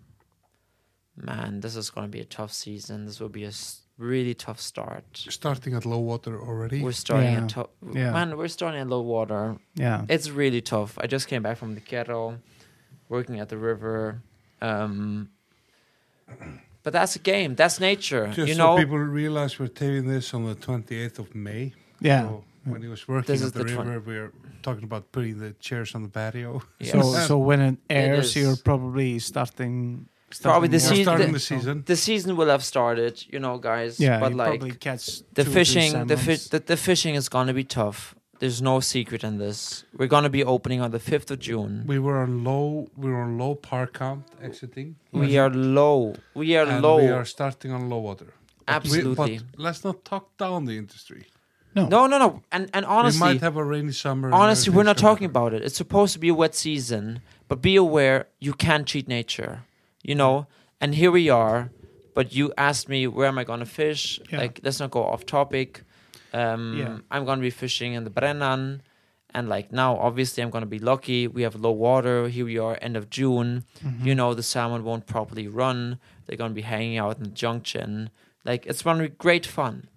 man, this is going to be a tough season. This will be a s- really tough start.
Starting at low water already.
We're starting
Yeah.
at top.
Yeah.
Man, we're starting at low water.
Yeah,
It's really tough. I just came back from the kettle, working at the river. Um, but that's a game. That's nature.
Just
you
so
know,
people realize, we're taping this on the 28th of May.
yeah.
So when he was working
This is
at the,
the twen-
river, we were talking about putting the chairs on the patio. uh,
Yes.
So so when it airs,
is.
you're probably starting.
Probably
starting
the
We're
more-
sea-
starting
the-
the season.
the season will have started. You know, guys.
Yeah,
but
you
like
probably catch
the
two or three
fishing, the, fi-
salmons.
the the fishing is gonna be tough. There's no secret in this. We're gonna be opening on the fifth of June.
We were on low. We were on low par count exiting.
We are low. We are
and
low.
We are starting on low water. But we-
Absolutely.
but let's not talk down the industry.
no, no, no. And and honestly,
we might have a rainy summer. and
Honestly, we're not
everything's gonna
talking about it. It's supposed to be a wet season, but be aware you can cheat nature, you know. And here we are, but you asked me where am I going to fish?
Yeah.
Like, let's not go off topic. Um,
Yeah.
I'm going to be fishing in the Brennan, and like now, obviously, I'm going to be lucky. We have low water. Here we are, end of June. You know, the salmon won't properly run. They're going to be hanging out in the junction. Like, it's going to be great fun,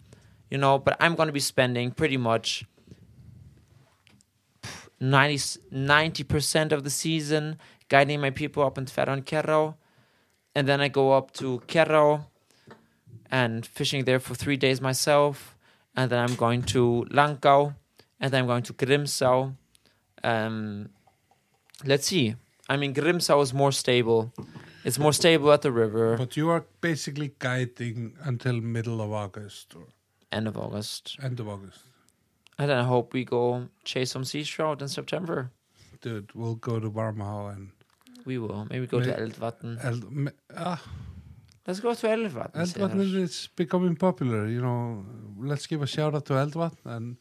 you know. But I'm going to be spending pretty much 90 percent of the season guiding my people up in Ferran Kerro, and then I go up to Kerro and fishing there for three days myself, and then I'm going to Lankau, and then I'm going to Grimsau. Um, let's see. I mean, Grimsau is more stable, It's more stable at the river.
But you are basically guiding until middle of August or
end of August.
end of August.
And then I hope we go chase some sea trout in September.
Dude, we'll go to Varmau and
We will. Maybe go to
May-
Eldvatn.
El- me- ah,
Let's go to Eldvatn.
Eldvatn
Sinar.
is becoming popular. You know, let's give a shout out to Eldvatn and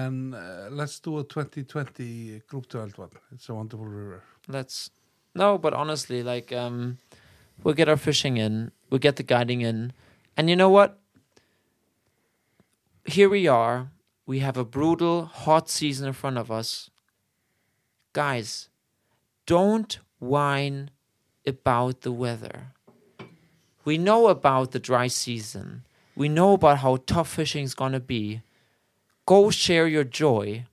and uh, let's do a 2020 group to Eldvatn. It's a wonderful river.
Let's. No, but honestly, like, um, we'll get our fishing in. We'll get the guiding in. And you know what? Here we are. We have a brutal, hot season in front of us. Guys, don't whine about the weather. We know about the dry season. We know about how tough fishing is going to be. Go share your joy.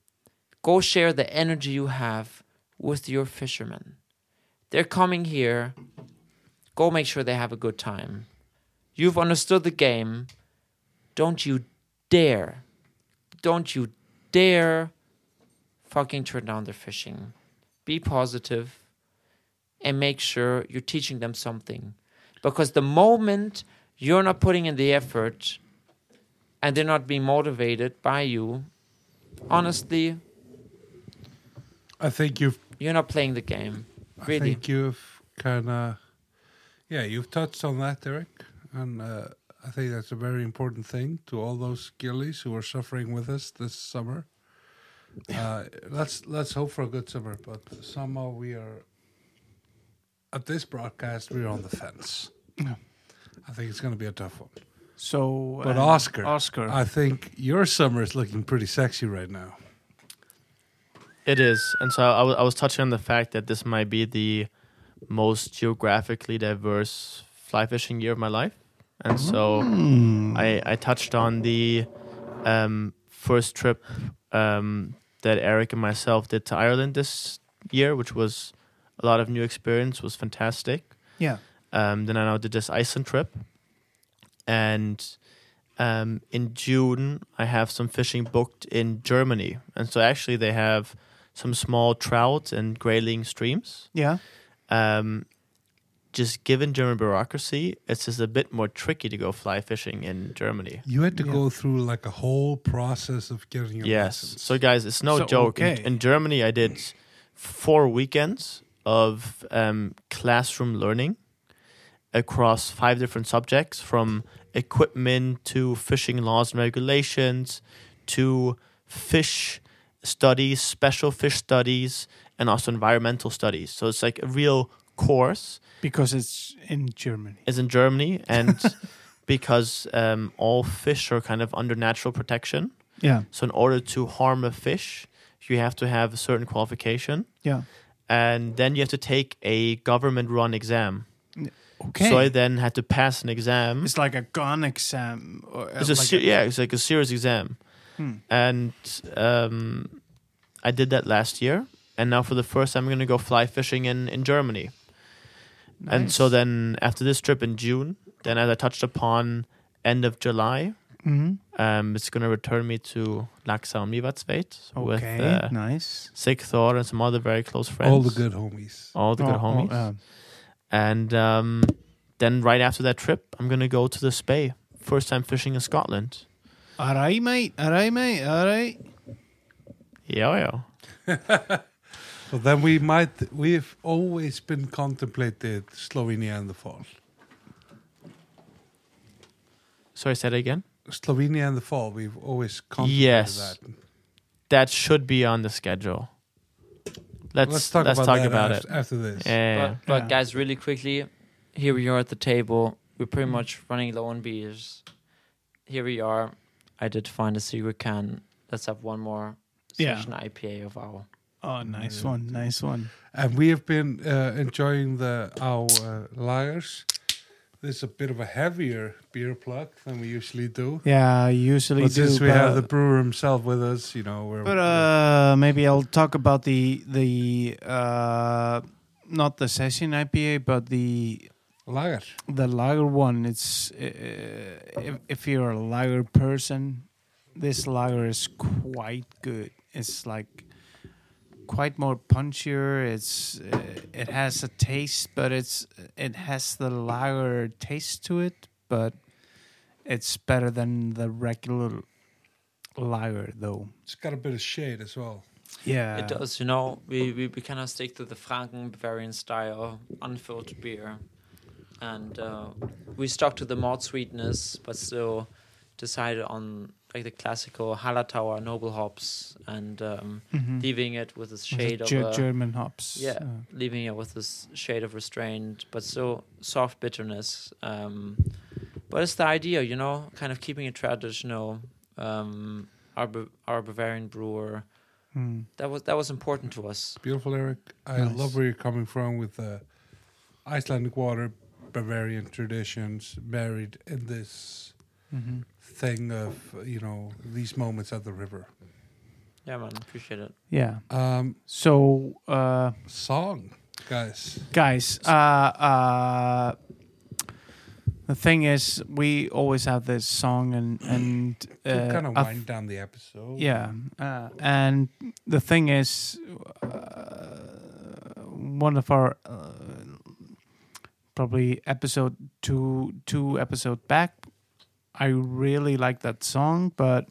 Go share the energy you have with your fishermen. They're coming here. Go make sure they have a good time. You've understood the game. Don't you dare, don't you dare fucking turn down their fishing. Be positive and make sure you're teaching them something. Because the moment you're not putting in the effort and they're not being motivated by you, honestly,
I think you've
you're not playing the game.
I
Really.
think you've kind of, yeah, you've touched on that, Eric, and uh, I think that's a very important thing to all those gillies who are suffering with us this summer. Uh, let's let's hope for a good summer, but somehow we are. At this broadcast, we're on the fence.
Yeah.
I think it's going to be a tough one.
So,
But
uh,
Oscar,
Oscar,
I think your summer is looking pretty sexy right now.
It is, and so I wa- I was touching on the fact that this might be the most geographically diverse fly fishing year of my life, and
Mm-hmm.
so
Hmm.
I I touched on the um, first trip um, that Eric and myself did to Ireland this year, which was a lot of new experience, was fantastic.
yeah,
Um, then I now did this Iceland trip, and um, in June I have some fishing booked in Germany, and so actually they have some small trout and grayling streams.
yeah,
Um, just given German bureaucracy, it's just a bit more tricky to go fly fishing in Germany.
You had to
Yeah.
go through like a whole process of getting your
yes.
license.
So guys, it's no
So,
joke. In,
okay.
in Germany, I did four weekends of um, classroom learning across five different subjects, from equipment to fishing laws and regulations to fish studies, special fish studies, and also environmental studies. So it's like a real course
because it's in Germany.
is in Germany,
[LAUGHS]
and because um, all fish are kind of under natural protection.
Yeah,
So in order to harm a fish, you have to have a certain qualification,
yeah.
and then you have to take a government-run exam.
Okay,
So I then had to pass an exam.
it's like a gun exam. Or, uh,
It's a
like
ser- yeah, it's like a serious exam,
Hmm.
and um, I did that last year, and now for the first time I'm going to go fly fishing in in Germany. And so then after this trip in June, then as I touched upon, end of July,
hmm
um, it's going to return me to Laxa and Mivatsveit with
Okay,
uh,
nice.
Sig Thor and some other very close friends.
all the good homies.
All the good
Oh, oh,
homies.
uh,
And um, then right after that trip, I'm going to go to the Spey. First time fishing in Scotland.
all right, mate. All right, mate. All right.
Yeah, yeah.
So then we might, we've always been contemplated Slovenia in the fall.
Sorry, say that again.
Slovenia in the fall, we've always contemplated
Yes.
that.
That should be on the schedule. Let's, let's talk about,
that
it.
af- after this.
Yeah.
But, but
Yeah.
guys, really quickly, here we are at the table. We're pretty much running low on beers. Here we are. I did find a secret can. Let's have one more
Yeah.
session IPA of our.
Oh, nice one. Nice one.
And we have been uh, enjoying the our uh, lagers. This is a bit of a heavier beer plug than we usually do.
Yeah, I usually
But
do.
since we
but,
have the brewer himself with us, you know, we're.
but uh, maybe I'll talk about the the uh, not the session IPA, but the
lager.
the lager one it's uh, if, if you're a lager person this lager is quite good it's like quite more punchier. It's uh, it has a taste, but it's it has the lager taste to it, but it's better than the regular lager, though.
It's got a bit of shade as well.
Yeah,
it does, you know. We, we, we kind of stick to the Franken Bavarian style, unfiltered beer. And uh, we stuck to the malt sweetness, but still decided on like the classical Hallertauer noble hops and um,
Mhm.
leaving it with this
With the
shade of
Ger-
a-
German hops.
Yeah.
uh,
leaving it with this shade of restraint, but still soft bitterness. Um, but it's the idea, you know, kind of keeping it traditional. Um, our, Ba- our Bavarian brewer
mm.
that was that was important to us.
Beautiful, Eric. I
Nice.
love where you're coming from with the Icelandic water, Bavarian traditions married in this
Mhm.
thing of, you know, these moments at the river.
Yeah, man, appreciate it.
Yeah.
Um,
So, uh,
song, guys.
guys, uh, uh, the thing is, we always have this song, and and uh,
kind of
I
wind down the episode.
Yeah, uh, and the thing is, uh, one of our uh, probably episode two, two episode back, I really like that song, but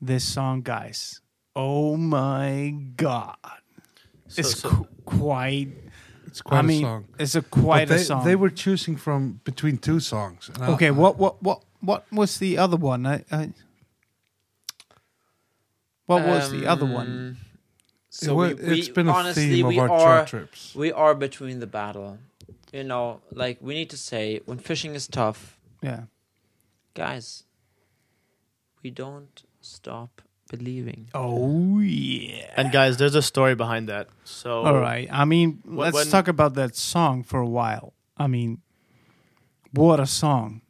this song, guys, oh my god,
So-
it's
so-
qu- quite.
It's quite
I mean,
a song.
it's a
But
quite
they,
a song.
They were choosing from between two songs. and I-
okay.
I-
what what what what was the other one? I, I, what was the other one?
Um,
It
So
wa-
we, we,
it's been a
honestly,
theme of
we
our
are,
chart trips.
We are between the battle. You know, like we need to say when fishing is tough,
Yeah.
guys, we don't stop believing.
Oh yeah.
And guys, there's a story behind that. So
All right. I mean,
Wh-
let's
when-
talk about that song for a while. I mean, what a song.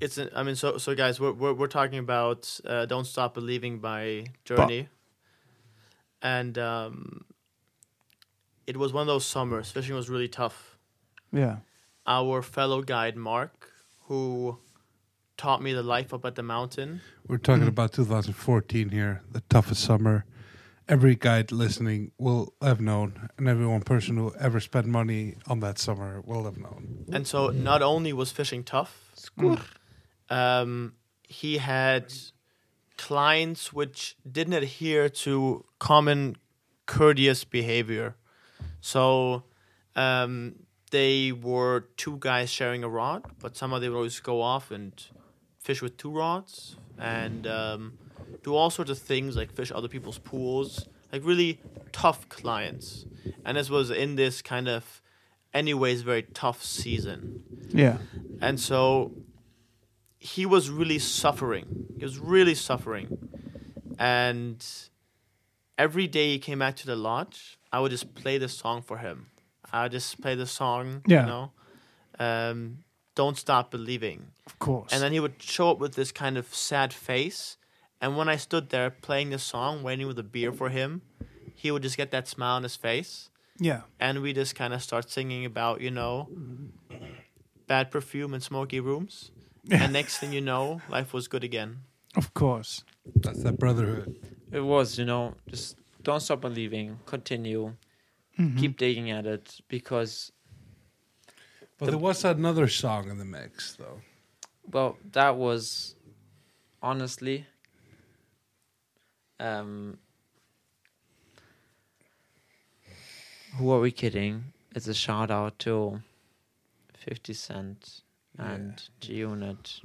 it's an, I mean so so guys we're we're, we're talking about uh, don't stop believing by Journey, and um, it was one of those summers. Fishing was really tough.
Yeah.
Our fellow guide Mark, who taught me the life up at the mountain,
We're talking about 2014 here, the toughest summer. Every guide listening will have known, and every one person who ever spent money on that summer will have known.
and so not only was fishing tough, um, he had clients which didn't adhere to common courteous behavior. So um, they were two guys sharing a rod, but somehow they would always go off and fish with two rods and um, do all sorts of things like fish other people's pools, like really tough clients. And this was in this kind of, anyways, very tough season.
Yeah.
And so he was really suffering. He was really suffering. And every day he came back to the lodge, I would just play the song for him. I would just play the song,
Yeah.
you know, um, Don't Stop Believing.
Of course.
And then he would show up with this kind of sad face. And when I stood there playing the song, waiting with a beer for him, he would just get that smile on his face
yeah.
and we just kind of start singing about you know bad perfume and smoky [LAUGHS] rooms and next thing you know life was good again
Of course.
That's that brotherhood.
It was, you know, just don't stop believing. Continue,
Mhm.
keep digging at it because
But there was another song in the mix, though.
Well, that was honestly um who are we kidding? It's a shout out to 50 Cent and G Unit.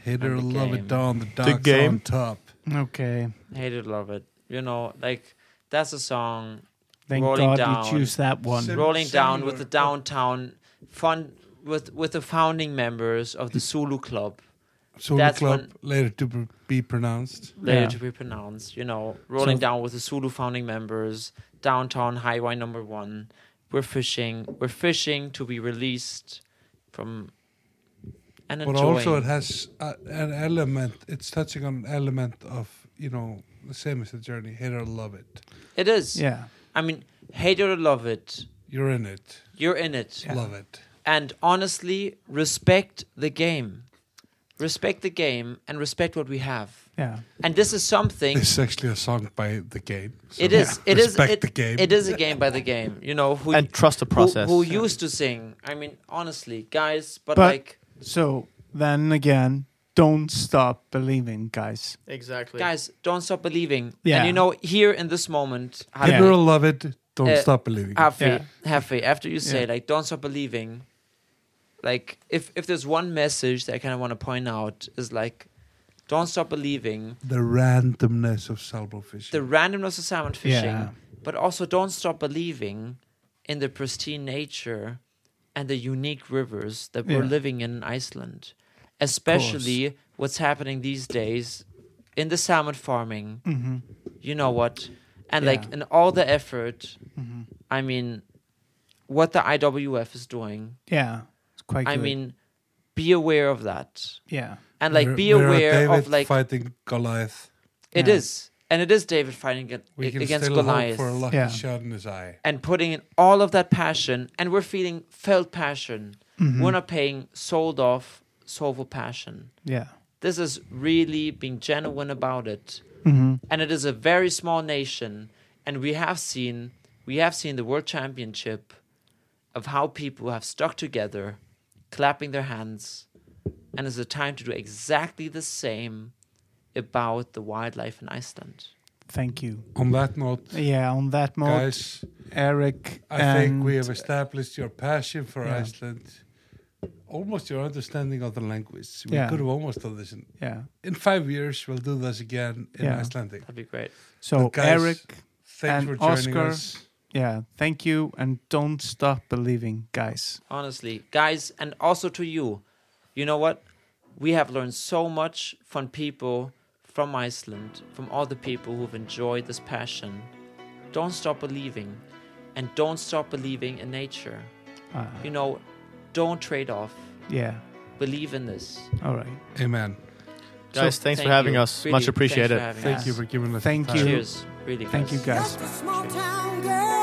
Hit
And
or
the
love
game.
it down, the dog's
game.
on top.
Okay.
Hate it, love it. You know, like that's a song
Thank
Rolling
God
Down.
you choose that one.
Sim-
rolling down with the
similar, but-
downtown fun with with the founding members of the Zulu Club.
Solo
That's
club
when-
later to pr- be pronounced.
later
Yeah.
to be pronounced. You know, rolling
So-
down with the Sulu founding members, downtown highway number one. We're fishing. We're fishing to be released from and
But
enjoying.
also, it has a, an element. It's touching on an element of you know the same as the journey. Hit or love it.
it is.
yeah.
I mean, hate it or love it,
You're in it.
you're in it.
Love it.
And honestly, respect the game. respect the game and respect what we have.
Yeah.
And this is something
It's actually a song by the game. so
it is. It is.
respect
It,
the game.
it is a game by the game. You know who
and trust the
who-
process.
Who, used to sing? I mean, honestly, guys. But,
But-
like,
So then again, don't stop believing, guys.
exactly.
guys, don't stop believing.
Yeah.
And you know, here in this moment, Happy,
People will love it. Don't
Uh,
stop believing.
Happy,
Yeah.
Happy, after you say
Yeah.
like, don't stop believing. Like, if if there's one message that I kind of want to point out is like, don't stop believing.
the randomness of salmon fishing.
The randomness of salmon fishing,
Yeah.
but also don't stop believing in the pristine nature and the unique rivers that we're
Yeah.
living in in Iceland, especially what's happening these days in the salmon farming.
Mm-hmm.
Mhm.
You know what? And like
Yeah.
in all the effort,
Mm-hmm.
Mhm.
I mean, what the IWF is doing.
Yeah. It's quite
I
good.
mean, be aware of that.
yeah.
And like,
We're-
be
we're
aware
David
of like,
fighting Goliath.
it
Yeah.
is. And it is David fighting ag-
We can
against
still
Goliath.
hope for a lucky
Yeah.
shot in his eye.
and putting in all of that passion and we're feeling felt passion we're not paying sold off soulful passion
Yeah.
this is really being genuine about it
hmm
and it is a very small nation and we have seen we have seen the world championship of how people have stuck together clapping their hands and it's a time to do exactly the same about the wildlife in iceland
Thank
[LAUGHS]
you.
On that note,
Yeah. On that note,
guys,
Eric.
I think we
and-
have established your passion for
Yeah.
Iceland, almost your understanding of the language. We
Yeah.
could have almost done this in,
Yeah.
in five years. We'll do this again in
Yeah.
Icelandic.
that'd be great
So
But guys,
Eric.
Thanks
And
for joining
Oscar.
us.
Yeah. Thank you, and don't stop believing, guys.
honestly guys and also to you you know what we have learned so much from people from iceland from all the people who've enjoyed this passion don't stop believing and don't stop believing in nature
Uh-huh.
Uh,
you know don't trade off
yeah.
believe in this
All right.
Amen.
Guys, thanks
So, thank
for having
you.
us.
Really,
Much
thanks
appreciated.
for having
Thank
us.
you for giving us
Thank
the time.
you.
cheers really
Thank you,
guys.
guys.
Just a small town girl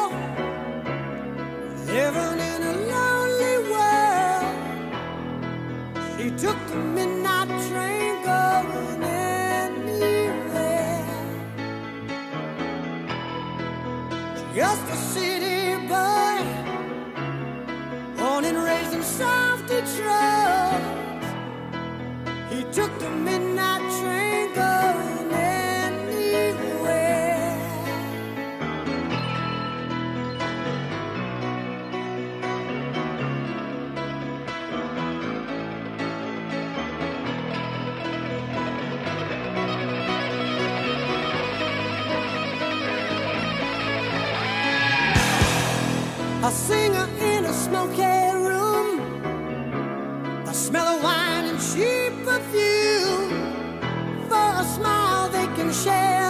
living in a lonely world. She took the midnight train going anywhere. Just a city boy, born and raised in South Detroit. He took the midnight train going anywhere. A singer in a smoky room. The smell of wine and cheap perfume. For a smile they can share